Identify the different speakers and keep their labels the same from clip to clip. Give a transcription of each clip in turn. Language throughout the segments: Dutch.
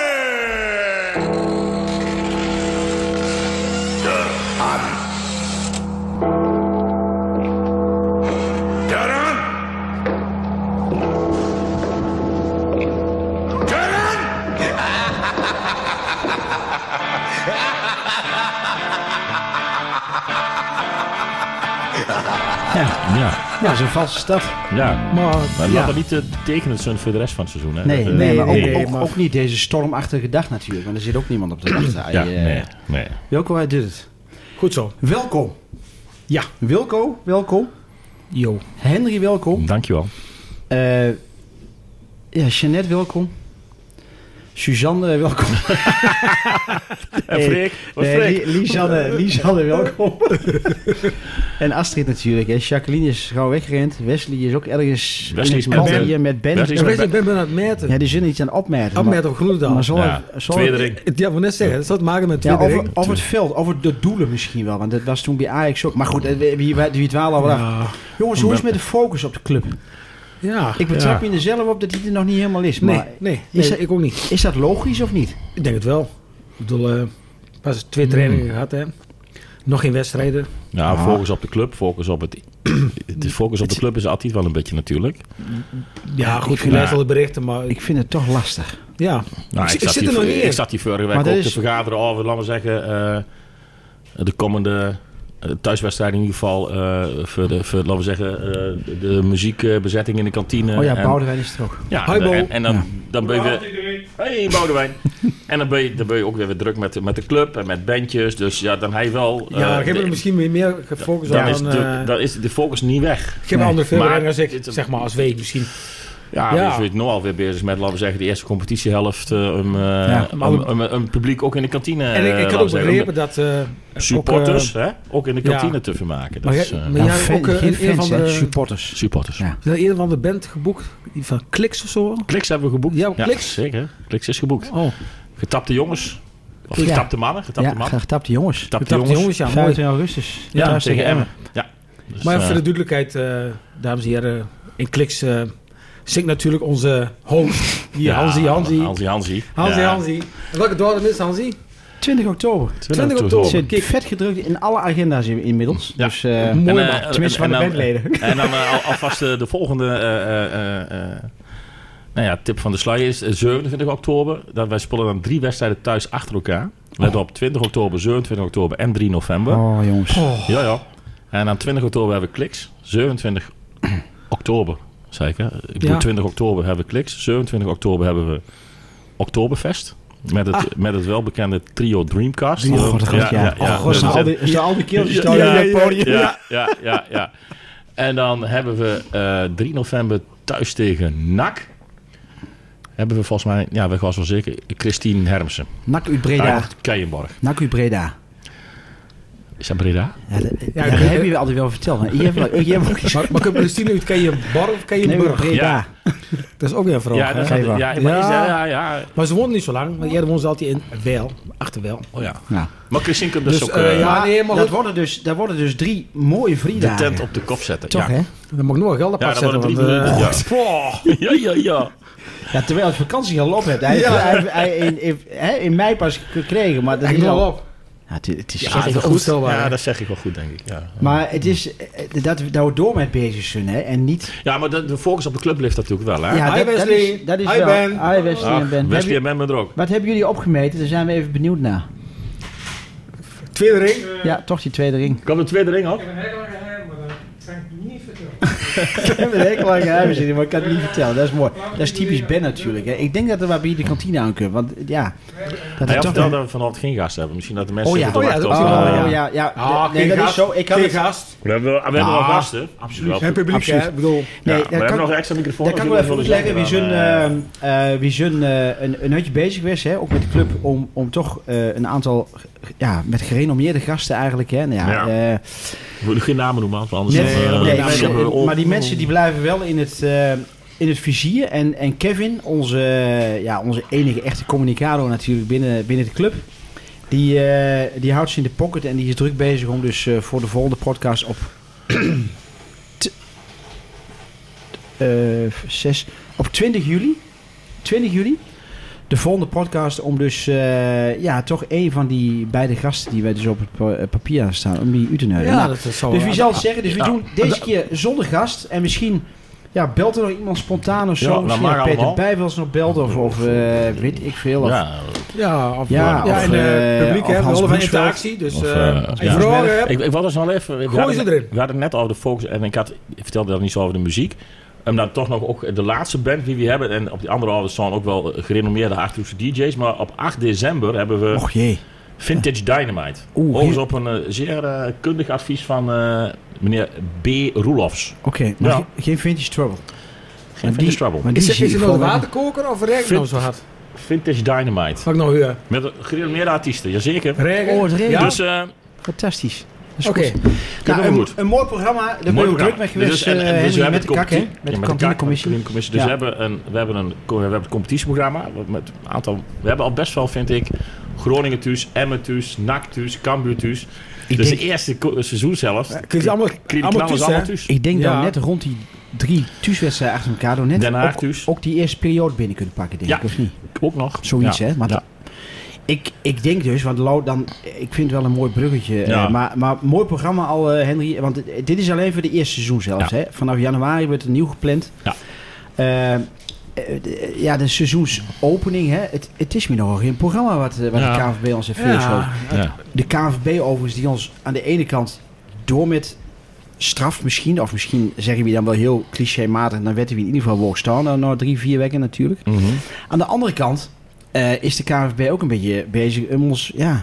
Speaker 1: attenzione! Taran! Taran!
Speaker 2: Ja,
Speaker 3: Ja,
Speaker 2: dat is een valse stad.
Speaker 3: ja.
Speaker 2: Maar
Speaker 3: Maar
Speaker 2: ja.
Speaker 3: laat dat niet eh, tekenend zijn voor de rest van het seizoen. Hè?
Speaker 2: Nee,
Speaker 3: Dat, eh,
Speaker 2: nee, maar ook, nee. ook, ook niet deze stormachtige dag natuurlijk. Want er zit ook niemand op de dag.
Speaker 3: Ja, nee, nee.
Speaker 2: Wilco, hij did het.
Speaker 4: Goed zo.
Speaker 2: Welkom.
Speaker 4: Ja.
Speaker 2: Wilco, welkom.
Speaker 4: Yo.
Speaker 2: Henry, welkom.
Speaker 3: Dankjewel.
Speaker 2: Eh ja, Jeannette, welkom. Suzanne, eh, welkom.
Speaker 3: En Freek? Wat
Speaker 2: Nee,
Speaker 3: Freek?
Speaker 2: Li- Lisanne, Lisanne, welkom. en Astrid natuurlijk. En Jacqueline is gauw weggerend. Wesley is ook ergens
Speaker 3: Wesley is
Speaker 2: in
Speaker 3: met
Speaker 2: het pand
Speaker 3: Ben.
Speaker 2: hier met Ben.
Speaker 3: Wesley is
Speaker 4: Ik
Speaker 3: met
Speaker 4: weet ik ben aan het meten.
Speaker 2: Ja, die zijn iets aan het opmerken. maar-
Speaker 4: Afmeten op Groenendaal.
Speaker 2: Maar zo,
Speaker 3: Ja,
Speaker 2: zo-
Speaker 3: tweede ring.
Speaker 4: Het- Ja, ik wil net zeggen, dat zou te maken met
Speaker 2: Ja,
Speaker 4: tweede
Speaker 2: over,
Speaker 4: ring.
Speaker 2: over het veld, over de doelen misschien wel. Want dat was toen bij Ajax ook. Maar goed, eh, we- we- we- die dwalen al wat af.
Speaker 4: Ja.
Speaker 2: Jongens, hoe is het met de focus op de club?
Speaker 4: Ja.
Speaker 2: Ik betrap
Speaker 4: ja.
Speaker 2: je er zelf op dat die er nog niet helemaal is.
Speaker 4: Nee,
Speaker 2: Maar
Speaker 4: nee,
Speaker 2: is,
Speaker 4: nee, ik ook niet.
Speaker 2: dat, is dat logisch of niet?
Speaker 4: Ik denk het wel. Ik bedoel, eh, pas twee
Speaker 2: Hmm.
Speaker 4: trainingen gehad, hè. Nog geen wedstrijden.
Speaker 3: Nou,
Speaker 2: Ah.
Speaker 3: focus op de club, focus op het... De focus op de club is altijd wel een beetje natuurlijk.
Speaker 4: Ja, goed, je
Speaker 3: Ja.
Speaker 4: leest al de berichten, maar
Speaker 2: Ik vind het toch lastig.
Speaker 4: ja.
Speaker 3: Nou,
Speaker 4: ik,
Speaker 3: ik,
Speaker 4: ik
Speaker 3: zat
Speaker 4: zit
Speaker 3: hier,
Speaker 4: er nog niet
Speaker 3: ik,
Speaker 4: in.
Speaker 3: zat hier vorige week
Speaker 2: Maar
Speaker 3: ook
Speaker 2: dat
Speaker 3: te
Speaker 2: is-
Speaker 3: vergaderen over, laten we zeggen, eh, de komende eh, thuiswedstrijd in ieder geval. eh, voor, de, voor, laten we zeggen, eh, de muziekbezetting in de kantine.
Speaker 2: Oh ja,
Speaker 3: en-
Speaker 2: Boudewijn is er ook.
Speaker 3: Ja,
Speaker 4: Hi,
Speaker 3: en,
Speaker 4: Bo.
Speaker 3: en, en dan, dan ben je weer... Hey, Boudewijn. en dan ben, je, dan ben je ook weer weer druk met, de- met de club en met bandjes. Dus ja, dan hij wel... eh,
Speaker 4: Ja, ik heb
Speaker 3: de-
Speaker 4: er misschien weer meer gefocust
Speaker 3: dan,
Speaker 4: op
Speaker 3: is
Speaker 4: dan...
Speaker 3: de,
Speaker 4: eh,
Speaker 3: dan is de focus niet weg.
Speaker 4: Ik heb een andere
Speaker 3: Maar-
Speaker 4: film als ik,
Speaker 3: het-
Speaker 4: zeg maar, als week misschien.
Speaker 3: Ja,
Speaker 4: Ja.
Speaker 3: dus we zijn nu alweer bezig met, laten we zeggen, de eerste competitiehelft. eh, om, eh, om,
Speaker 4: maar-
Speaker 3: om- om het publiek ook in de kantine...
Speaker 4: En ik,
Speaker 3: eh,
Speaker 4: ik
Speaker 3: laten
Speaker 4: had
Speaker 3: we
Speaker 4: ook
Speaker 3: zeggen,
Speaker 4: begrepen dat... eh,
Speaker 3: om de supporters,
Speaker 4: ook, eh,
Speaker 3: hè? Ook in de
Speaker 4: ja.
Speaker 3: kantine te vermaken. Dat
Speaker 4: Maar
Speaker 3: is,
Speaker 4: ja,
Speaker 3: eh,
Speaker 4: maar ja,
Speaker 2: fan-
Speaker 4: ook eh,
Speaker 2: geen
Speaker 4: een, een van
Speaker 2: fans, hè,
Speaker 4: de...
Speaker 2: supporters.
Speaker 3: supporters.
Speaker 2: Ja.
Speaker 4: Is er een van de band geboekt? Die van Kliks of zo?
Speaker 3: Kliks hebben we geboekt.
Speaker 4: Ja, Kliks.
Speaker 3: zeker. Kliks is geboekt.
Speaker 4: Oh,
Speaker 3: Getapte jongens. Of
Speaker 2: Ja.
Speaker 3: getapte mannen. Getapte
Speaker 2: ja,
Speaker 3: mannen.
Speaker 2: getapte jongens.
Speaker 3: Getapte
Speaker 4: dat
Speaker 3: jongens.
Speaker 4: jongens, ja, mooi.
Speaker 2: 25 augustus.
Speaker 3: Ja,
Speaker 2: Thuis
Speaker 3: tegen Emmen. Ja. Dus,
Speaker 4: Maar
Speaker 3: eh,
Speaker 4: voor de duidelijkheid, eh, dames en heren, in Kliks eh zingt natuurlijk onze host, hier,
Speaker 3: Ja,
Speaker 4: Hansie, Hansie.
Speaker 3: Hansie, Hansie.
Speaker 4: Hansie,
Speaker 3: Ja.
Speaker 4: Hansie. En welke datum is Hansie?
Speaker 2: 20 oktober.
Speaker 4: 20 oktober.
Speaker 2: Het zit vet gedrukt in alle agenda's in- inmiddels.
Speaker 3: Ja.
Speaker 2: Dus, eh,
Speaker 3: En,
Speaker 4: Mooi
Speaker 3: eh,
Speaker 4: man.
Speaker 3: en-
Speaker 2: Tenminste van de
Speaker 3: en dan-
Speaker 2: bandleden.
Speaker 3: En dan eh, al- alvast eh, de volgende eh, eh, eh, eh, nou ja, tip van de sluier is eh, 27 oktober. Dat wij spelen dan drie wedstrijden thuis achter elkaar. Let
Speaker 4: Oh.
Speaker 3: op, 20 oktober, 27 oktober en 3 november.
Speaker 2: Oh jongens.
Speaker 3: Ja, ja. En dan 20 oktober hebben we kliks. 27 oktober, zei ik. Hè? Ik bedoel,
Speaker 4: Ja.
Speaker 3: 20 oktober hebben we kliks. 27 oktober hebben we Oktoberfest. Met het, met het welbekende trio Dreamcast.
Speaker 2: Ah. Oh, god, dat gaat, ja. Oh, god,
Speaker 3: Dus
Speaker 2: zijn al
Speaker 3: het-
Speaker 2: die- zijn al die keeltjes
Speaker 3: ja,
Speaker 2: staan
Speaker 3: ja,
Speaker 2: hier op het podium.
Speaker 3: ja, ja, ja, ja. En dan hebben we eh 3 november thuis tegen NAC. Hebben we volgens mij, ja, we was wel zeker, Christine Hermsen.
Speaker 2: Nak u Breda.
Speaker 3: Uit Keienborg.
Speaker 2: Nak u Breda.
Speaker 3: Is dat Breda?
Speaker 2: Ja, dat, ja,
Speaker 4: ik-
Speaker 2: dat heb je altijd wel verteld. Maar je hebt, wel- je hebt ook iets
Speaker 4: Maar, maar kun je Palestina uit Keienborg of
Speaker 2: Nee, maar
Speaker 4: Keienburg?
Speaker 2: Breda.
Speaker 4: Dat is ook weer een vraag.
Speaker 3: Ja, dat
Speaker 4: hè?
Speaker 3: gaat, ja, maar is dat- ja, ja.
Speaker 4: Maar ze woont niet zo lang, want jij woont ze altijd in Wel, achter Wel.
Speaker 3: Oh ja.
Speaker 2: Ja.
Speaker 3: Maar Christine kunt dus,
Speaker 4: Dus,
Speaker 3: ook
Speaker 4: eh,
Speaker 3: eh,
Speaker 4: ja,
Speaker 2: Ah, Maar
Speaker 4: nee, maar
Speaker 2: dat
Speaker 4: goed.
Speaker 2: worden dus, daar worden dus drie mooie
Speaker 3: de
Speaker 2: vrienden.
Speaker 3: tent op de kop zetten.
Speaker 2: Toch,
Speaker 3: ja.
Speaker 2: hè?
Speaker 4: Dan mag ik nog wel geld
Speaker 3: Ja,
Speaker 4: apart
Speaker 3: dat
Speaker 4: zetten.
Speaker 3: wordt
Speaker 4: Want,
Speaker 3: drie minuten.
Speaker 4: eh,
Speaker 3: Ja. ja, ja, ja.
Speaker 2: Ja, terwijl het vakantie al op hebt. Hij, hij, hij, hij- in, in, hè, in mei pas gekregen, maar dat
Speaker 4: ik
Speaker 2: is
Speaker 4: doe
Speaker 2: al...
Speaker 4: wel nou op.
Speaker 2: Ja, het, het is
Speaker 4: dat is wel onvoorstelbaar,
Speaker 3: Ja,
Speaker 4: hè?
Speaker 3: dat zeg ik wel goed, denk ik. Ja,
Speaker 2: Maar het is eh, dat we daar door met bezig zijn, hè? En niet...
Speaker 3: ja maar de, de focus op de club ligt natuurlijk wel, hè?
Speaker 2: Ja,
Speaker 4: Hi,
Speaker 2: dat, dat
Speaker 4: Wesley.
Speaker 2: is, dat is
Speaker 4: Hi,
Speaker 2: wel...
Speaker 4: Ben.
Speaker 2: Hi, Wesley
Speaker 3: Ach,
Speaker 2: en Ben. Heb
Speaker 3: Wesley
Speaker 2: je-
Speaker 3: en Ben ben er ook.
Speaker 2: wat hebben jullie opgemeten? Daar zijn we even benieuwd naar.
Speaker 4: Tweede ring.
Speaker 2: Ja, toch die tweede ring.
Speaker 3: Kan de tweede ring ook?
Speaker 2: Ik heb een hekel aan geheim zitten, maar ik kan het niet vertellen. Dat is mooi. Dat is typisch Ben natuurlijk. Hè. Ik denk dat we maar bij de kantine aan kunnen. Want ja, dat
Speaker 3: Hij
Speaker 2: is
Speaker 3: had
Speaker 2: toch...
Speaker 3: verteld dat we vanavond geen gast hebben. Misschien dat de mensen
Speaker 2: Oh ja,
Speaker 3: even
Speaker 2: oh ja,
Speaker 3: wachten
Speaker 4: dat-
Speaker 3: op-
Speaker 4: oh,
Speaker 3: ja.
Speaker 2: ja, ja. ja.
Speaker 4: Ah,
Speaker 2: nee,
Speaker 4: geen
Speaker 2: dat is
Speaker 4: gast.
Speaker 2: zo. Ik had
Speaker 4: Geen
Speaker 2: het,
Speaker 4: gast.
Speaker 3: We hebben, wel- we hebben wel gasten. Absoluut.
Speaker 4: En publiek,
Speaker 2: Absoluut.
Speaker 4: hè? Ik bedoel...
Speaker 2: nee,
Speaker 3: ja,
Speaker 2: dat
Speaker 3: we hebben
Speaker 2: kan,
Speaker 3: nog een extra microfoon.
Speaker 2: dat kan ik wel
Speaker 3: dus
Speaker 2: even
Speaker 3: jullie zullen
Speaker 2: uitleggen. Wie zijn,
Speaker 3: zeggen dan, eh,
Speaker 2: eh, eh, wie zijn eh, een, een hutje bezig was, hè, ook met de club, om, om toch eh, een aantal g- ja, met gerenommeerde gasten eigenlijk. Hè, nou ja,
Speaker 3: Ja.
Speaker 2: eh,
Speaker 3: We willen geen namen noemen, want anders...
Speaker 2: Nee,
Speaker 3: dan, eh,
Speaker 2: nee,
Speaker 3: dan
Speaker 2: maar,
Speaker 3: hebben we
Speaker 2: maar,
Speaker 3: op-
Speaker 2: die mensen die blijven wel in het, eh, in het vizier. En, en Kevin, onze, eh, ja, onze enige echte communicado natuurlijk binnen, binnen de club. Die, eh, die houdt ze in de pocket en die is druk bezig om dus eh, voor de volgende podcast op, t- eh, zes, op 20 juli. 20 juli. de volgende podcast om dus eh, ja, toch een van die beide gasten die wij dus op het pa- eh, papier aan staan, om die u te nodigen. Nou,
Speaker 4: dat zou
Speaker 2: dus wie zal het zeggen? Dus we
Speaker 3: Oh, Ja.
Speaker 2: doen deze keer zonder gast en misschien ja, belt er nog iemand spontaan of
Speaker 3: Ja,
Speaker 2: zo.
Speaker 3: dat
Speaker 2: misschien
Speaker 3: mag
Speaker 2: dat Peter
Speaker 3: allemaal.
Speaker 2: Bijbels nog belt of, of eh, weet ik veel. Of,
Speaker 3: Ja,
Speaker 4: Ja, of,
Speaker 2: Ja,
Speaker 4: ja,
Speaker 2: of,
Speaker 4: en eh,
Speaker 2: eh,
Speaker 4: publiek,
Speaker 2: of
Speaker 4: hè. We
Speaker 2: Hans
Speaker 4: willen van
Speaker 2: Bloesveld.
Speaker 4: interactie. Dus
Speaker 3: Of,
Speaker 4: eh,
Speaker 3: eh,
Speaker 4: als je
Speaker 3: ja.
Speaker 4: vragen hebt,
Speaker 3: Ik, ik was wel even. we
Speaker 4: gooi ze
Speaker 3: hadden-
Speaker 4: erin.
Speaker 3: We hadden net over de focus en ik, had, ik vertelde dat niet zo over de muziek. En dan toch nog ook de laatste band die we hebben. En op die andere albums staan ook wel eh, gerenommeerde Achterhoekse DJ's. Maar op 8 december hebben we
Speaker 2: Och jee.
Speaker 3: Vintage Dynamite.
Speaker 2: Oeh,
Speaker 3: Volgens
Speaker 2: hier-
Speaker 3: op een eh, zeer eh, kundig advies van eh, meneer B. Roelofs.
Speaker 2: Oké, maar
Speaker 3: Ja.
Speaker 2: ge- geen Vintage Trouble.
Speaker 3: Geen
Speaker 2: die-
Speaker 3: Vintage Trouble.
Speaker 2: maar die
Speaker 4: Is, er-
Speaker 2: zie
Speaker 4: is
Speaker 2: ik
Speaker 4: er nog een
Speaker 2: gewoon-
Speaker 4: waterkoker of regen
Speaker 3: Vind-
Speaker 4: nou zo hard?
Speaker 3: Vintage Dynamite.
Speaker 4: Wat ik nou huur?
Speaker 3: Met een gerenommeerde artiesten, jazeker.
Speaker 4: Regen?
Speaker 2: Oh, het regent.
Speaker 4: Ja?
Speaker 3: Dus eh
Speaker 2: Fantastisch. Dat is
Speaker 4: Oké.
Speaker 2: goed. Nou,
Speaker 3: helemaal
Speaker 2: een,
Speaker 3: goed.
Speaker 2: een mooi programma. Daar ben
Speaker 3: Mooi
Speaker 2: je ook druk
Speaker 3: programma.
Speaker 2: mee geweest.
Speaker 3: Dus, en- en
Speaker 2: eh,
Speaker 3: dus
Speaker 2: Henry,
Speaker 3: we hebben
Speaker 2: met de
Speaker 3: het
Speaker 2: kak, hè?
Speaker 3: competi- ja,
Speaker 2: Met de
Speaker 3: kak,
Speaker 2: kantinecommissie.
Speaker 3: kantinecommissie. Dus
Speaker 2: Ja.
Speaker 3: we, hebben een, we, hebben een, we hebben het competitieprogramma. wat Met een aantal, we hebben al best wel, vind ik, Groningen thuis, Emmen thuis, NAC thuis, Cambuur thuis.
Speaker 2: Ik
Speaker 3: dus
Speaker 2: denk-
Speaker 3: het eerste ko- seizoen zelfs.
Speaker 4: Ja, kun je het allemaal-
Speaker 3: Krie-
Speaker 4: allemaal
Speaker 3: knallen ze
Speaker 4: thuis, hè?
Speaker 3: thuis.
Speaker 2: Ik denk
Speaker 4: Ja.
Speaker 2: dat net rond die drie thuiswedstrijden achter elkaar... door net
Speaker 3: Den Haag
Speaker 2: ook,
Speaker 3: thuis.
Speaker 2: ook die eerste periode binnen kunnen pakken, denk
Speaker 3: Ja.
Speaker 2: ik. Of niet?
Speaker 3: Ook nog.
Speaker 2: Zoiets,
Speaker 3: Ja.
Speaker 2: hè? Maar
Speaker 3: Ja.
Speaker 2: ik, ik denk dus, want Lau, dan, ik vind het wel een mooi bruggetje.
Speaker 3: Ja.
Speaker 2: eh, maar, maar mooi programma al, eh, Henry. Want dit- dit is alleen voor de eerste seizoen zelfs.
Speaker 3: Ja.
Speaker 2: Hè? Vanaf januari wordt het nieuw gepland.
Speaker 3: Ja.
Speaker 2: Eh, eh, de- ja, de seizoensopening. Hè? Het, het is me nogal geen programma wat, eh, wat
Speaker 3: Ja.
Speaker 2: de KNVB ons heeft voorgeschoten.
Speaker 4: Ja.
Speaker 3: Ja.
Speaker 2: De KNVB overigens die ons aan de ene kant door met straf misschien... of misschien zeggen we dan wel heel clichématig... dan wetten we in ieder geval woog staan na- na drie, vier weken natuurlijk.
Speaker 3: Mhm.
Speaker 2: Aan de andere kant eh, is de KNVB ook een beetje bezig om ons, ja,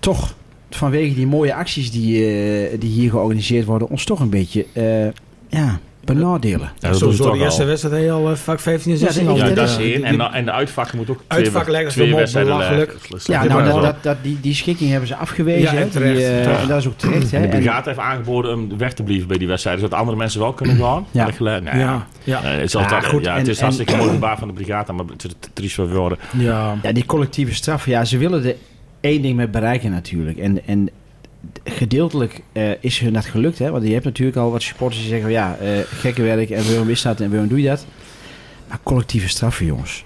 Speaker 2: toch vanwege die mooie acties die, eh, die hier georganiseerd worden, ons toch een beetje, eh, ja, benadelen.
Speaker 3: Ja, dat
Speaker 4: Zo
Speaker 3: doen ze
Speaker 4: zo de
Speaker 3: toch
Speaker 4: eerste
Speaker 3: al.
Speaker 4: wedstrijd heel al eh, vak 15 en
Speaker 2: Ja,
Speaker 4: 16
Speaker 2: dat-
Speaker 4: al.
Speaker 3: Ja,
Speaker 2: wedstrijd.
Speaker 3: dat is
Speaker 2: Ja.
Speaker 3: één. En, dan- en de uitvakken moet ook
Speaker 4: Uitvak
Speaker 3: twee,
Speaker 4: lijkt
Speaker 3: twee
Speaker 4: me
Speaker 3: wedstrijden
Speaker 4: belachelijk.
Speaker 2: Ja, nou, dat, dat, dat- die, die schikking hebben ze afgewezen.
Speaker 4: Ja, en
Speaker 2: hè, die,
Speaker 4: terecht.
Speaker 2: eh,
Speaker 3: Ja.
Speaker 2: en dat is ook terecht. Hè,
Speaker 3: de
Speaker 2: en,
Speaker 3: brigade heeft aangeboden om weg te blijven bij die wedstrijd. Zodat andere mensen wel kunnen gaan.
Speaker 2: Ja.
Speaker 3: En ik gele- nou ja,
Speaker 4: Ja, ja.
Speaker 3: Eh, het is, altijd,
Speaker 2: Ja, goed,
Speaker 3: ja, het
Speaker 2: en-
Speaker 3: is
Speaker 2: en-
Speaker 3: hartstikke mooi gebaar van de brigade, maar het is te triest voor woorden.
Speaker 4: ja.
Speaker 2: ja, die collectieve straf, ja, ze willen er één ding mee bereiken natuurlijk. En, en gedeeltelijk eh, is hun dat gelukt, hè? want je hebt natuurlijk al wat supporters die zeggen, ja, eh gekke werk en waarom is dat en waarom doe je dat? Maar collectieve straffen, jongens.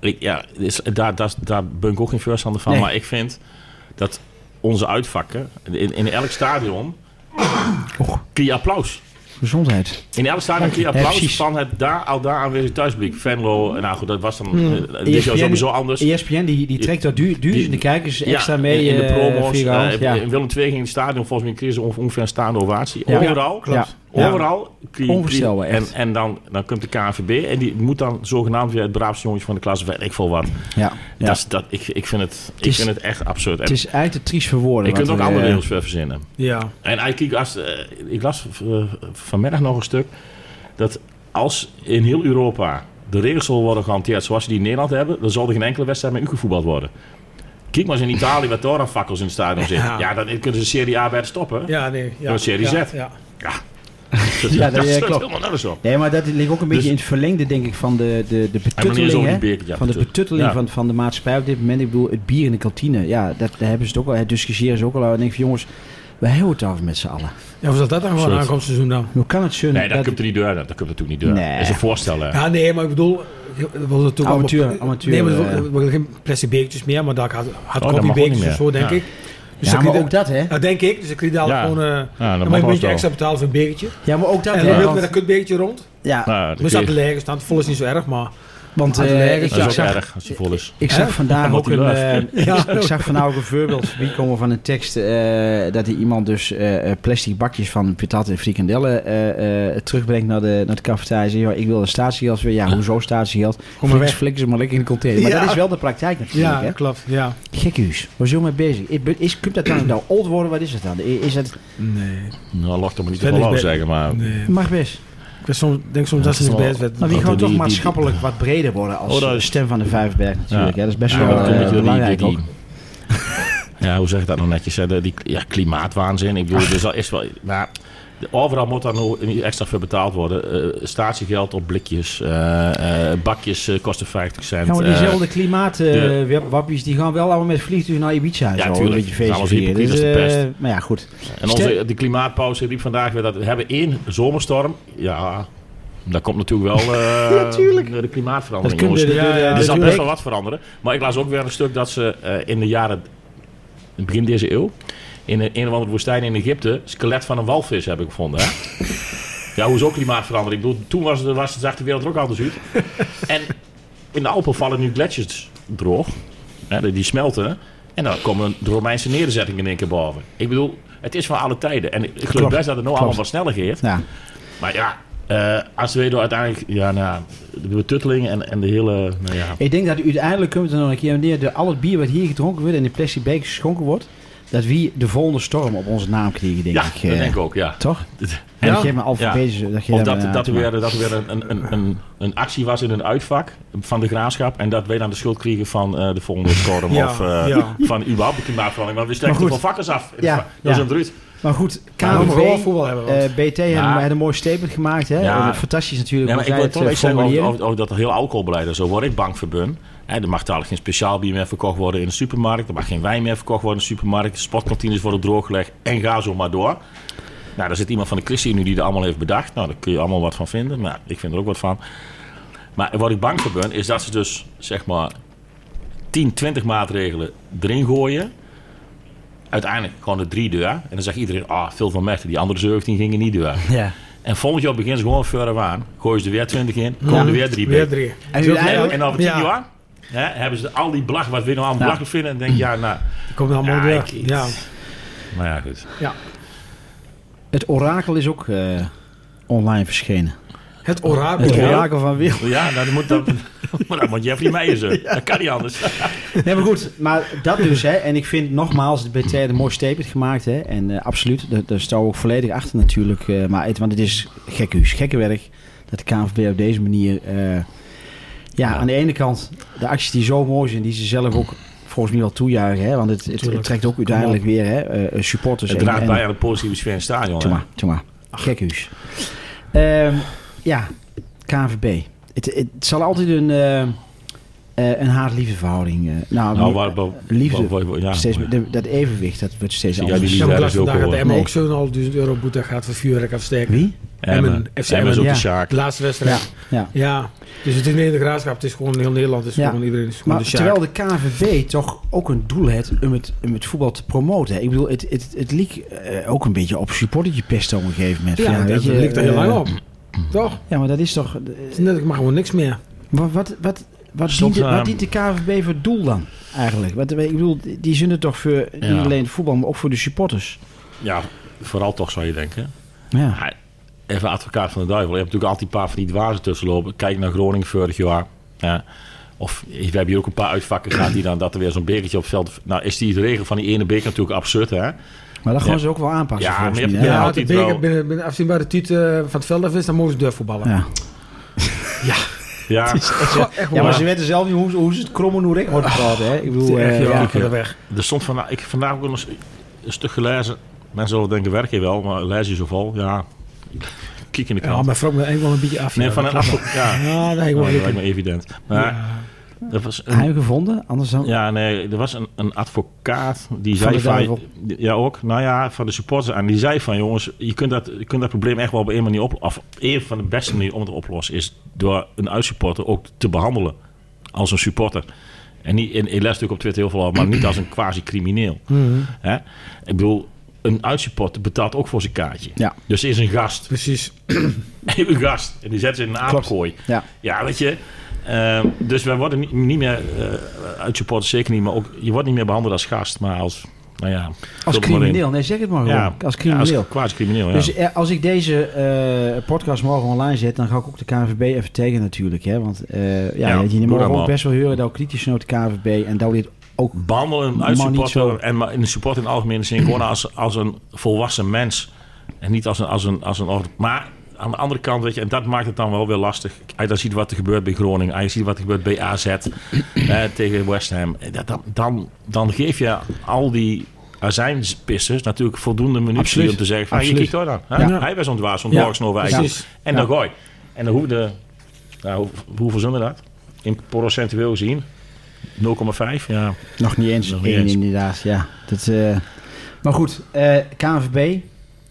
Speaker 3: Ik, ja, dus daar, daar, daar ben ik ook geen voorstander van.
Speaker 2: Nee.
Speaker 3: Maar ik vind dat onze uitvakken, in, in elk stadion,
Speaker 2: Och,
Speaker 3: kun je applaus.
Speaker 2: gezondheid.
Speaker 3: In elk stadion kun je
Speaker 2: Ja,
Speaker 3: applaus
Speaker 2: precies.
Speaker 3: van het daar, al daar aanwezig thuisblik. Venlo, nou goed, dat was dan
Speaker 2: Hmm.
Speaker 3: eh, dit
Speaker 2: ESPN
Speaker 3: jaar sowieso anders.
Speaker 2: ESPN die, die trekt daar du duizenden
Speaker 3: Dus- Die-
Speaker 2: kijkers
Speaker 3: Ja,
Speaker 2: extra mee
Speaker 3: in, in de
Speaker 2: eh,
Speaker 3: promos.
Speaker 2: via hand,
Speaker 3: eh,
Speaker 2: ja.
Speaker 3: In Willem II ging het stadion volgens mij kreeg ze ongeveer een staande ovatie.
Speaker 2: Ja.
Speaker 3: Overal.
Speaker 2: Ja. Ja.
Speaker 3: Overal. kun je-
Speaker 2: Onvoorstelbaar,
Speaker 3: en
Speaker 2: echt.
Speaker 3: en dan, dan komt de KNVB en die moet dan zogenaamd weer het braafste jongetje van de klas. Weet ik veel wat.
Speaker 2: Ja, ja.
Speaker 3: Dat is, dat, ik, ik, vind het, ik
Speaker 2: is-
Speaker 3: vind het echt absurd. En
Speaker 2: Het is eigenlijk te triest voor woorden.
Speaker 3: je kunt
Speaker 2: wat
Speaker 3: ook
Speaker 2: we,
Speaker 3: andere
Speaker 2: eh,
Speaker 3: regels weer verzinnen.
Speaker 4: ja.
Speaker 3: En eigenlijk, als, eh, ik las eh, vanmiddag nog een stuk dat als in heel Europa de regels zullen worden gehanteerd zoals ze die in Nederland hebben, dan zal er geen enkele wedstrijd meer gevoetbald worden. Kijk maar eens in Italië wat daar aan fakkels in het stadion zitten. Ja,
Speaker 4: Ja.
Speaker 3: dan kunnen ze Serie A bij het stoppen.
Speaker 4: Ja, nee. Ja,
Speaker 3: Dat is Serie
Speaker 4: ja,
Speaker 3: Z.
Speaker 4: Ja.
Speaker 3: Dat,
Speaker 2: Ja,
Speaker 3: ja,
Speaker 2: dat-
Speaker 3: dat,
Speaker 2: ja,
Speaker 3: staat
Speaker 2: klopt.
Speaker 3: helemaal nergens op.
Speaker 2: Nee, maar dat ligt ook een beetje
Speaker 3: Dus-
Speaker 2: in het verlengde, denk ik, van de, de, de
Speaker 3: En wanneer is
Speaker 2: betutteling.
Speaker 3: over
Speaker 2: hè.
Speaker 3: die beker? Ja,
Speaker 2: van de
Speaker 3: natuurlijk.
Speaker 2: betutteling
Speaker 3: Ja.
Speaker 2: van, van de maatschappij op dit moment. Ik bedoel, het bier in de kantine. Ja, dat, daar hebben ze het ook al. Het discussiëren ze ook al. over. En ik denk van, jongens, we hebben het over met z'n allen.
Speaker 4: Ja, hoe zal dat dan gewoon
Speaker 3: Soort.
Speaker 4: aankomend seizoen dan?
Speaker 2: Hoe kan het zo?
Speaker 3: Nee, dat, komt er niet door. Dat, dat komt natuurlijk niet door.
Speaker 2: Nee.
Speaker 3: Dat is een voorstel. hè.
Speaker 4: Ja, nee, maar ik bedoel... We wilden natuurlijk
Speaker 2: Amateur,
Speaker 4: allemaal-
Speaker 2: amateur,
Speaker 4: Nee, maar we
Speaker 2: eh.
Speaker 4: wilden- we wilden geen plastic bekertjes meer, maar daar had, had
Speaker 3: Oh, dat mag ook
Speaker 4: koffiebekertjes
Speaker 3: niet meer.
Speaker 4: of zo, denk
Speaker 3: Ja.
Speaker 4: ik. Dus
Speaker 2: ja,
Speaker 4: dan kun
Speaker 2: maar
Speaker 4: je-
Speaker 2: ook dat, hè?
Speaker 4: Dat denk ik, dus ik kreeg dadelijk
Speaker 3: Ja.
Speaker 4: gewoon... eh
Speaker 3: Ja,
Speaker 4: dan
Speaker 3: dat mag
Speaker 4: moet je een
Speaker 3: wel
Speaker 4: beetje
Speaker 3: zo.
Speaker 4: extra betalen voor een bekertje.
Speaker 2: Ja, maar ook dat,
Speaker 4: En
Speaker 2: hè?
Speaker 4: dan wilde
Speaker 2: Want-
Speaker 4: met een kutbekertje rond.
Speaker 2: Ja,
Speaker 3: Nou, dat
Speaker 4: We
Speaker 3: kun je-
Speaker 4: zaten leeg, staan vol is niet zo erg, maar...
Speaker 2: want
Speaker 4: Uit de
Speaker 2: eh,
Speaker 4: leger.
Speaker 2: ik
Speaker 3: dat is
Speaker 2: ik
Speaker 3: ook
Speaker 2: zag
Speaker 3: erg als je vol is.
Speaker 2: Ik zag
Speaker 4: Hè?
Speaker 2: vandaag
Speaker 3: Omdat
Speaker 2: ook een.
Speaker 3: hij
Speaker 2: eh,
Speaker 4: Ja.
Speaker 2: ik zag vandaag ook een voorbeeld voorbij komen van een tekst. eh, dat er iemand dus eh, eh, plastic bakjes van patat en frikandellen. eh, eh, terugbrengt naar de, naar de cafetaria. En zegt: "Joh, Ik wil een statiegeld. Weer. Ja, hoezo statiegeld?
Speaker 4: maar
Speaker 2: Flikkers,
Speaker 4: weg.
Speaker 2: flikkers, maar lekker in de container. Maar
Speaker 4: Ja.
Speaker 2: dat is wel de praktijk natuurlijk.
Speaker 4: Ja,
Speaker 2: hè?
Speaker 4: klopt, ja.
Speaker 2: Gekhuis. Waar zo mee bezig? Is, is, kunt dat dan nou old worden? Wat is het dan? Is het,
Speaker 4: Nee,
Speaker 3: Nou, lacht er maar niet te
Speaker 4: Sven is
Speaker 3: veel over
Speaker 4: bij-
Speaker 3: zeggen, maar...
Speaker 4: nee.
Speaker 2: mag best.
Speaker 4: Ik ben soms, denk soms dat
Speaker 3: Oh. dat
Speaker 4: ze
Speaker 3: is
Speaker 4: niet
Speaker 3: wel-
Speaker 4: best werd.
Speaker 2: Maar wie
Speaker 3: Want
Speaker 2: gewoon toch
Speaker 3: die- die-
Speaker 2: maatschappelijk wat breder worden als
Speaker 3: Oh, dat
Speaker 2: de
Speaker 3: is-
Speaker 2: stem van de Vijfberg natuurlijk.
Speaker 3: Ja.
Speaker 2: Hè? Dat is best
Speaker 3: Ja,
Speaker 2: wel
Speaker 3: dat komt
Speaker 2: eh,
Speaker 3: natuurlijk door die-
Speaker 2: belangrijk
Speaker 3: die-
Speaker 2: ook.
Speaker 3: die- Ja, hoe zeg ik dat nou netjes? Hè? De- Die ja, klimaatwaanzin. Ik bedoel, dus al is wel. Nou, de- overal moet daar nog niet extra voor betaald worden. Eh statiegeld op blikjes, eh, eh, bakjes eh, kosten 50 cent.
Speaker 2: Ja, maar
Speaker 3: eh,
Speaker 2: diezelfde klimaatwappies, die gaan wel allemaal met vliegtuig naar Ibiza en
Speaker 3: Ja,
Speaker 2: zo.
Speaker 3: tuurlijk.
Speaker 2: Een beetje
Speaker 3: Ja,
Speaker 2: feestje
Speaker 3: maar
Speaker 2: vieren.
Speaker 3: hypocriet
Speaker 2: Dus,
Speaker 3: is de
Speaker 2: eh, maar ja, goed.
Speaker 3: en onze, de klimaatpauze riep vandaag weer dat we hebben één zomerstorm. Ja, Daar komt natuurlijk wel eh, de
Speaker 2: Dat
Speaker 3: klimaatverandering.
Speaker 2: kunnen
Speaker 3: jongens.
Speaker 2: de, de,
Speaker 4: Ja, ja,
Speaker 2: de-
Speaker 3: Er
Speaker 2: de-
Speaker 3: zal
Speaker 2: de-
Speaker 3: best wel wat veranderen. Maar ik las ook weer een stuk dat ze eh, in de jaren, begin deze eeuw, in een, een of andere woestijn in Egypte, skelet van een walvis hebben gevonden. Hè? ja, hoezo klimaatverandering? Ik bedoel, toen was, het- was, het- zag de wereld er ook anders uit. en in de Alpen vallen nu gletsjers droog. Hè, die- die smelten. En dan komen de Romeinse nederzettingen in één keer boven. Ik bedoel, het is van alle tijden. En ik geloof
Speaker 2: Klopt.
Speaker 3: best dat het nou
Speaker 2: Klopt.
Speaker 3: allemaal wat sneller gaat.
Speaker 2: Ja.
Speaker 3: Maar ja, eh Azevedo uiteindelijk... Ja, nou, de betutteling en, en de hele... Nou ja,
Speaker 2: Ik denk dat uiteindelijk komt er nog een keer neer dat al het bier wat hier gedronken wordt en in plastic bekers geschonken wordt, dat wie de volgende storm op onze naam krijgen, denk
Speaker 3: ja,
Speaker 2: ik.
Speaker 3: dat
Speaker 2: eh.
Speaker 3: denk ik ook, ja.
Speaker 2: Toch? En
Speaker 3: En
Speaker 2: dat geeft me alfabetisch. Dat geeft
Speaker 3: Of
Speaker 2: me,
Speaker 3: dat,
Speaker 2: eh,
Speaker 3: dat, er weer, dat er weer een, een- een, een, een actie was in een uitvak van de graafschap. En dat wij dan de schuld kregen van eh, de volgende storm.
Speaker 4: Ja,
Speaker 3: of eh,
Speaker 4: ja.
Speaker 3: van überhaupt de klimaatverandering. Want we steken
Speaker 2: goed.
Speaker 3: van vakkers af.
Speaker 2: Ja,
Speaker 3: dat is
Speaker 2: ja.
Speaker 3: een druut.
Speaker 2: Maar goed,
Speaker 4: Maar we moeten wel
Speaker 2: KNVB,
Speaker 4: voetbal hebben.
Speaker 2: eh
Speaker 4: Want
Speaker 2: BT hebben
Speaker 3: Ja.
Speaker 2: had een mooi statement gemaakt. Hè? Eh,
Speaker 3: Ja.
Speaker 2: Fantastisch natuurlijk.
Speaker 3: Ja, maar
Speaker 2: hoe
Speaker 3: ik
Speaker 2: zij
Speaker 3: wil toch
Speaker 2: het, eh,
Speaker 3: even zeggen over,
Speaker 2: formuleren.
Speaker 3: over, over dat heel alcoholbeleid en zo. Word ik bang voor bun. Hè, er mag dadelijk geen speciaal bier meer verkocht worden in de supermarkt. Er mag geen wijn meer verkocht worden in de supermarkt. Sportkantines worden drooggelegd. En ga zo maar door. Nou, daar zit iemand van de ChristenUnie die er allemaal heeft bedacht. Nou, daar kun je allemaal wat van vinden. Maar ik vind er ook wat van. Maar wat ik bang voor ben, is dat ze dus zeg maar 10, 20 maatregelen erin gooien. Uiteindelijk gewoon de drie deur. En dan zegt iedereen, ah, veel van Mechten, die andere 17 gingen niet deur.
Speaker 2: Ja.
Speaker 3: En volgend jaar beginnen ze gewoon verder aan. Gooien ze er weer 20 in, komen er weer drie
Speaker 4: weer
Speaker 3: bij.
Speaker 4: drie.
Speaker 2: En
Speaker 4: Dus ook-
Speaker 2: uiteindelijk-
Speaker 3: En over 10
Speaker 4: Ja.
Speaker 3: jaar hè, hebben ze al die belach wat we nou allemaal
Speaker 2: Ja.
Speaker 3: belachelijk vinden. En denk je, ja, nou,
Speaker 4: Die komen allemaal
Speaker 3: Ja,
Speaker 4: weer.
Speaker 3: ik-
Speaker 4: Ja.
Speaker 3: nou ja, goed.
Speaker 4: Ja.
Speaker 2: Het orakel is ook eh, online verschenen.
Speaker 4: Het
Speaker 2: Het
Speaker 4: orakel.
Speaker 3: Ja.
Speaker 2: orakel van Wil.
Speaker 3: Ja, nou, dan moet, dat, maar dan moet Jeffrey Meijer zo. Dat kan niet anders.
Speaker 2: Nee, maar goed. Maar dat dus, hè. En ik vind nogmaals, de BT heeft een mooi statement gemaakt, hè. En eh, absoluut, daar, daar staan we ook volledig achter natuurlijk. eh, maar het, want het is gekhuis, gekke werk. Dat de KNVB op deze manier... eh, ja,
Speaker 3: Ja.
Speaker 2: aan de ene kant de acties die zo mooi zijn, die ze zelf ook volgens mij wel toejuichen, hè. Want het, het,
Speaker 4: Tuurlijk.
Speaker 2: trekt ook uiteindelijk weer, hè, eh, supporters.
Speaker 3: Het
Speaker 2: en-
Speaker 3: draagt
Speaker 2: en-
Speaker 3: bij aan de positieve sfeer in het stadion.
Speaker 2: Doe
Speaker 3: hè.
Speaker 2: maar, doe maar. Gekhuis. Ehm, ja, KNVB. Het, het zal altijd een, eh eh, een haat-liefde verhouding... eh, nou,
Speaker 3: Nou,
Speaker 2: niet-
Speaker 3: waar, waar,
Speaker 2: liefde.
Speaker 3: waar- waar- ja,
Speaker 2: steeds,
Speaker 3: ja.
Speaker 2: de- dat evenwicht, dat wordt steeds
Speaker 3: Ja, die
Speaker 2: anders.
Speaker 3: liefde.
Speaker 4: Ja, maar ik
Speaker 3: dat
Speaker 4: las
Speaker 3: is ook
Speaker 4: vandaag dat
Speaker 3: wel-
Speaker 4: Emma
Speaker 2: nee.
Speaker 4: ook zo'n 100.000 euro boete gaat voor vuurwerk afsteken.
Speaker 2: Wie?
Speaker 3: Emmen.
Speaker 4: Emmen, FC
Speaker 3: Emmen is ook
Speaker 2: Emmen,
Speaker 3: de
Speaker 2: ja.
Speaker 3: Sjaak.
Speaker 4: De laatste
Speaker 2: Ja,
Speaker 4: wedstrijd.
Speaker 2: ja.
Speaker 4: Ja, dus het is niet de graafschap. Het is gewoon heel Nederland. Het is
Speaker 2: Ja.
Speaker 4: gewoon iedereen. is gewoon
Speaker 2: Maar
Speaker 3: dus
Speaker 4: de Sjaak.
Speaker 2: terwijl de KVB toch ook een doel heeft om het, om het voetbal te promoten. hè. Ik bedoel, het, het, het liep eh, ook een beetje op supportertje pesten op een gegeven moment.
Speaker 4: ja,
Speaker 2: Van,
Speaker 4: dat
Speaker 2: weet je,
Speaker 4: ligt er heel
Speaker 2: eh,
Speaker 4: lang op. Toch?
Speaker 2: Ja, maar dat is toch... eh,
Speaker 4: Het is net, ik mag gewoon niks meer.
Speaker 2: wat, wat, wat, wat,
Speaker 3: Soms,
Speaker 2: dient, de-
Speaker 3: eh,
Speaker 2: wat dient de KVB voor doel dan eigenlijk? Wat, ik bedoel, die zijn er toch voor
Speaker 3: Ja.
Speaker 2: niet alleen het voetbal, maar ook voor de supporters.
Speaker 3: Ja, vooral toch zou je denken.
Speaker 2: Ja,
Speaker 3: Ja, Even advocaat van de duivel. Je hebt natuurlijk altijd een paar van die dwazen tussenlopen. Kijk naar Groningen vorig jaar. Ja. Of we hebben hier ook een paar uitvakken gehad die dan dat er weer zo'n bekertje op het veld. Nou is die regel van die ene beker natuurlijk absurd, hè?
Speaker 2: maar dat gaan
Speaker 3: Ja.
Speaker 2: ze ook wel aanpassen
Speaker 3: Ja,
Speaker 2: volgens
Speaker 3: maar je
Speaker 2: mij,
Speaker 3: hebt-
Speaker 2: hè.
Speaker 4: Ja,
Speaker 3: houdt
Speaker 4: als de
Speaker 3: hij het
Speaker 4: beker
Speaker 3: wel.
Speaker 4: binnen, binnen afzienbare tiet eh, van het veld af is, dan mogen ze deur voetballen.
Speaker 2: Ja.
Speaker 3: Ja,
Speaker 4: Goh, echt
Speaker 2: Ja, maar
Speaker 4: waar.
Speaker 2: ze weten zelf niet hoe, ze- hoe ze het krommen hoe ik wordt gehaald, hè? Ik bedoel,
Speaker 4: echt,
Speaker 2: eh,
Speaker 4: joh,
Speaker 2: ja.
Speaker 4: ik ga er weg.
Speaker 3: er stond vandaag, ik heb vandaag ook nog een stuk gelezen. Mensen zullen denken, werk je wel, maar lees je zoveel. Ja, kijk in de
Speaker 4: Ja,
Speaker 3: krant.
Speaker 4: maar vroeg me eigenlijk wel een beetje af.
Speaker 3: nee,
Speaker 4: ja,
Speaker 3: van
Speaker 4: dat
Speaker 3: een
Speaker 4: klopt
Speaker 3: appel. Ja,
Speaker 4: wel. Ja, dat heb ik wel
Speaker 3: Nou, dat
Speaker 4: gekeken.
Speaker 3: lijkt me evident. Maar dat was een-
Speaker 2: Hij gevonden, anders dan...
Speaker 3: Ja, nee, er was een, een advocaat die
Speaker 2: Oh. Van
Speaker 3: zei
Speaker 2: de duivel.
Speaker 3: van... Ja, ook. Nou ja, van de supporters. En die zei van, jongens, je kunt dat, je kunt dat probleem echt wel op een manier oplossen. Of een van de beste manieren om het op te lossen is door een uitsupporter ook te behandelen als een supporter. En niet, in, ik les natuurlijk op Twitter heel veel over, maar niet als een quasi-crimineel.
Speaker 2: Mm-hmm.
Speaker 3: Hè? Ik bedoel, een uitsupporter betaalt ook voor zijn kaartje.
Speaker 2: Ja.
Speaker 3: Dus er is een gast.
Speaker 4: Precies.
Speaker 3: Een gast. En die zet ze in een aapkooi.
Speaker 2: Ja.
Speaker 3: Ja, weet je. ehm, dus wij worden niet, niet meer eh uit supporters, zeker niet, maar ook je wordt niet meer behandeld als gast, maar als, nou ja, vul
Speaker 2: Als
Speaker 3: het maar in.
Speaker 2: crimineel. Nee, zeg het maar gewoon.
Speaker 3: Ja,
Speaker 2: Als crimineel.
Speaker 3: als kwaad crimineel. Ja.
Speaker 2: Dus eh, als ik deze eh, podcast morgen online zet, dan ga ik ook de KNVB even tegen natuurlijk. Hè? Want eh ja,
Speaker 3: Ja,
Speaker 2: weet je,
Speaker 3: doe
Speaker 2: die
Speaker 3: dat
Speaker 2: mogen ook
Speaker 3: maar.
Speaker 2: best wel horen dat kritisch zijn op de KNVB. En dat dit ook...
Speaker 3: behandel een
Speaker 2: Maar niet zo.
Speaker 3: uitsupporter en maar in de support in de algemene zin gewoon als, als een volwassen mens en niet als een, als een, als een orde. Maar aan de andere kant, weet je, en dat maakt het dan wel weer lastig. Als je dan ziet wat er gebeurt bij Groningen, als je ziet wat er gebeurt bij AZ eh, tegen West Ham, eh, dat- dan, dan, dan geef je al die azijnpissers natuurlijk voldoende
Speaker 2: Absoluut.
Speaker 3: munitie om te zeggen van, je
Speaker 2: Absoluut.
Speaker 3: kijkt hoor dan. hè?
Speaker 2: Ja.
Speaker 3: Hij was zo'n dwaas, zo'n
Speaker 4: Ja,
Speaker 3: dwarks, nou, wij.
Speaker 4: precies.
Speaker 3: En dan gooi. En dan hoeven de, nou, hoe, hoeveel zijn we dat? In procentueel gezien? 0,5? Ja.
Speaker 2: Nog niet eens.
Speaker 3: Nog niet
Speaker 2: Eén
Speaker 3: eens.
Speaker 2: inderdaad, ja. Dat, eh, Maar goed, eh KNVB,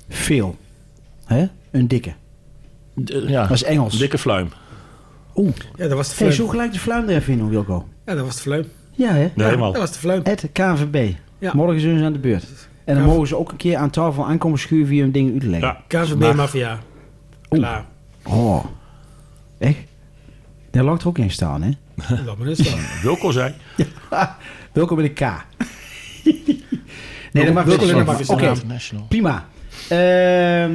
Speaker 2: veel. Hè? Een dikke.
Speaker 3: D- ja,
Speaker 2: Dat is Engels.
Speaker 3: dikke fluim.
Speaker 2: Oeh.
Speaker 4: Ja, dat was
Speaker 2: Hey,
Speaker 4: de fluim.
Speaker 2: zoek gelijk de fluim er even in, hoor, Wilco.
Speaker 4: Ja, dat was de fluim.
Speaker 2: Ja, hè?
Speaker 3: Nee, helemaal.
Speaker 4: Dat was de fluim.
Speaker 2: Het KNVB.
Speaker 4: Ja.
Speaker 2: Morgen zijn ze aan de beurt. En dan
Speaker 4: Ja.
Speaker 2: mogen ze ook een keer aan tafel aankomen schuren via hun ding uit te leggen.
Speaker 3: Ja.
Speaker 4: KVB Mafia. Klaar.
Speaker 2: Oh. Echt? Daar lag er ook in staan, hè?
Speaker 4: Laat maar eens staan.
Speaker 3: Wilco zei.
Speaker 2: Welkom bij de K. nee, dat mag
Speaker 4: Welkom in de
Speaker 2: niet.
Speaker 4: Marcus
Speaker 2: Oké, prima. Ehm,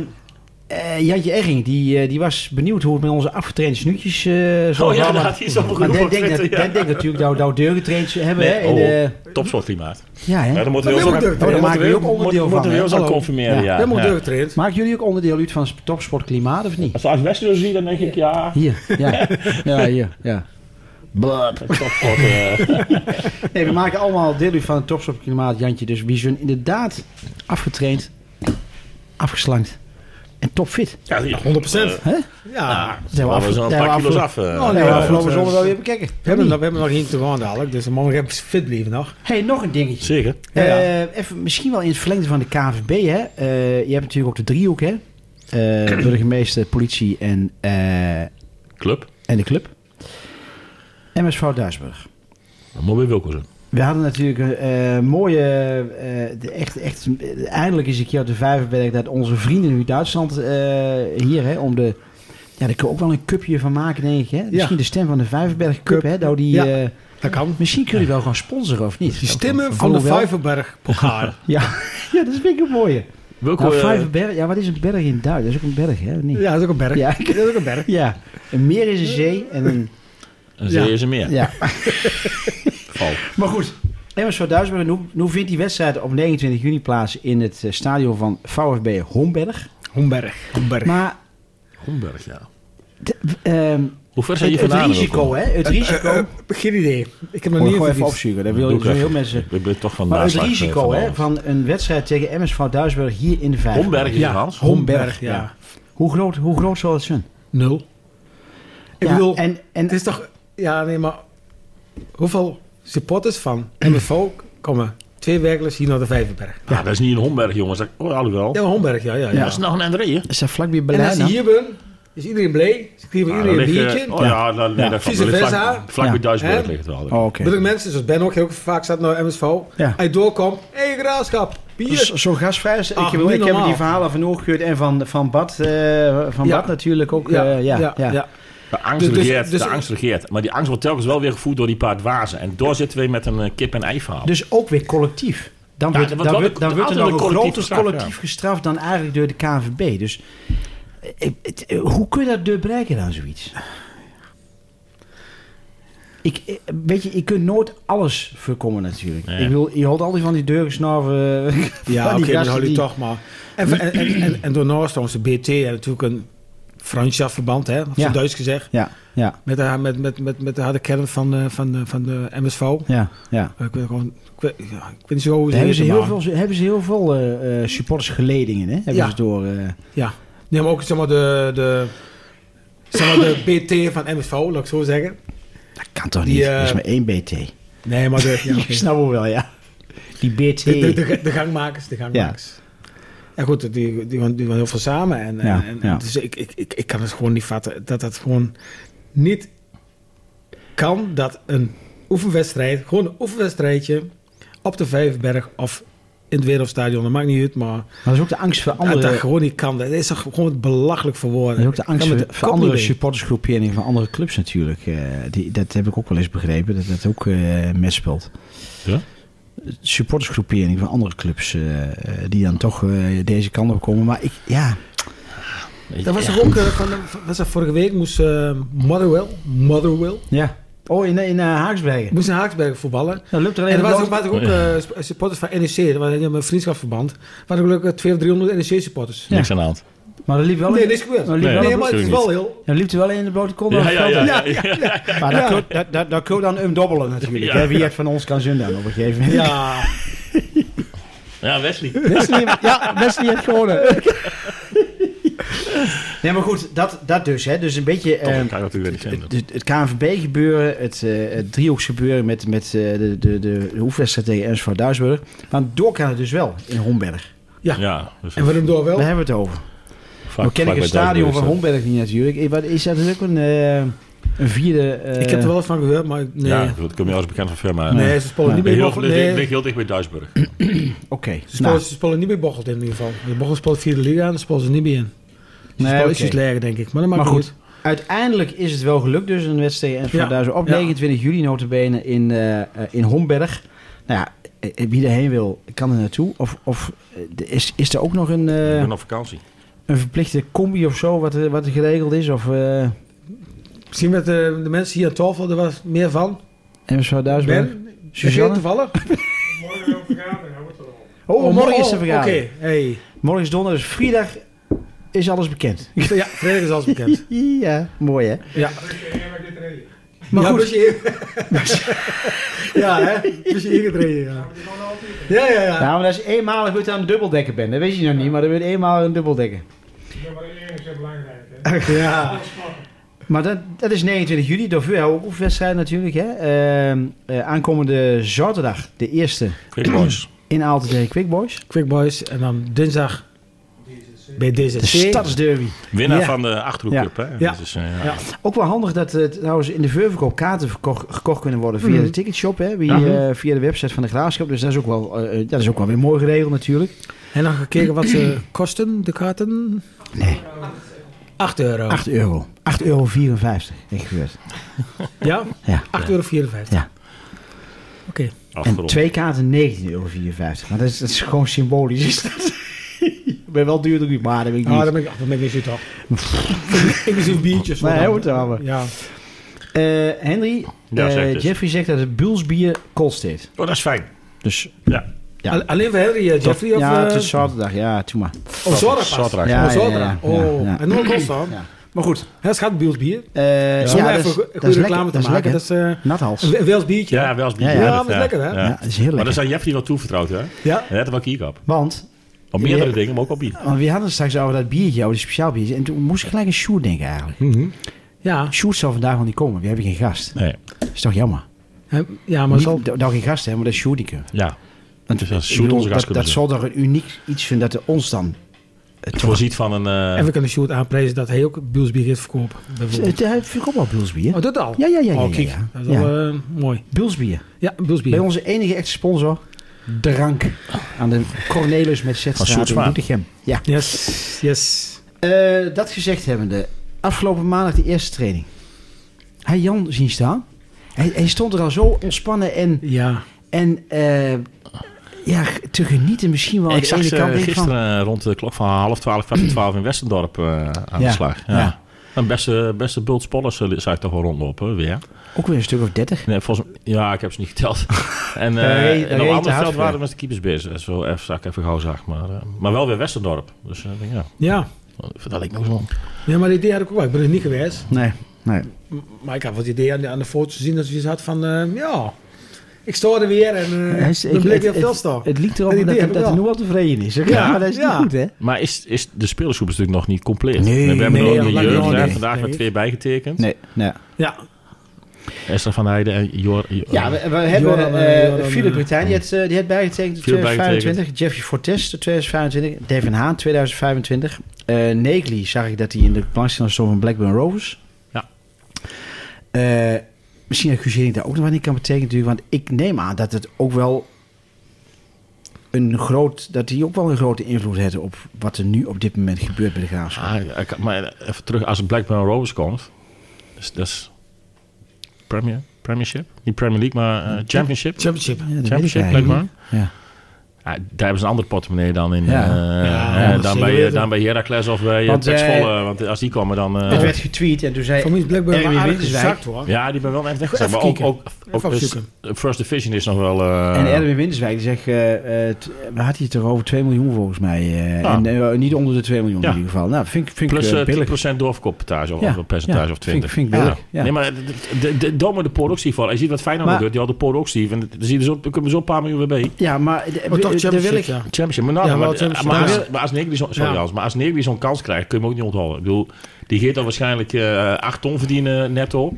Speaker 2: eh, Jantje Egging, die, eh, die was benieuwd hoe het met onze afgetrainde snoetjes eh zou
Speaker 3: Oh ja,
Speaker 2: gaan,
Speaker 3: daar
Speaker 2: maar-
Speaker 3: had hij zo
Speaker 2: Maar
Speaker 3: geroepen
Speaker 2: dat
Speaker 3: op
Speaker 2: denk, dat,
Speaker 3: Twitter, ja.
Speaker 2: dat denk natuurlijk dat we deurgetraind hebben. hè, in
Speaker 3: oh,
Speaker 2: de,
Speaker 3: topsportklimaat.
Speaker 2: ja, hè?
Speaker 3: Ja, dan moeten
Speaker 4: Maar
Speaker 3: we heel
Speaker 4: dat moet ook
Speaker 3: zo-
Speaker 4: deugd,
Speaker 3: dan
Speaker 4: hè?
Speaker 3: moeten we
Speaker 2: Dat
Speaker 3: heel-
Speaker 2: maakt ook
Speaker 3: moeten-
Speaker 2: onderdeel
Speaker 3: moeten we
Speaker 2: van,
Speaker 3: heel
Speaker 2: hè?
Speaker 3: zo
Speaker 4: Hallo.
Speaker 3: confirmeren. Ja.
Speaker 4: Dat moet
Speaker 3: Ja.
Speaker 4: doorgetraind.
Speaker 2: Maken jullie ook onderdeel uit van het topsportklimaat of niet?
Speaker 3: Als als Wester zo zie, dan denk ik ja.
Speaker 2: Hier, ja. ja, hier, ja.
Speaker 3: Blad. Topsport. eh.
Speaker 2: Nee, we maken allemaal deel uit van het topsportklimaat, Jantje. Dus wie zijn inderdaad afgetraind, afgeslankt en topfit.
Speaker 3: Ja, die-
Speaker 4: 100%.
Speaker 2: Hè?
Speaker 4: Ja.
Speaker 3: Ah, zijn we af- zijn we een paar kilo's af. eh.
Speaker 2: Oh, nee,
Speaker 4: Ja,
Speaker 2: afgelopen
Speaker 4: dat,
Speaker 2: zomer
Speaker 4: eh,
Speaker 2: wel weer bekijken.
Speaker 4: We hebben, nog, we hebben nog één te gaan dadelijk, dus morgen heb ik fit blijven nog.
Speaker 2: hey, nog een dingetje.
Speaker 3: Zeker.
Speaker 4: Ja, ja.
Speaker 2: Eh, even, misschien wel in het verlengde van de KNVB. Hè? Eh, je hebt natuurlijk ook de driehoek, hè? Eh, burgemeester, politie en, eh,
Speaker 3: Club.
Speaker 2: en de club. MSV Duisburg.
Speaker 3: Dan moet weer Wilco zijn.
Speaker 2: We hadden natuurlijk een eh, mooie... eh, de- echt, echt, eindelijk is ik hier op de Vijverberg... dat onze vrienden uit Duitsland eh, hier... Hè, om de, ja, daar kun je ook wel een cupje van maken, denk ik. Hè? Misschien de stem van de Vijverberg Cup.
Speaker 4: Cup.
Speaker 2: Hè, nou die,
Speaker 4: Ja.
Speaker 2: eh,
Speaker 4: Dat kan.
Speaker 2: misschien kun je wel gaan sponsoren, of niet?
Speaker 4: Die stemmen van de
Speaker 2: Alhoewel-
Speaker 4: Vijverberg pokaal.
Speaker 2: Ja, ja, dat is vind ik een mooie.
Speaker 3: Wilco,
Speaker 2: Nou,
Speaker 3: eh,
Speaker 2: Vijverberg, ja, wat is een berg in Duits? Dat is ook een berg, hè? of Niet?
Speaker 4: Ja, dat is ook een berg.
Speaker 2: Ja.
Speaker 4: Dat is ook een berg.
Speaker 2: Ja, een meer is een zee en een...
Speaker 3: een zee
Speaker 4: Ja.
Speaker 3: is er meer.
Speaker 2: Ja.
Speaker 3: Val.
Speaker 2: Maar goed, MSV Duitsburg, hoe, hoe vindt die wedstrijd op 29 juni plaats in het eh, stadion van VfB Homberg?
Speaker 4: Homberg. Homberg.
Speaker 2: Maar
Speaker 3: Homberg, ja.
Speaker 2: de- ehm,
Speaker 3: Hoe ver zijn
Speaker 2: het,
Speaker 3: je
Speaker 2: het
Speaker 3: vandaan?
Speaker 2: risico,
Speaker 3: Wilco?
Speaker 2: hè? Het
Speaker 4: eh,
Speaker 2: risico...
Speaker 4: Geen idee. Ik heb
Speaker 2: Moet
Speaker 4: nog niet
Speaker 2: je gewoon even
Speaker 4: opgezocht.
Speaker 2: opzoeken, dat
Speaker 3: Doe
Speaker 2: wil
Speaker 3: ik
Speaker 2: zo heel
Speaker 3: even.
Speaker 2: mensen...
Speaker 3: Ik ben toch van
Speaker 2: Maar het
Speaker 3: naslag, eh,
Speaker 2: risico hè,
Speaker 3: vanavond.
Speaker 2: van een wedstrijd tegen MSV Duisburg hier in de Vijver.
Speaker 3: Homberg is
Speaker 4: Ja.
Speaker 3: Hans.
Speaker 4: Homberg, ja.
Speaker 2: Ja. Hoe groot, hoe groot zal het zijn?
Speaker 4: Nul. Ik
Speaker 2: Ja,
Speaker 4: bedoel,
Speaker 2: en, en,
Speaker 4: het is toch... Ja, nee, maar... Hoeveel supporters van MFV komen twee werkers hier naar de Vijverberg?
Speaker 3: Ja, Ah, dat is niet een Homberg, jongens. Dat- Oh, alhoewel.
Speaker 4: Ja, Homberg, ja, ja. ja.
Speaker 3: Dat is nog een André.
Speaker 2: is dat vlakbij
Speaker 4: En als
Speaker 2: Berlijn?
Speaker 4: ze hier ben, is iedereen blij. Ze geven
Speaker 3: Ja,
Speaker 4: iedereen
Speaker 3: dan
Speaker 4: een
Speaker 3: liggen-
Speaker 4: biertje.
Speaker 3: Oh ja, dan, nee,
Speaker 2: Ja.
Speaker 3: dat klopt.
Speaker 4: Vice
Speaker 3: Dat ligt
Speaker 4: versa.
Speaker 3: Vlak, vlak
Speaker 2: Ja.
Speaker 3: bij Duitsburg
Speaker 4: Hè? Ah,
Speaker 3: ligt het wel.
Speaker 2: Oh, oké.
Speaker 4: Bedoel ik mensen, zoals Ben ook heel vaak staat naar MSV.
Speaker 2: Ja.
Speaker 4: Hij doorkomt. Hé, hey, graafschap. Bier.
Speaker 2: Dus Zo gastvrij is.
Speaker 4: Ach,
Speaker 2: ik heb,
Speaker 4: Ah, niet
Speaker 2: ik heb
Speaker 4: normaal.
Speaker 2: die verhalen van Oog gehoord en van, van Bad. eh, van
Speaker 4: Ja.
Speaker 2: Bad natuurlijk ook. eh, Ja, ja, ja,
Speaker 3: De angst
Speaker 4: Dus- dus-
Speaker 3: regeert,
Speaker 4: dus-
Speaker 3: de angst regeert. Maar die angst wordt telkens wel weer gevoed door die paar dwazen. En door zitten we met een eh, kip en ei verhaal.
Speaker 2: Dus ook weer collectief. Dan
Speaker 3: Ja,
Speaker 2: wordt,
Speaker 3: dat
Speaker 2: dan
Speaker 3: wordt wel
Speaker 2: wordt, dan
Speaker 3: een-
Speaker 2: wordt er nog
Speaker 3: altijd
Speaker 2: een
Speaker 3: een collectief
Speaker 2: groter
Speaker 3: gestraft,
Speaker 2: collectief gestraft dan eigenlijk door de KNVB. Dus eh, het- eh, hoe kun je dat doorbreken dan zoiets? Ik, eh, weet je, je kunt nooit alles voorkomen natuurlijk.
Speaker 3: Nee.
Speaker 2: Ik bedoel, je houdt altijd van die deurgesnaven.
Speaker 4: Ja,
Speaker 2: van
Speaker 4: oké,
Speaker 2: die
Speaker 4: dan
Speaker 2: gasten
Speaker 4: hou je
Speaker 2: die-
Speaker 4: toch maar. En, en, en, en, en door Noordstoomse BT en natuurlijk een vriendschapsverband, hè, op
Speaker 2: Ja.
Speaker 4: zijn Duits gezegd.
Speaker 2: Ja, ja,
Speaker 4: Met de, met, met, met, met de harde kern van, eh, van, eh, van de MSV.
Speaker 2: ja, ja.
Speaker 4: Ik weet, gewoon, ik, weet, ja, ik weet niet zo hoe
Speaker 2: Daar hebben ze
Speaker 4: heten,
Speaker 2: heel
Speaker 4: maar-
Speaker 2: veel, hebben ze heel veel eh, eh, supportersgeledingen, hè? Hebben
Speaker 4: Ja.
Speaker 2: ze door... eh,
Speaker 4: Ja, nee, maar ook zeg maar, de, de, zeg maar de BT van MSV, laat ik het zo zeggen.
Speaker 2: dat kan toch
Speaker 4: Die,
Speaker 2: niet?
Speaker 4: eh,
Speaker 2: Er is maar één BT.
Speaker 4: Nee, maar de, ja, oké.
Speaker 2: Ik snap hem wel, ja. Die BT.
Speaker 4: de, de, de, de gangmakers, de gangmakers. En goed, die, die, die, die waren heel veel samen. En, en-
Speaker 2: Ja,
Speaker 4: en,
Speaker 2: ja.
Speaker 4: Dus ik, ik, ik, ik kan het gewoon niet vatten dat dat gewoon niet kan dat een oefenwedstrijd, gewoon een oefenwedstrijdje op de Vijverberg of in het Wereldstadion, dat maakt niet uit, maar
Speaker 2: Maar dat is ook de angst voor
Speaker 4: dat dat
Speaker 2: andere...
Speaker 4: gewoon niet kan. Dat is toch gewoon belachelijk voor woorden.
Speaker 2: Dat is ook de
Speaker 4: Ik kan
Speaker 2: angst
Speaker 4: met
Speaker 2: voor,
Speaker 4: de
Speaker 2: voor
Speaker 4: kop
Speaker 2: andere
Speaker 4: niet mee.
Speaker 2: supportersgroeperingen van andere clubs natuurlijk. eh, die, dat heb ik ook wel eens begrepen, dat dat ook eh meespeelt.
Speaker 3: Ja?
Speaker 2: Supportersgroepering van andere clubs eh, eh, die dan toch eh, deze kant op komen. Maar ik, ja,
Speaker 4: Dat was toch ook, eh, van, van- was dat vorige week moest eh, Motherwell, Motherwell,
Speaker 2: ja. Oh, in, in eh, Haaksbergen.
Speaker 4: moest in Haaksberg voetballen.
Speaker 2: Dat lukt er alleen
Speaker 4: En Nou, er
Speaker 2: een
Speaker 4: was ook,
Speaker 2: blauwe-
Speaker 4: waren ook eh, sp- supporters van NEC, dat was een vriendschapsverband. Er waren gelukkig 200 of 300 NEC E supporters. Oh,
Speaker 3: Niks aan de hand.
Speaker 2: Maar dat liep wel
Speaker 4: Nee,
Speaker 2: in,
Speaker 4: niks gebeurd.
Speaker 2: maar Nou,
Speaker 4: Nee,
Speaker 2: liep
Speaker 3: Nee.
Speaker 2: wel een-
Speaker 4: maar het is
Speaker 3: natuurlijk
Speaker 4: wel heel...
Speaker 2: dat liep er wel in de blote kont. aan het veld, hè?
Speaker 4: Ja, ja, ja.
Speaker 2: Maar
Speaker 4: Ja.
Speaker 2: dat kun- dat- dat- dat kun je dan umdobbelen natuurlijk.
Speaker 3: Ja.
Speaker 2: hè. Wie het van ons kan zenden op een gegeven moment.
Speaker 4: ja.
Speaker 3: Ja, Wesley.
Speaker 2: Wesley, ja, Wesley heeft gewonnen. nee, maar goed, dat, dat dus. Hè. Dus een beetje
Speaker 3: Toch,
Speaker 2: eh,
Speaker 3: ik kan natuurlijk weer niet vinden.
Speaker 2: het, het, het KNVB gebeuren, het, eh het driehoeksgebeuren met, met eh, de, de, de, de hoefwedstrijd tegen RSV Duisburg. Maar door kan het dus wel in Homberg.
Speaker 4: ja.
Speaker 3: Ja, dus
Speaker 4: En waarom door wel?
Speaker 2: Daar hebben we het over.
Speaker 3: Vaak-
Speaker 2: we kennen
Speaker 3: vaak
Speaker 2: het
Speaker 3: bij dus,
Speaker 2: stadion van
Speaker 3: Duitsland.
Speaker 2: Homberg niet natuurlijk. Eh, Wat is dat Dat is ook een, eh, een vierde... eh,
Speaker 4: ik heb er wel eens van gehoord, maar ik- nee.
Speaker 3: Ja, dat komt je als bekend van firma.
Speaker 4: nee, ze spelen
Speaker 2: Nee.
Speaker 4: niet
Speaker 3: Ligt
Speaker 4: bij
Speaker 3: heel,
Speaker 4: Bochel.
Speaker 3: ligt,
Speaker 4: Nee,
Speaker 3: ligt heel dicht bij Duisburg.
Speaker 2: Oké.
Speaker 4: ze spelen,
Speaker 2: Nou,
Speaker 4: ze spelen niet bij Bochel in ieder geval. De Bochel speelt vierde liga en daar spelen ze niet bij in. Ze
Speaker 2: Nee,
Speaker 4: spelen
Speaker 2: oké.
Speaker 4: ietsjes lager, denk ik. Maar dat maakt
Speaker 2: Maar
Speaker 4: niet
Speaker 2: goed.
Speaker 4: uit.
Speaker 2: uiteindelijk is het wel gelukt dus, een wedstrijd en
Speaker 4: Ja.
Speaker 2: Duitsland op
Speaker 4: Ja.
Speaker 2: 29 juli notabene in, eh, eh, in Homberg. Nou ja, eh, wie erheen wil, kan er naartoe. Of, of eh, de- is, is er ook nog een, eh,
Speaker 3: ik ben op vakantie.
Speaker 2: een verplichte combi of zo wat, er- wat er geregeld is? Of eh
Speaker 4: Misschien met eh, de, de mensen hier aan tafel er was meer van.
Speaker 2: MSV Duitsland?
Speaker 4: Ben, heb jij
Speaker 2: Suzanne?
Speaker 4: toevallig?
Speaker 1: Morgen op vergadering hebben we het er al.
Speaker 2: Oh, morgen is de vergadering.
Speaker 4: Oké, hey.
Speaker 2: Morgen is donderdag, dus vrijdag is alles bekend.
Speaker 4: Ja, vrijdag is alles bekend.
Speaker 2: ja, mooi hè? dus-
Speaker 4: Ja.
Speaker 1: Dat is de enige waar ik dit reden.
Speaker 2: Maar
Speaker 4: ja,
Speaker 2: goed.
Speaker 4: bus je in- ja, hè? Bus je ingetreden,
Speaker 1: Dat
Speaker 4: ja.
Speaker 1: heb ik gewoon altijd.
Speaker 4: Ja, ja, ja.
Speaker 2: Nou, maar dat is eenmaal dat je aan een dubbeldekker bent. Dat weet je nog niet, maar dat wordt eenmaal een dubbeldekker.
Speaker 1: Ik ben wel eerlijk en belangrijk. Hè.
Speaker 4: Ja.
Speaker 2: Maar dat, dat is 29 juli, door VL ook oefenwedstrijd natuurlijk. Hè? Ehm, eh, aankomende zaterdag, de eerste,
Speaker 3: Quick Boys.
Speaker 2: in Aalten tegen Quick Boys.
Speaker 4: Quick Boys en dan dinsdag bij DZC.
Speaker 2: De stadsderby.
Speaker 3: Winnaar
Speaker 4: Ja.
Speaker 3: van de Achterhoek
Speaker 2: Ja.
Speaker 3: Cup, hè?
Speaker 4: Ja.
Speaker 3: Dus, eh, ja.
Speaker 4: Ja.
Speaker 2: Ook wel handig dat eh, trouwens in de ververkoop kaarten verkocht, gekocht kunnen worden via
Speaker 4: Mhm.
Speaker 2: de ticketshop. Hè? Wie,
Speaker 4: Ja.
Speaker 2: eh, via de website van de Graafschap. Dus dat is ook wel, eh, eh, dat is ook wel weer mooi geregeld natuurlijk.
Speaker 4: En dan gekeken wat ze kosten, de kaarten.
Speaker 2: Nee,
Speaker 4: 8 euro.
Speaker 2: 8 euro. 8,54 euro denk ik gebeurd.
Speaker 4: Ja?
Speaker 2: Ja.
Speaker 4: 8,54 euro. 54.
Speaker 2: Ja.
Speaker 4: Oké.
Speaker 2: En
Speaker 3: Afgerond.
Speaker 2: twee kaarten 19,54 euro. Maar dat is, dat is gewoon symbolisch. Is dat? ik ben wel duurder, nu, maar dat weet ik niet.
Speaker 4: Ah, dan ben ik, ach, dan ben ik weer zo toch. Inclusief biertjes.
Speaker 2: Nee,
Speaker 4: maar dan-
Speaker 2: hoor, trouwen.
Speaker 4: Ja.
Speaker 2: Eh, Henry,
Speaker 3: Ja,
Speaker 2: eh,
Speaker 3: zegt dus.
Speaker 2: Jeffrey zegt dat het Bulsbier koud staat.
Speaker 3: Oh, dat is fijn.
Speaker 2: Dus Ja.
Speaker 4: Al- Alleen voor Henry, eh, Jeffrey of...
Speaker 2: ja,
Speaker 4: eh,
Speaker 2: het is zaterdag. Ja, toe maar.
Speaker 4: Oh, Zorra pas.
Speaker 3: Zaterdag.
Speaker 2: Ja.
Speaker 4: oh, Zorra. Oh,
Speaker 2: ja.
Speaker 4: en nog kost dan.
Speaker 2: Ja. Maar goed.
Speaker 4: Het gaat Biels bier.
Speaker 2: eh,
Speaker 4: Zonder
Speaker 2: ja, dat
Speaker 4: even
Speaker 2: is, dat
Speaker 4: go- goede
Speaker 2: is lekker.
Speaker 4: reclame
Speaker 2: Dat is
Speaker 4: te maken.
Speaker 2: lekker.
Speaker 4: Dat is eh,
Speaker 2: Nathals.
Speaker 4: een Wels biertje.
Speaker 3: Ja, wel eens bier.
Speaker 2: Ja, ja.
Speaker 4: Ja, dat is lekker, hè?
Speaker 3: Ja.
Speaker 2: Ja, dat is heel
Speaker 3: Maar dat
Speaker 2: lekker.
Speaker 3: is aan Jeffrey wel toevertrouwd, hè?
Speaker 4: Ja.
Speaker 3: Net wat ik hier heb.
Speaker 2: Want,
Speaker 3: Op meerdere
Speaker 2: Ja.
Speaker 3: dingen, maar ook op bier.
Speaker 2: want we hadden het straks over dat biertje, over die speciaal biertje. En toen moest ik gelijk aan Sjoerd denken eigenlijk.
Speaker 4: Ja,
Speaker 2: Sjoerd zal vandaag wel niet komen. We hebben geen gast.
Speaker 3: Nee.
Speaker 2: Dat is toch jammer.
Speaker 4: hè, ja maar
Speaker 2: Maar
Speaker 4: zal...
Speaker 2: dat we geen gast hebben, maar dat Sjoerd niet kunnen.
Speaker 3: Ja.
Speaker 2: Want
Speaker 3: Dus als
Speaker 2: ik
Speaker 3: Sjoerd
Speaker 2: bedoel,
Speaker 3: onze gast
Speaker 2: dat,
Speaker 3: kunnen
Speaker 2: dat zal toch een uniek iets vinden dat er ons dan...
Speaker 3: Het voorziet van een... eh,
Speaker 4: En we kunnen Sjoerd aanprijzen dat hij ook Biels bier heeft verkopen. Bijvoorbeeld.
Speaker 2: Het eh, vind ik ook wel Bulsbier.
Speaker 4: Oh, dat al?
Speaker 2: Ja, ja, ja, ja,
Speaker 4: Oh, kijk.
Speaker 2: ja, ja.
Speaker 4: Dat is wel eh, mooi.
Speaker 2: Bulsbier.
Speaker 4: Ja, Biels
Speaker 2: Bij
Speaker 4: bier.
Speaker 2: onze enige echte sponsor, Drank. Aan de Cornelis met Zetstraat in
Speaker 3: Sjoerdsma.
Speaker 2: Doetinchem. Ja.
Speaker 4: Yes, yes.
Speaker 2: Eh, dat gezegd hebbende, afgelopen maandag de eerste training. Hij Jan zien staan. Hij, hij stond er al zo ontspannen en,
Speaker 4: Ja.
Speaker 2: en eh, ja, te genieten misschien wel. aan
Speaker 3: ik
Speaker 2: de
Speaker 3: zag
Speaker 2: ene
Speaker 3: ze
Speaker 2: kant denk ik
Speaker 3: gisteren eh, rond de klok van half twaalf, kwart voor twaalf in Westendorp eh, aan
Speaker 2: Ja,
Speaker 3: de slag. Ja.
Speaker 2: ja.
Speaker 3: Een beste, beste bult spollers eh, zag ik toch wel rondlopen, hè, weer.
Speaker 2: Van, ook weer een stuk of dertig.
Speaker 3: Nee, volgens ja, ik heb ze niet geteld. en eh
Speaker 2: Daar reed- daar
Speaker 3: en op
Speaker 2: reed
Speaker 3: een
Speaker 2: te
Speaker 3: ander
Speaker 2: hard
Speaker 3: veld
Speaker 2: voor.
Speaker 3: waren we met de keepers bezig. Zo even, zag ik even gauw zag. Maar, eh, maar wel weer Westendorp. Dus eh, ik denk, ja,
Speaker 4: Ja.
Speaker 3: vertel ik nog zo.
Speaker 4: Ja, maar die idee had ik ook wel. Ik ben er niet geweest.
Speaker 2: Nee, nee.
Speaker 4: M- Maar ik had wat idee aan de, aan de foto's gezien dat ze iets had van... eh, ja, ik sta er weer en eh
Speaker 2: Hij is-
Speaker 4: dan
Speaker 2: ik-
Speaker 4: bleek
Speaker 2: het-
Speaker 4: weer op
Speaker 2: het-
Speaker 4: Telstar.
Speaker 2: Het liep erop
Speaker 4: Dat
Speaker 2: dat,
Speaker 4: idee
Speaker 2: dat,
Speaker 4: heb ik
Speaker 2: dat hij
Speaker 4: wel.
Speaker 2: nu al tevreden is. Ja,
Speaker 4: Ja,
Speaker 2: maar dat is
Speaker 4: ja.
Speaker 2: niet goed, hè?
Speaker 3: Maar is, is de spelersgroep is natuurlijk nog niet compleet.
Speaker 2: Nee,
Speaker 3: we hebben
Speaker 2: nee,
Speaker 3: er ook
Speaker 4: dat
Speaker 3: de
Speaker 4: lijkt me
Speaker 3: jeugd.
Speaker 4: wel
Speaker 3: hè.
Speaker 4: niet.
Speaker 3: vandaag
Speaker 4: Nee.
Speaker 3: met twee bijgetekend.
Speaker 2: Nee, nee.
Speaker 4: Ja.
Speaker 3: Esther van Heijden en Jor. Jor-
Speaker 2: Ja, we, we hebben
Speaker 4: Joran,
Speaker 2: eh,
Speaker 4: eh, Joran,
Speaker 2: Philip
Speaker 4: eh,
Speaker 2: Britijn, die heeft, eh, die heeft bijgetekend tot
Speaker 3: Philip bijgetekend.
Speaker 2: 2025. Jeffrey Fortes tot 2025. Devin Haan 2025. Eh Negli zag ik dat hij in de belangstelling stond van Blackburn Rovers.
Speaker 3: Ja.
Speaker 2: Eh, misschien dat Guzering daar ook nog wat in kan betekenen natuurlijk. Want ik neem aan dat het ook wel een groot... dat die ook wel een grote invloed heeft op wat er nu op dit moment gebeurt bij de Graafschap.
Speaker 3: Ah, ik- maar even terug, als het Blackburn Rovers komt, dus dat is Premier, Premiership, niet Premier League, maar eh, Championship.
Speaker 4: Championship.
Speaker 2: Ja, dat weet ik
Speaker 3: Championship,
Speaker 2: eigenlijk
Speaker 3: Blackburn.
Speaker 2: niet. Ja.
Speaker 3: Ah, daar hebben ze een andere portemonnee dan in,
Speaker 2: Ja.
Speaker 3: eh,
Speaker 4: Ja,
Speaker 3: eh,
Speaker 4: dat
Speaker 3: dan,
Speaker 4: zeker
Speaker 3: bij, eh,
Speaker 4: weten.
Speaker 3: dan bij Heracles of bij
Speaker 2: Want,
Speaker 3: want, Pek
Speaker 2: eh,
Speaker 3: Zwolle, want als die komen dan... eh,
Speaker 2: Het werd getweet en toen zei...
Speaker 4: Voor mij is blijkbaar
Speaker 2: Erwin
Speaker 4: wel aardig
Speaker 2: Winterswijk.
Speaker 4: gezakt hoor.
Speaker 3: ja, die ben wel echt weggezakt.
Speaker 4: Even
Speaker 3: Maar ook,
Speaker 4: kijken.
Speaker 3: ook, ook
Speaker 4: Even
Speaker 3: dus, First Division is nog wel... eh,
Speaker 2: En Erwin Winterswijk die zegt, eh, eh, t- waar had hij het er over? 2 miljoen volgens mij. eh,
Speaker 3: Ja.
Speaker 2: En eh, niet onder de 2 miljoen
Speaker 3: Ah. Ja.
Speaker 2: in ieder geval. Nou, vind, ik- vind
Speaker 3: Plus
Speaker 2: ik eh,
Speaker 3: eh,
Speaker 2: billig.
Speaker 3: 10% doorverkooppercentage of,
Speaker 2: Ja,
Speaker 3: of een percentage
Speaker 2: ja,
Speaker 3: of 20.
Speaker 2: vind ik- vind ik billig, ja.
Speaker 3: Nee, maar de, de, de, domme de Poor ook zie voor. Je ziet wat Feyenoord
Speaker 2: Maar-
Speaker 3: doet, die had de Poor ook zie. En dan zie je zo, dan komen er zo'n paar miljoen weer bij.
Speaker 2: Ja, maar, de-
Speaker 4: Maar toch
Speaker 2: de- de wil
Speaker 4: Championship,
Speaker 2: ik,
Speaker 4: ja.
Speaker 3: Championship. Maar, nou,
Speaker 4: Ja, wel
Speaker 3: maar,
Speaker 4: Championship.
Speaker 3: maar
Speaker 4: Ja.
Speaker 3: als, maar als Negri zo'n sorry,
Speaker 4: Ja.
Speaker 3: Hans, maar als Negri zo'n kans krijgt, kun je hem ook niet onthouden. Ik bedoel, die gaat dan waarschijnlijk eh 8 ton verdienen netto.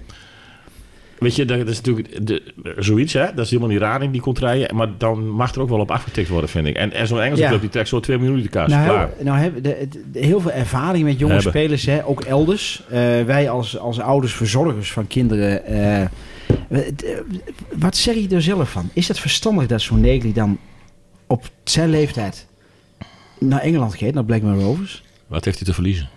Speaker 3: Weet je, dat is natuurlijk de, zoiets, hè? Dat is helemaal niet raar in die contraien. Maar dan mag er ook wel op afgetikt worden, vind ik. En, en zo'n Engelse
Speaker 2: Ja.
Speaker 3: club die trekt zo 2 miljoen uit de kaas.
Speaker 2: Nou,
Speaker 3: Klaar.
Speaker 2: heel- nou hebben de, de- de- heel veel ervaring met jonge
Speaker 3: Hebben.
Speaker 2: spelers, hè, ook elders. Eh, wij als, als ouders, verzorgers van kinderen. eh, we- d- eh, wat zeg je er zelf van? Is het verstandig dat zo'n Negri dan op zijn leeftijd naar Engeland gaat, naar Blackburn Rovers?
Speaker 3: Wat heeft hij te verliezen?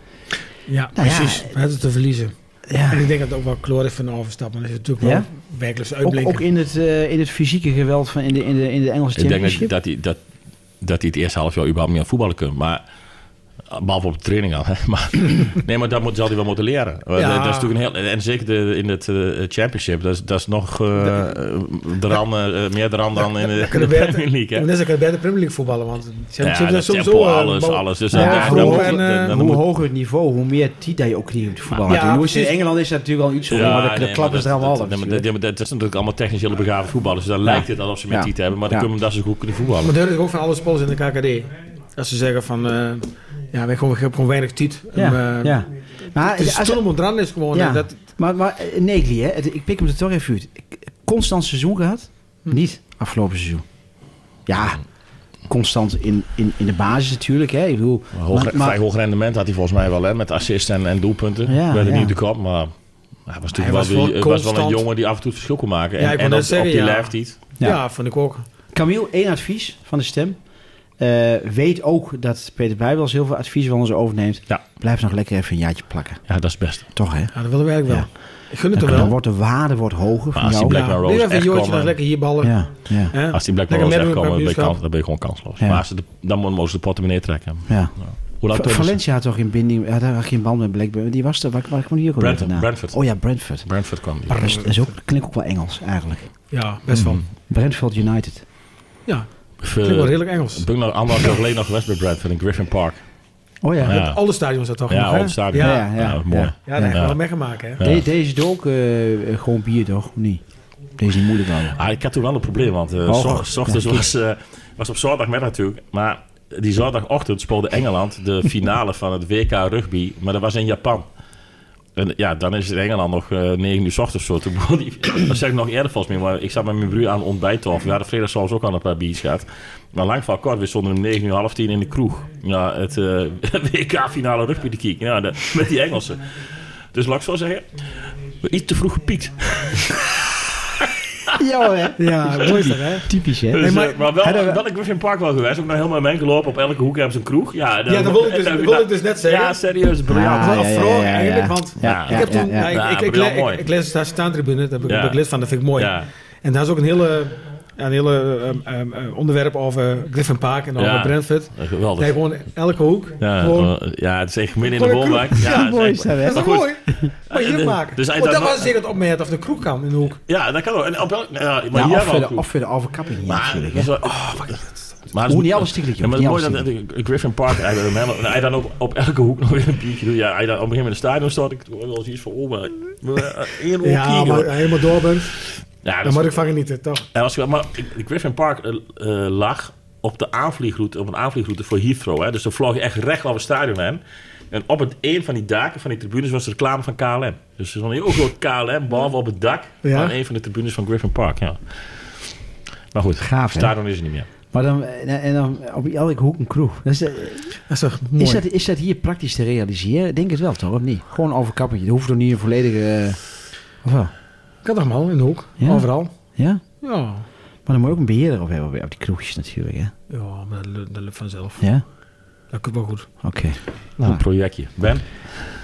Speaker 4: Ja,
Speaker 2: Nou ja,
Speaker 4: precies. We hebben het te verliezen.
Speaker 2: Ja,
Speaker 4: En ik denk dat het ook wel kloor van overstap. Maar dat is natuurlijk
Speaker 2: Ja?
Speaker 4: wel werkelijk
Speaker 2: ook,
Speaker 4: uitblinken.
Speaker 2: ook in, het, eh, in het fysieke geweld van in de, in de, in de Engelse
Speaker 3: Ik denk dat,
Speaker 2: championship.
Speaker 3: dat, hij, dat, dat hij het eerste half jaar überhaupt niet aan voetballen kan. Maar, behalve op de training al. Hè. Maar, nee, maar dat moet, zal hij wel moeten leren. Eh,
Speaker 4: Ja.
Speaker 3: Dat is natuurlijk een heel, en zeker de, in het eh, championship. Dat is, dat is nog eh, de ran, eh, meer de ran dan in de,
Speaker 4: kunnen
Speaker 3: de
Speaker 4: we-
Speaker 3: Premier League. Hè.
Speaker 4: En dan is ik bij de Premier League voetballen. Want ze
Speaker 3: Ja,
Speaker 4: hebben ze hebben
Speaker 3: dat
Speaker 4: sowieso...
Speaker 3: tempo,
Speaker 4: eh,
Speaker 3: alles,
Speaker 4: bal-
Speaker 3: alles. Dus
Speaker 4: Ja,
Speaker 3: dan- dan-
Speaker 4: vroeg
Speaker 3: dan-
Speaker 4: en,
Speaker 3: dan-
Speaker 4: eh,
Speaker 3: dan
Speaker 2: hoe
Speaker 3: moet-
Speaker 2: hoger het niveau, hoe meer tijd dat je ook niet op het voetbal
Speaker 4: Ja,
Speaker 2: hebt. En hoe is het in
Speaker 4: precies.
Speaker 2: Engeland is dat natuurlijk wel iets zo, maar dat,
Speaker 3: nee,
Speaker 2: dat klappen ze er
Speaker 3: dat-
Speaker 2: allemaal
Speaker 3: dat-
Speaker 2: af.
Speaker 3: nee, maar dat, ja, maar dat is natuurlijk allemaal technisch hele begaafde voetballers. Dus dan
Speaker 2: Ja.
Speaker 3: lijkt het alsof ze meer
Speaker 2: Ja.
Speaker 3: titel hebben. Maar dan
Speaker 2: Ja.
Speaker 3: kunnen we dat zo goed kunnen voetballen.
Speaker 4: Maar dat is ook van alle spelers in de KKD. Dat ze zeggen van... eh, ja, we hebben gewoon, we hebben gewoon weinig tijd.
Speaker 2: Ja,
Speaker 4: En, eh,
Speaker 2: ja. Maar
Speaker 4: Het is
Speaker 2: als-
Speaker 4: toen om onderaan is gewoon...
Speaker 2: Ja.
Speaker 4: eh, Dat,
Speaker 2: Maar, maar eh, Negli, hè? het- ik pik hem er toch even uit. Ik- Constant seizoen gehad?
Speaker 4: Hm.
Speaker 2: Niet afgelopen seizoen. Ja, constant in, in, in de basis natuurlijk. Hè? Ik bedoel,
Speaker 3: Maar Hoog,
Speaker 2: Maar- maar-
Speaker 3: vrij hoog rendement had hij volgens mij wel, hè, met assist en, en doelpunten.
Speaker 2: Ja,
Speaker 3: Werd er
Speaker 2: ja.
Speaker 3: niet de kop, maar hij was
Speaker 4: Hij
Speaker 3: natuurlijk
Speaker 4: was
Speaker 3: wel,
Speaker 4: wel
Speaker 3: weer- was wel een
Speaker 4: constant.
Speaker 3: jongen die af en toe het verschil kon maken. En,
Speaker 4: Ja, ik wou
Speaker 3: en op,
Speaker 4: net
Speaker 3: op
Speaker 4: zeggen,
Speaker 3: die
Speaker 4: ja.
Speaker 3: leeftijd.
Speaker 4: ja.
Speaker 2: Ja.
Speaker 4: vond ik ook.
Speaker 2: Camille, één advies van de stem. Eh, weet ook dat Peter Bijbels heel veel advies van ons overneemt.
Speaker 3: Ja.
Speaker 2: Blijf nog lekker even een jaartje plakken.
Speaker 3: Ja, dat is het beste.
Speaker 2: Toch, hè?
Speaker 4: Ja, dat willen we eigenlijk wel. Ik gun het hem
Speaker 2: Dan,
Speaker 4: wel.
Speaker 2: wordt de waarde wordt hoger
Speaker 3: Maar
Speaker 2: van
Speaker 3: als die
Speaker 2: jou.
Speaker 3: Black Mirror
Speaker 4: ja,
Speaker 3: Rose
Speaker 4: nu even
Speaker 3: echt
Speaker 4: Joortje
Speaker 3: komen.
Speaker 4: nog lekker hier ballen.
Speaker 2: Ja, ja,
Speaker 4: Hè?
Speaker 3: Als die Black
Speaker 4: Lekker
Speaker 3: Rose echt
Speaker 4: meedoen
Speaker 3: komen, dan ben, je
Speaker 4: kampioenschap.
Speaker 3: kans- dan ben je gewoon kansloos.
Speaker 2: Ja.
Speaker 3: Maar als ze de, dan moeten ze de portemonnee trekken.
Speaker 2: ja.
Speaker 3: Hoe lang
Speaker 2: Va-
Speaker 3: Thomas?
Speaker 2: Valencia had toch in binding, had daar geen band met Blackburn. Die was er, waar, waar kwam die ook alweer
Speaker 3: Brentford,
Speaker 2: vandaan?
Speaker 3: Brentford.
Speaker 2: Oh ja, Brentford.
Speaker 3: Brentford kwam die.
Speaker 2: Dat is, dat is ook, klinkt ook wel Engels eigenlijk.
Speaker 4: Ja, best wel.
Speaker 3: Mhm.
Speaker 2: Brentford United.
Speaker 4: Ja, klinkt wel
Speaker 3: Ver-
Speaker 4: redelijk Engels.
Speaker 3: Ik ben nog anderhalf jaar geleden nog geweest bij Brentford in Griffin Park.
Speaker 2: Oh ja.
Speaker 3: Ja.
Speaker 4: Alle stadions dat toch nog,
Speaker 3: Ja,
Speaker 4: hè?
Speaker 3: al het stadion.
Speaker 4: Ja,
Speaker 2: ja, ja.
Speaker 3: mooi.
Speaker 2: Ja.
Speaker 4: Ja, daar heb ik
Speaker 3: Ja.
Speaker 4: wel meegemaakt, hè?
Speaker 3: Ja.
Speaker 2: De- deze doet ook eh, eh, gewoon bier toch? Of niet? Deze is niet moeilijk wel.
Speaker 3: Ah, ik had toen wel een probleem, want eh
Speaker 2: Oh,
Speaker 3: zo-
Speaker 2: goed.
Speaker 3: s ochtends was, eh, was op zaterdagmiddag natuurlijk. Maar die zaterdagochtend speelde Engeland de finale van het WK rugby, maar dat was in Japan. En ja, dan is het in Engeland nog eh 9 uur 's ochtends zo. Toen begon die- dat zeg ik nog eerder volgens mij, maar ik zat met mijn broer aan het ontbijttafel. We hadden vrijdag zelfs ook al een paar biertjes gehad. Maar lang van kort, we stonden om 9 uur half 10 in de kroeg. Ja, het eh, WK-finale rugby te kijken, ja, dat- met die Engelsen. Dus laat ik zo zeggen, iets te vroeg gepiekt.
Speaker 2: Ja hè?
Speaker 4: Ja, mooi is dat, hè?
Speaker 2: Typisch hè?
Speaker 3: Dus, eh, maar,
Speaker 4: maar-
Speaker 3: wel,
Speaker 2: Hadden we-
Speaker 3: wel in Griffin Park wel geweest. Ook nog helemaal mijn gelopen. Op elke hoek hebben ze een kroeg. Ja, eh, dan,
Speaker 4: Ja, dat wil ik dus, dat wil ik dus net zeggen.
Speaker 3: Ja, serieus. Briljant.
Speaker 4: Ah,
Speaker 3: Ja,
Speaker 4: wel afvrolijk eigenlijk, want
Speaker 3: ja,
Speaker 4: ik heb toen,
Speaker 2: ja,
Speaker 4: ik-
Speaker 3: Ja,
Speaker 4: ik,
Speaker 3: maar
Speaker 4: ik,
Speaker 3: wel
Speaker 4: ik,
Speaker 3: mooi.
Speaker 4: ik, lees daar staantribune, daar heb ik,
Speaker 3: Ja.
Speaker 4: heb ik lid van, dat vind ik mooi. En daar is ook een hele, een hele ehm, ehm, ehm, onderwerp over Griffin Park en over
Speaker 3: Ja.
Speaker 4: Brentford.
Speaker 3: geweldig.
Speaker 4: Nee, gewoon elke hoek.
Speaker 3: Ja,
Speaker 4: gewoon,
Speaker 3: eh, ja, het is echt midden in de
Speaker 4: Gewoon een
Speaker 3: woonwijk. Ja, het is
Speaker 2: mooi
Speaker 3: echt-
Speaker 2: is dat, hè?
Speaker 4: dat is
Speaker 3: maar
Speaker 4: toch
Speaker 3: goed.
Speaker 4: mooi? Mooi
Speaker 3: Eh,
Speaker 4: hier
Speaker 3: de-
Speaker 4: maken.
Speaker 3: dus hij
Speaker 4: Want dat
Speaker 3: dan-
Speaker 4: was zeker het opmerking of de kroeg kan in de hoek.
Speaker 3: Ja, dat kan ook. En op elk, ja,
Speaker 2: Ja,
Speaker 3: maar hier
Speaker 2: of
Speaker 3: wel
Speaker 2: weer
Speaker 3: een
Speaker 2: de,
Speaker 3: kroeg.
Speaker 2: of weer de overkapping hier
Speaker 3: Maar,
Speaker 2: natuurlijk.
Speaker 3: dat is
Speaker 2: hè.
Speaker 3: wel- oh, fuck. maar het is-
Speaker 2: Moet niet alles tegelijk,
Speaker 3: Ja,
Speaker 2: joh.
Speaker 3: maar
Speaker 2: Niet
Speaker 3: het is mooi
Speaker 2: alles
Speaker 3: dat eh, Griffin Park eigenlijk hem helemaal- nou, hij dan ook op elke hoek nog weer een biertje doet. Ja, hij dan op een gegeven moment in het stadion staat. Ik hoor wel eens iets van, oh, maar eh, één hoek
Speaker 4: Ja,
Speaker 3: hier,
Speaker 4: maar
Speaker 3: hoor.
Speaker 4: helemaal door bent,
Speaker 3: Ja, dat
Speaker 4: dan
Speaker 3: is-
Speaker 4: moet ik van genieten, toch?
Speaker 3: En als je, maar Griffin Park eh, eh, lag op de aanvliegroute, op een aanvliegroute voor Heathrow. Hè? Dus dan vloog je echt recht over het stadion heen. En op het een van die daken van die tribunes was de reclame van KLM. Dus er was een heel groot KLM boven op het dak
Speaker 4: Ja.
Speaker 3: van een van de tribunes van Griffin Park. Ja. Maar goed,
Speaker 2: Gaaf, hè?
Speaker 3: stadion is er niet meer.
Speaker 2: Maar dan, eh, en dan op elke hoek een kroeg. Dat is, eh,
Speaker 4: Dat is toch mooi?
Speaker 2: is, dat, is dat hier praktisch te realiseren? Ik Denk het wel toch, of niet? Gewoon een overkapping. Er hoeft er niet een volledige... eh, of wel?
Speaker 4: Kan toch man, in de hoek.
Speaker 2: Ja.
Speaker 4: Overal.
Speaker 2: Ja?
Speaker 4: Ja.
Speaker 2: Maar dan moet je ook een beheerder op hebben op die kroegjes natuurlijk hè?
Speaker 4: Ja, maar dat, lu- dat lukt vanzelf.
Speaker 2: Ja?
Speaker 4: Dat komt wel goed.
Speaker 2: Oké. Nou.
Speaker 3: Een projectje. Ben,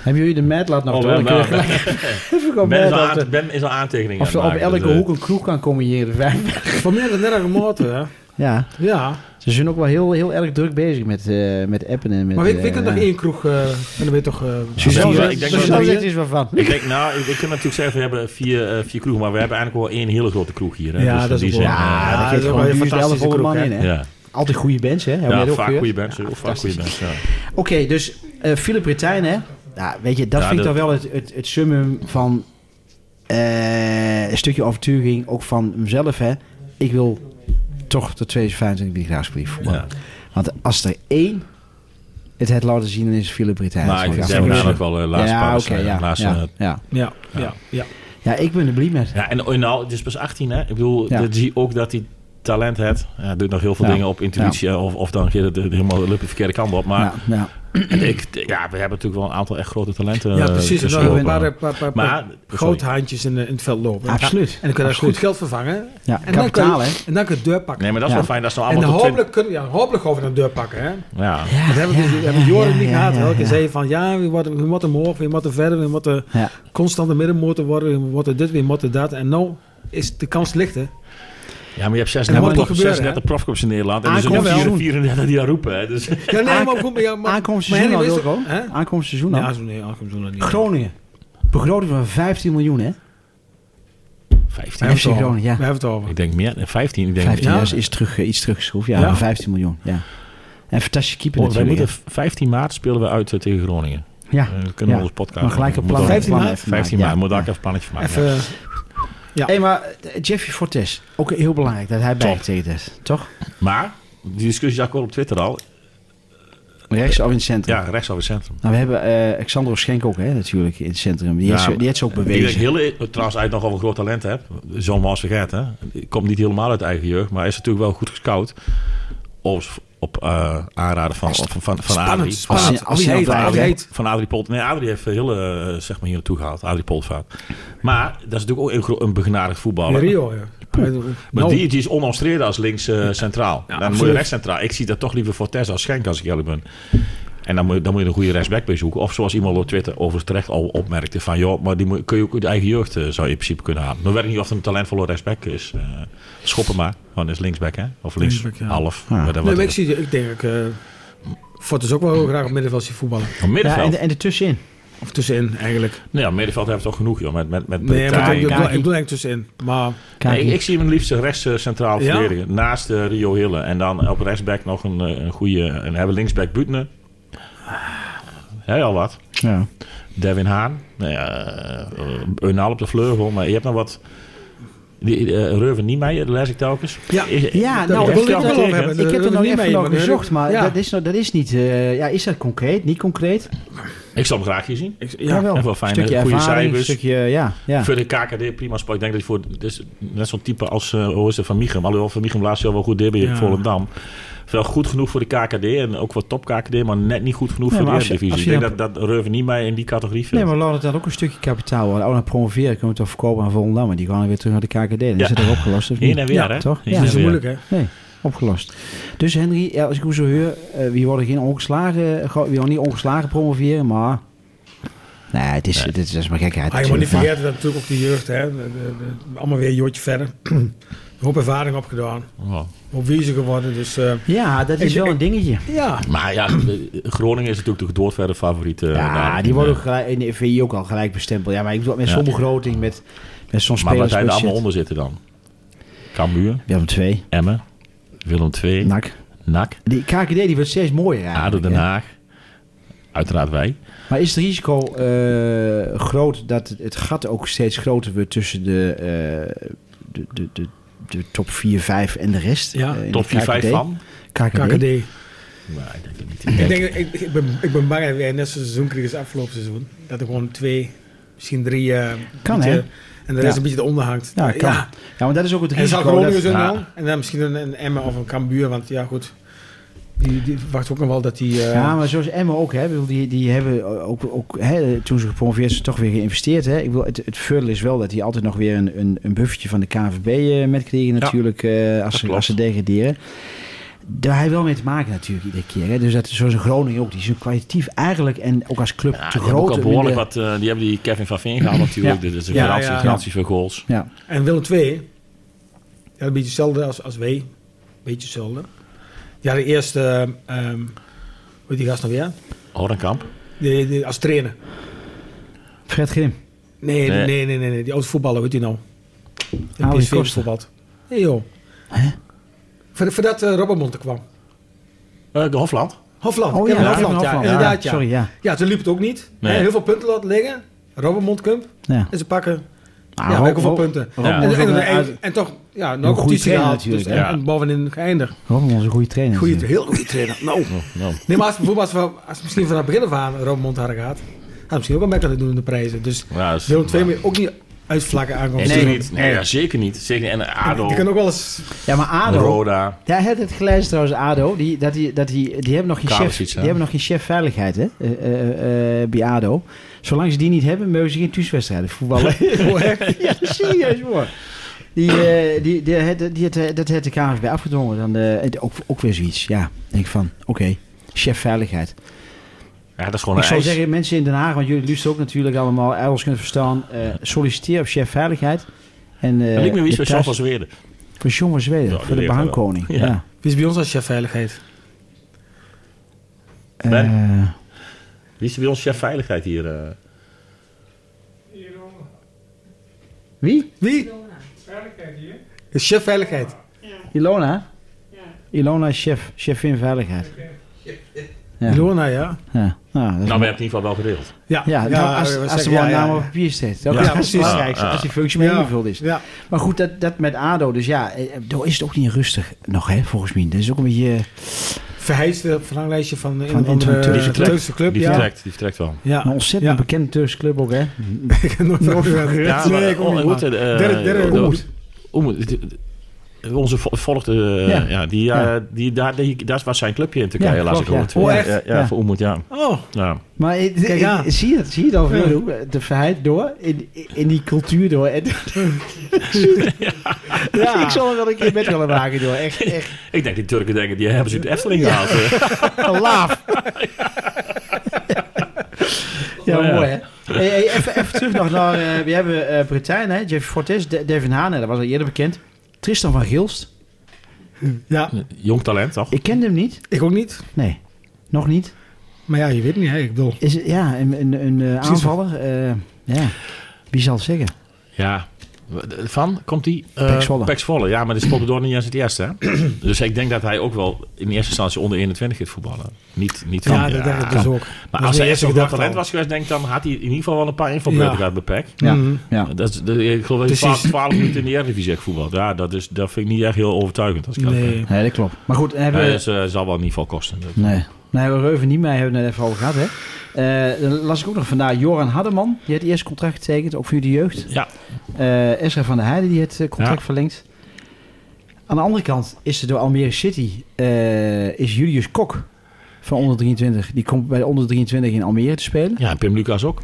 Speaker 2: Hebben jullie de Madlab nog?
Speaker 3: Nou. Oh,
Speaker 2: door?
Speaker 3: wel,
Speaker 2: Dan kunnen we
Speaker 3: wel.
Speaker 2: gelijk- Even gewoon
Speaker 3: ben, is,
Speaker 2: Mad
Speaker 3: al
Speaker 2: Lab
Speaker 3: aan,
Speaker 2: er-
Speaker 3: ben is al aantekeningen
Speaker 2: Of ze
Speaker 3: aan
Speaker 2: op
Speaker 3: het maken,
Speaker 2: elke
Speaker 3: dus, eh,
Speaker 2: hoek een kroeg kan combineren. Vijf.
Speaker 4: Voor mij is het net een motor, hè?
Speaker 2: Ja,
Speaker 4: Ja.
Speaker 2: ze zijn ook wel heel, heel erg druk bezig met, eh, met appen en met...
Speaker 4: Maar weet, weet ik
Speaker 2: eh,
Speaker 4: nog
Speaker 2: ja. Dus
Speaker 4: één kroeg? eh, en dan ben je toch... eh
Speaker 2: Suzanne
Speaker 3: Ja,
Speaker 2: zegt-
Speaker 3: ik denk
Speaker 2: Suzanne
Speaker 4: wel dat-
Speaker 2: zegt er iets wat van.
Speaker 3: Ik denk, nou, ik, ik kan natuurlijk zeggen, we hebben vier, eh, vier kroegen, maar we hebben eigenlijk wel één hele grote kroeg hier. Hè?
Speaker 4: Ja,
Speaker 3: in
Speaker 4: dat is
Speaker 3: die
Speaker 4: ook
Speaker 3: zin,
Speaker 4: wel-
Speaker 3: eh,
Speaker 4: Ja,
Speaker 2: Ja, dat
Speaker 4: dat is
Speaker 2: geeft
Speaker 4: wel
Speaker 2: gewoon
Speaker 4: een
Speaker 2: een
Speaker 4: fantastische
Speaker 2: fantastische man
Speaker 4: kroeg,
Speaker 2: in, hè?
Speaker 4: hè?
Speaker 3: ja.
Speaker 2: Altijd goede bands, hè? Hebben
Speaker 3: Ja,
Speaker 2: jullie ook
Speaker 3: vaak
Speaker 2: gehoord?
Speaker 3: goede bands. heel vaak goede bands, ja.
Speaker 2: Oké, dus eh Philip Retijn, hè? Ja, weet je, dat
Speaker 3: Ja,
Speaker 2: vind ik
Speaker 3: dat-
Speaker 2: dan wel het, het, het summum van eh, een stukje overtuiging, ook van mezelf, hè? Ik wil toch de 2025 die graafsbrief voetballen.
Speaker 3: Ja.
Speaker 2: Want als er één het het laten zien, dan is het Philip Retijn.
Speaker 3: Maar ik
Speaker 2: Dat
Speaker 3: vind
Speaker 2: zou ik
Speaker 3: Zemgaan
Speaker 2: afsluiten.
Speaker 3: ook wel de eh, laatste
Speaker 2: ja,
Speaker 3: paar
Speaker 2: oké, ja,
Speaker 3: laatste,
Speaker 2: ja, ja.
Speaker 4: Ja, ja, ja.
Speaker 2: Ja, ik ben er blij met.
Speaker 3: Ja, en nou, het is pas 18, hè? Ik bedoel,
Speaker 2: Ja.
Speaker 3: dan zie je ook dat hij talent heeft. Ja, hij doet nog heel veel
Speaker 2: Ja.
Speaker 3: dingen op intuïtie. hè, Of, of dan gaat het helemaal loopt het de verkeerde kant op. Maar
Speaker 2: ja, ja.
Speaker 3: ik, ja, we hebben natuurlijk wel een aantal echt grote talenten.
Speaker 4: ja, dus
Speaker 3: eh,
Speaker 4: precies. Er
Speaker 3: tussen
Speaker 4: waren een
Speaker 3: lopen.
Speaker 4: paar, paar, paar, paar
Speaker 3: Maar-
Speaker 4: grote
Speaker 3: sorry.
Speaker 4: haantjes in, eh, in het veld lopen.
Speaker 2: absoluut.
Speaker 4: En dan kun je daar
Speaker 2: Absoluut.
Speaker 4: goed geld vervangen.
Speaker 2: Ja,
Speaker 4: En
Speaker 2: kapitaal,
Speaker 4: dan kun je,
Speaker 2: hè?
Speaker 4: En dan kun je het deur pakken.
Speaker 3: Nee, maar dat is
Speaker 2: Ja.
Speaker 3: wel fijn. Dat is nou
Speaker 4: en
Speaker 3: allemaal tot
Speaker 4: hopelijk, kun, ja, hopelijk gaan we een deur pakken. Hè?
Speaker 3: twin- Ja.
Speaker 2: Ja,
Speaker 4: Dat hebben we
Speaker 2: ja,
Speaker 4: dus- hebben we
Speaker 2: ja,
Speaker 4: Joren
Speaker 2: ja,
Speaker 4: niet
Speaker 2: ja,
Speaker 4: gehad.
Speaker 2: ja,
Speaker 4: Elke
Speaker 2: ja.
Speaker 4: zei van ja, we moeten, we moeten omhoog, we moeten verder, we moeten
Speaker 2: Ja.
Speaker 4: constante middenmotor worden, we moeten dit, we moeten dat. En nou is de kans lichter.
Speaker 3: ja, maar je hebt
Speaker 4: En dat
Speaker 3: 36,
Speaker 4: moet
Speaker 3: prof-
Speaker 4: toch gebeuren, Ah,
Speaker 3: 36 profclubs in Nederland. En er zijn
Speaker 2: Aankomend
Speaker 3: er
Speaker 2: seizoen.
Speaker 3: 34 die daar roepen. Hè? Dus,
Speaker 4: Ja, nee, maar goed, maar ja, maar,
Speaker 2: Aankomend
Speaker 4: maar
Speaker 2: seizoen al,
Speaker 4: Henry wist
Speaker 2: Wilco.
Speaker 4: toch- hè?
Speaker 2: Aankomend seizoen al.
Speaker 4: Ja, zo nee, aankomend seizoen al niet.
Speaker 2: Groningen. Begroting van 15 miljoen, hè?
Speaker 3: 15.
Speaker 4: We hebben het
Speaker 2: FC
Speaker 4: over.
Speaker 2: Groningen, ja.
Speaker 4: We hebben het over.
Speaker 3: Ik denk meer. 15. Ik denk,
Speaker 2: 15
Speaker 4: Ja.
Speaker 2: ja. is, is terug, eh, iets teruggeschroefd. Ja,
Speaker 4: Ja.
Speaker 2: maar 15 miljoen. Ja. En fantastische keeper
Speaker 3: Oh, wij
Speaker 2: natuurlijk.
Speaker 3: moeten 15 maart spelen we uit eh, tegen Groningen.
Speaker 2: ja.
Speaker 3: Eh, we kunnen
Speaker 2: Ja.
Speaker 3: onze podcast.
Speaker 2: Maar gelijk een
Speaker 3: Moet
Speaker 2: plan.
Speaker 3: dan-
Speaker 4: 15
Speaker 2: plan
Speaker 4: maart?
Speaker 2: even
Speaker 3: 15
Speaker 2: maken,
Speaker 3: maart. Moet daar
Speaker 2: ja.
Speaker 3: ook even plannetje van maken.
Speaker 4: Even, eh, Ja.
Speaker 2: Hé, maar eh, Jeffrey Fortes, ook heel belangrijk dat hij bij
Speaker 3: Top.
Speaker 2: tegen is, toch?
Speaker 3: Maar, die discussie zag ik wel op Twitter al.
Speaker 2: Rechts of in het centrum.
Speaker 3: Ja, rechts over het centrum.
Speaker 2: Nou, we hebben eh Alexander Schenk ook, hè, natuurlijk, in het centrum. Die,
Speaker 3: Ja,
Speaker 2: heeft, ze- die heeft ze ook
Speaker 3: Die ik
Speaker 2: bewezen.
Speaker 3: heel, eh, trouwens uit nogal een groot talent heb. Zo'n man vergeet, hè. Die Komt niet helemaal uit eigen jeugd, maar is natuurlijk wel goed gescout. Overigens op eh, aanraden van, van, van, van Adrie.
Speaker 4: spannend,
Speaker 2: Als
Speaker 4: spannend.
Speaker 2: je- als
Speaker 4: Wie
Speaker 2: je
Speaker 4: heet,
Speaker 2: dat
Speaker 4: Wie
Speaker 2: eigenlijk-
Speaker 4: heet.
Speaker 3: Van Adrie Polt. Nee, Adrie heeft heel, eh, zeg maar, hier naartoe gehaald. Adrie Poltvaart. Maar dat is natuurlijk ook een, gro- een begenadigd
Speaker 4: In
Speaker 3: voetballer.
Speaker 4: Rio, ja.
Speaker 3: Maar
Speaker 4: Nou,
Speaker 3: die, die is onomstreden als links eh, centraal. dan moet je
Speaker 4: absoluut.
Speaker 3: rechts centraal. Ik zie dat toch liever voor Tess als Schenk, als ik eerlijk ben. En dan moet, je- dan moet je een goede rechtsback bij zoeken. Of zoals iemand op Twitter overigens terecht al opmerkte: van joh, maar die moet, kun je ook uit de eigen jeugd eh, zou je in principe kunnen halen. Maar weet ik niet of het een talentvolle rechtsback is. Eh, schoppen maar. Gewoon is linksback, hè? Of links
Speaker 4: Linksback, ja.
Speaker 3: half.
Speaker 2: Ja.
Speaker 3: Maar dat
Speaker 4: Nee,
Speaker 3: wordt-
Speaker 4: maar ik, zie, ik denk, eh Fort is ook wel heel graag op middenveld zien voetballen.
Speaker 3: Een
Speaker 2: Ja,
Speaker 3: middenveld.
Speaker 2: en, en ertussenin.
Speaker 4: Of tussenin, eigenlijk.
Speaker 3: Nou ja, middenveld hebben we toch genoeg, joh. Met, met, met
Speaker 4: Nee, maar
Speaker 3: Partij.
Speaker 4: ik, ik,
Speaker 2: Kaki.
Speaker 4: bedoel- ik bedoel eigenlijk tussenin. Maar
Speaker 2: Kijk,
Speaker 3: Nee, ik, ik zie hem liefst rechts eh, centraal
Speaker 4: Ja?
Speaker 3: verdedigen. Naast eh, Rio Hille. En dan op rechtsback nog een, eh, een goede. En dan hebben we linksback Butner. Heel al wat.
Speaker 2: ja.
Speaker 3: Devin Haan. Nou ja, eh, Eunal op de vleugel. Maar je hebt nog wat. Die, eh Reuven Niemeyer, dat lees ik telkens.
Speaker 4: Ja.
Speaker 3: Is-
Speaker 2: Ja,
Speaker 4: Daar
Speaker 2: nou, ik,
Speaker 4: wil ik
Speaker 2: ik,
Speaker 4: het wel over hebben.
Speaker 2: ik heb
Speaker 4: Daar
Speaker 2: er nog
Speaker 4: wil ik
Speaker 2: even
Speaker 4: niet
Speaker 2: naar
Speaker 4: mee,
Speaker 2: gezocht, maar
Speaker 4: maar- Ja.
Speaker 2: dat, is, nou- dat is niet... eh, ja, is dat concreet? Niet concreet?
Speaker 3: Ik zal hem graag hier zien.
Speaker 4: ik,
Speaker 2: Ja,
Speaker 4: ja,
Speaker 2: wel.
Speaker 3: en wel fijne,
Speaker 2: stukje
Speaker 3: goede
Speaker 2: ervaring,
Speaker 3: cijfers.
Speaker 2: stukje... Ja, ja.
Speaker 3: Voor de KKD prima spel. Ik denk dat hij voor dit is net zo'n type als eh hoe is het, Van Michem. Alhoewel Van Michem laatst wel wel goed deed bij
Speaker 4: Ja.
Speaker 3: Volendam. Wel goed genoeg voor de KKD en ook wat top KKD, maar net niet goed genoeg
Speaker 2: Nee,
Speaker 3: voor de
Speaker 2: maar als je-
Speaker 3: Eredivisie.
Speaker 2: als
Speaker 3: Ik
Speaker 2: je
Speaker 3: denk dat, dat Reuven niet mee in die categorie viel.
Speaker 2: Nee, maar laat het dan ook een stukje kapitaal worden. Oh, dan promoveren kunnen we toch verkopen aan Volendam. Maar die gaan dan weer terug naar de KKD. Dan
Speaker 3: Ja.
Speaker 2: is het toch opgelost, of niet?
Speaker 3: Heen en weer,
Speaker 4: Ja,
Speaker 3: hè?
Speaker 2: toch?
Speaker 3: Heen
Speaker 2: Ja.
Speaker 3: en
Speaker 4: dat is
Speaker 3: weer.
Speaker 4: moeilijk, hè?
Speaker 2: Nee, opgelost. Dus Henry, ja, als ik hoe zo hoor, eh, wie worden geen ongeslagen, eh, go- wie worden niet ongeslagen promoveren, maar... Nee, het is, Het is, dat is maar gekheid.
Speaker 4: Ah, je moet
Speaker 2: natuurlijk,
Speaker 4: niet
Speaker 2: maar-
Speaker 4: vergeten dat natuurlijk ook de jeugd, hè, de- de- de- allemaal weer een joortje verder. Een hoop ervaring opgedaan,
Speaker 3: Oh.
Speaker 4: een hoop wiezer geworden. Dus eh,
Speaker 2: Ja, dat is
Speaker 4: Ik-
Speaker 2: wel
Speaker 4: ik-
Speaker 2: een dingetje.
Speaker 4: ja,
Speaker 3: Maar ja, de- Groningen is natuurlijk de gedoordverde favoriet. eh,
Speaker 2: Ja,
Speaker 3: daar.
Speaker 2: die worden
Speaker 3: Eh,
Speaker 2: ook gelijk, in de VI ook al gelijk bestempeld. Ja, maar ik bedoel, met zo'n
Speaker 3: Ja.
Speaker 2: begroting, met, met zo'n
Speaker 3: Maar waar
Speaker 2: spelers.
Speaker 3: zijn er allemaal onder zitten dan? Cambuur,
Speaker 2: We hebben twee.
Speaker 3: Emmen, Willem II,
Speaker 2: NAC.
Speaker 3: NAC,
Speaker 2: Die KKD die wordt steeds mooier
Speaker 3: ADO
Speaker 2: eigenlijk.
Speaker 3: Den
Speaker 2: hè.
Speaker 3: Haag. Uiteraard wij.
Speaker 2: Maar is het risico eh, groot dat het, het gat ook steeds groter wordt tussen de, eh, de, de, de, de top 4, 5 en de rest?
Speaker 4: Ja,
Speaker 2: eh, in
Speaker 3: Top
Speaker 2: de
Speaker 3: 4, 5
Speaker 2: KKD?
Speaker 3: van?
Speaker 2: KKD.
Speaker 4: KKD.
Speaker 3: Maar ik denk het niet.
Speaker 4: Ik, denk, ik, ik, ben, ik ben bang dat wij net zo'n seizoen kregen als afgelopen seizoen. Dat er gewoon twee, misschien drie... eh,
Speaker 2: Kan,
Speaker 4: beetje-
Speaker 2: hè?
Speaker 4: En de rest
Speaker 2: Ja.
Speaker 4: een beetje eronder hangt.
Speaker 2: Ja, kan. Ja, want dat is ook het
Speaker 4: En zal
Speaker 2: risico.
Speaker 4: Groningen
Speaker 2: Dat,
Speaker 4: zo
Speaker 3: ja.
Speaker 4: dan. En dan misschien een, een Emmen of een Cambuur. Want ja, goed. Die, die wacht ook nog wel dat die... eh,
Speaker 2: ja, maar zoals Emmen ook, hè, ik bedoel, die, die hebben ook, ook hè, toen ze gepromoveerd zijn, toch weer geïnvesteerd. Hè. Ik bedoel, het, het voordeel is wel dat die altijd nog weer een, een, een buffertje van de KNVB eh, metkrijgen natuurlijk, eh, als, ze,
Speaker 3: klopt.
Speaker 2: als ze degraderen. Daar heeft wel mee te maken natuurlijk iedere keer. Hè. Dus dat, zoals Groningen ook, die zijn kwalitatief eigenlijk en ook als club
Speaker 3: Ja,
Speaker 2: te
Speaker 3: die hebben ook
Speaker 2: groot.
Speaker 3: al
Speaker 2: om in
Speaker 3: behoorlijk
Speaker 2: de-
Speaker 3: wat. eh, die hebben die Kevin van Veen gehaald natuurlijk.
Speaker 2: Ja.
Speaker 3: Dit is een
Speaker 4: Ja,
Speaker 3: garantie,
Speaker 4: ja.
Speaker 3: garantie voor goals.
Speaker 2: Ja,
Speaker 4: En Willem II, ja, een beetje hetzelfde als, als wij. Beetje hetzelfde. Ja, de eerste, ehm hoe heet die gast nou weer?
Speaker 3: Horenkamp.
Speaker 4: Die- die- als trainer.
Speaker 2: Fred Grim.
Speaker 4: Nee, nee,
Speaker 3: Nee.
Speaker 4: nee, nee, nee, nee. die oud voetballer, hoe heet die nou? In
Speaker 2: Ali
Speaker 4: PSV
Speaker 2: Costa.
Speaker 4: voetbald. Nee joh. Voor, voordat eh Robbenmond er kwam.
Speaker 3: Eh, de Hofland.
Speaker 4: Hofland,
Speaker 2: Oh ja,
Speaker 4: Kevin
Speaker 2: ja,
Speaker 4: Hofland, ja,
Speaker 2: Hofland, ja.
Speaker 4: inderdaad ja.
Speaker 2: Sorry, ja.
Speaker 4: Ja, toen liep het ook niet.
Speaker 3: Nee.
Speaker 4: Hè, Heel veel punten laten liggen. Robbenmond kump
Speaker 2: Ja,
Speaker 4: en ze pakken
Speaker 2: Ah,
Speaker 4: ja,
Speaker 2: Rob-
Speaker 4: heel veel
Speaker 2: Rob-
Speaker 4: punten.
Speaker 2: Rob-
Speaker 3: Ja.
Speaker 4: En,
Speaker 2: Rob-
Speaker 4: en, en,
Speaker 2: Rob-
Speaker 4: en, toch, ja,
Speaker 2: goede
Speaker 4: nog een competitie
Speaker 2: trainer
Speaker 4: gehaald. Dus,
Speaker 2: natuurlijk,
Speaker 4: en,
Speaker 3: ja.
Speaker 4: en bovenin geëindigd.
Speaker 2: Rob is een goede trainer.
Speaker 4: Goeie, heel goede trainer. Nou.
Speaker 3: Nou,
Speaker 4: Nee, maar als, bijvoorbeeld als, we, als we misschien vanaf het begin af aan Robmond hadden gehad, had we misschien ook wel mee kunnen doen in de prijzen. Dus
Speaker 3: ja, dat is-
Speaker 4: Willem II moet je ook niet uitvlakken aankomt.
Speaker 3: Nee,
Speaker 2: Nee,
Speaker 3: natuurlijk niet. Nee,
Speaker 2: nee.
Speaker 3: ja, zeker niet. Zeker niet. En ADO,
Speaker 4: Die kan ook wel eens...
Speaker 2: Ja, maar ADO...
Speaker 3: Roda.
Speaker 2: Daar had het gelezen trouwens, ADO. Die, dat die, dat die, die hebben nog geen chef,
Speaker 3: Karelsiets,
Speaker 2: die
Speaker 3: ja.
Speaker 2: hebben nog geen chef veiligheid, hè? eh, eh, eh, bij ADO. Zolang ze die niet hebben, mogen ze geen thuiswedstrijden voetballen. ja, serieus, hoor. Die, eh, die, die, had- die, had- dat had de KNVB afgedwongen. Dan, eh, het- ook, ook weer zoiets, ja. Denk van, oké, chef veiligheid.
Speaker 3: Ja, dat is gewoon een
Speaker 2: Ik zou
Speaker 3: ijs.
Speaker 2: zeggen, mensen in Den Haag, want jullie luisteren ook natuurlijk allemaal Engels kunnen verstaan. eh, solliciteer op chef veiligheid. En, eh,
Speaker 3: dat lijkt me
Speaker 2: de
Speaker 3: iets van Jean
Speaker 2: thuis-
Speaker 3: van Zweden.
Speaker 2: Van John van Zweden,
Speaker 3: Ja, die
Speaker 2: voor de
Speaker 3: leeft wel.
Speaker 2: behangkoning.
Speaker 3: Ja.
Speaker 2: ja.
Speaker 4: Wie is bij ons als chef veiligheid?
Speaker 3: Ben?
Speaker 2: Eh,
Speaker 3: Wie is bij ons chef veiligheid hier? eh?
Speaker 1: Hierom,
Speaker 2: Wie?
Speaker 4: Wie?
Speaker 1: veiligheid hier.
Speaker 4: Is chef veiligheid.
Speaker 2: Ilona? Ilona is chef, chef in veiligheid. Ja.
Speaker 4: Ilona, ja.
Speaker 2: Ja. Nou, dat is-
Speaker 3: Nou, we hebben het in ieder geval wel geregeld.
Speaker 4: Ja,
Speaker 2: ja, nou, als,
Speaker 4: we
Speaker 2: als
Speaker 4: zeggen-
Speaker 2: er wel
Speaker 4: ja,
Speaker 2: een
Speaker 4: ja,
Speaker 2: naam
Speaker 4: ja.
Speaker 2: op papier staat. Dat
Speaker 4: Ja,
Speaker 2: is het
Speaker 4: precies.
Speaker 2: belangrijkste,
Speaker 3: Ah,
Speaker 2: als die functie mee
Speaker 4: Ja.
Speaker 2: ingevuld is.
Speaker 4: Ja.
Speaker 2: Maar goed, dat, dat met ADO, dus ja, eh, daar is het ook niet rustig nog, hè, volgens mij. Dat is ook een beetje... eh,
Speaker 4: Verhijst eh, verlanglijstje van een
Speaker 2: Van
Speaker 4: of andere
Speaker 2: Inter-
Speaker 4: eh,
Speaker 3: Die vertrekt.
Speaker 4: Turkse club.
Speaker 3: Die
Speaker 4: Ja.
Speaker 3: vertrekt, die vertrekt wel.
Speaker 4: Ja.
Speaker 2: Een ontzettend
Speaker 4: Ja.
Speaker 2: bekende Turkse club ook, hè.
Speaker 4: Ik heb nooit van gehoord.
Speaker 3: Ja,
Speaker 4: Nee, ik ook
Speaker 3: maar- Oemut,
Speaker 4: niet, man.
Speaker 3: eh,
Speaker 4: Derde- derde
Speaker 3: eh,
Speaker 4: Oemut.
Speaker 3: Oemut, de- de- Onze vo- volgde, eh,
Speaker 2: Ja.
Speaker 3: ja. die, eh,
Speaker 2: Ja.
Speaker 3: die, daar, die, daar was zijn clubje in Turkije,
Speaker 2: Ja,
Speaker 3: laatst ik
Speaker 2: klopt,
Speaker 3: gehoord.
Speaker 2: ja.
Speaker 4: Oh,
Speaker 3: Ja,
Speaker 4: echt?
Speaker 3: Ja, ja,
Speaker 2: Ja.
Speaker 3: voor Oemut, ja.
Speaker 4: Oh,
Speaker 3: ja.
Speaker 2: Maar ik- ik-
Speaker 4: Kijk aan.
Speaker 2: zie je het, zie je het al
Speaker 4: Ja.
Speaker 2: veel, hoe eh, de verheid door, in, in die cultuur door. En,
Speaker 4: ja.
Speaker 2: Ik zal er wel een keer met willen maken door, echt, echt.
Speaker 3: Ik denk die Turken denken, die hebben ze uit de Efteling gehaald. eh.
Speaker 2: Laaf. ja,
Speaker 3: Oh, ja.
Speaker 2: mooi hè. Hey, hey, even, even terug nog naar... eh, we hebben eh Bretijn, hè, Jeff Fortes, De- Devin Haan, hè, dat was al eerder bekend. Tristan van Gilst.
Speaker 4: ja,
Speaker 3: Jong talent, toch?
Speaker 2: Ik kende hem niet.
Speaker 4: ik ook niet.
Speaker 2: Nee, nog niet.
Speaker 4: Maar ja, je weet niet, hè. Ik bedoel,
Speaker 2: Is, het- ja, een, een, een eh,
Speaker 4: Precies.
Speaker 2: aanvaller. eh, ja, wie zal het zeggen?
Speaker 3: Ja. Van komt die? eh,
Speaker 2: Pek Zwolle.
Speaker 3: Pek Zwolle, ja, maar dat is Poppendorn niet eens het eerste. Hè? dus ik denk dat hij ook wel in eerste instantie onder 21 gaat voetballen. Niet, niet van,
Speaker 4: ja, dat denk ik dus ook.
Speaker 3: Maar als hij
Speaker 4: Dat is mijn
Speaker 3: echt
Speaker 4: eerste
Speaker 3: een groot
Speaker 4: gedachte
Speaker 3: talent
Speaker 4: al.
Speaker 3: was geweest, denk ik, dan had hij in ieder geval wel een paar invalbeurten
Speaker 4: Ja. Dus
Speaker 3: gehad bij Pek.
Speaker 2: Ja.
Speaker 4: Mhm.
Speaker 2: Ja.
Speaker 3: Dat is, dat- ik geloof dat hij
Speaker 4: Precies.
Speaker 3: 12, 12 minuten in de Eredivisie heeft voetbald. Ja, dat, is, dat vind ik niet echt heel overtuigend. Als ik eerlijk ben.
Speaker 4: Nee.
Speaker 2: Nee, dat klopt. Maar goed, hebben
Speaker 3: Ja,
Speaker 2: we...
Speaker 3: dat is, eh, zal wel in ieder geval kosten. Dat-
Speaker 2: Nee. Nee, we Reuven niet mee, hebben we het net even over gehad, hè. Eh, dan las ik ook nog vandaag Joran Haddeman. Die had het eerste contract getekend, ook voor jullie jeugd.
Speaker 3: Ja,
Speaker 2: eh Esra van der Heijden die het eh, contract
Speaker 3: Ja.
Speaker 2: verlengt. Aan de andere kant is er door Almere City eh, is Julius Kok van onder 23. Die komt bij de onder 23 in Almere te spelen.
Speaker 3: ja en Pim Lucas ook.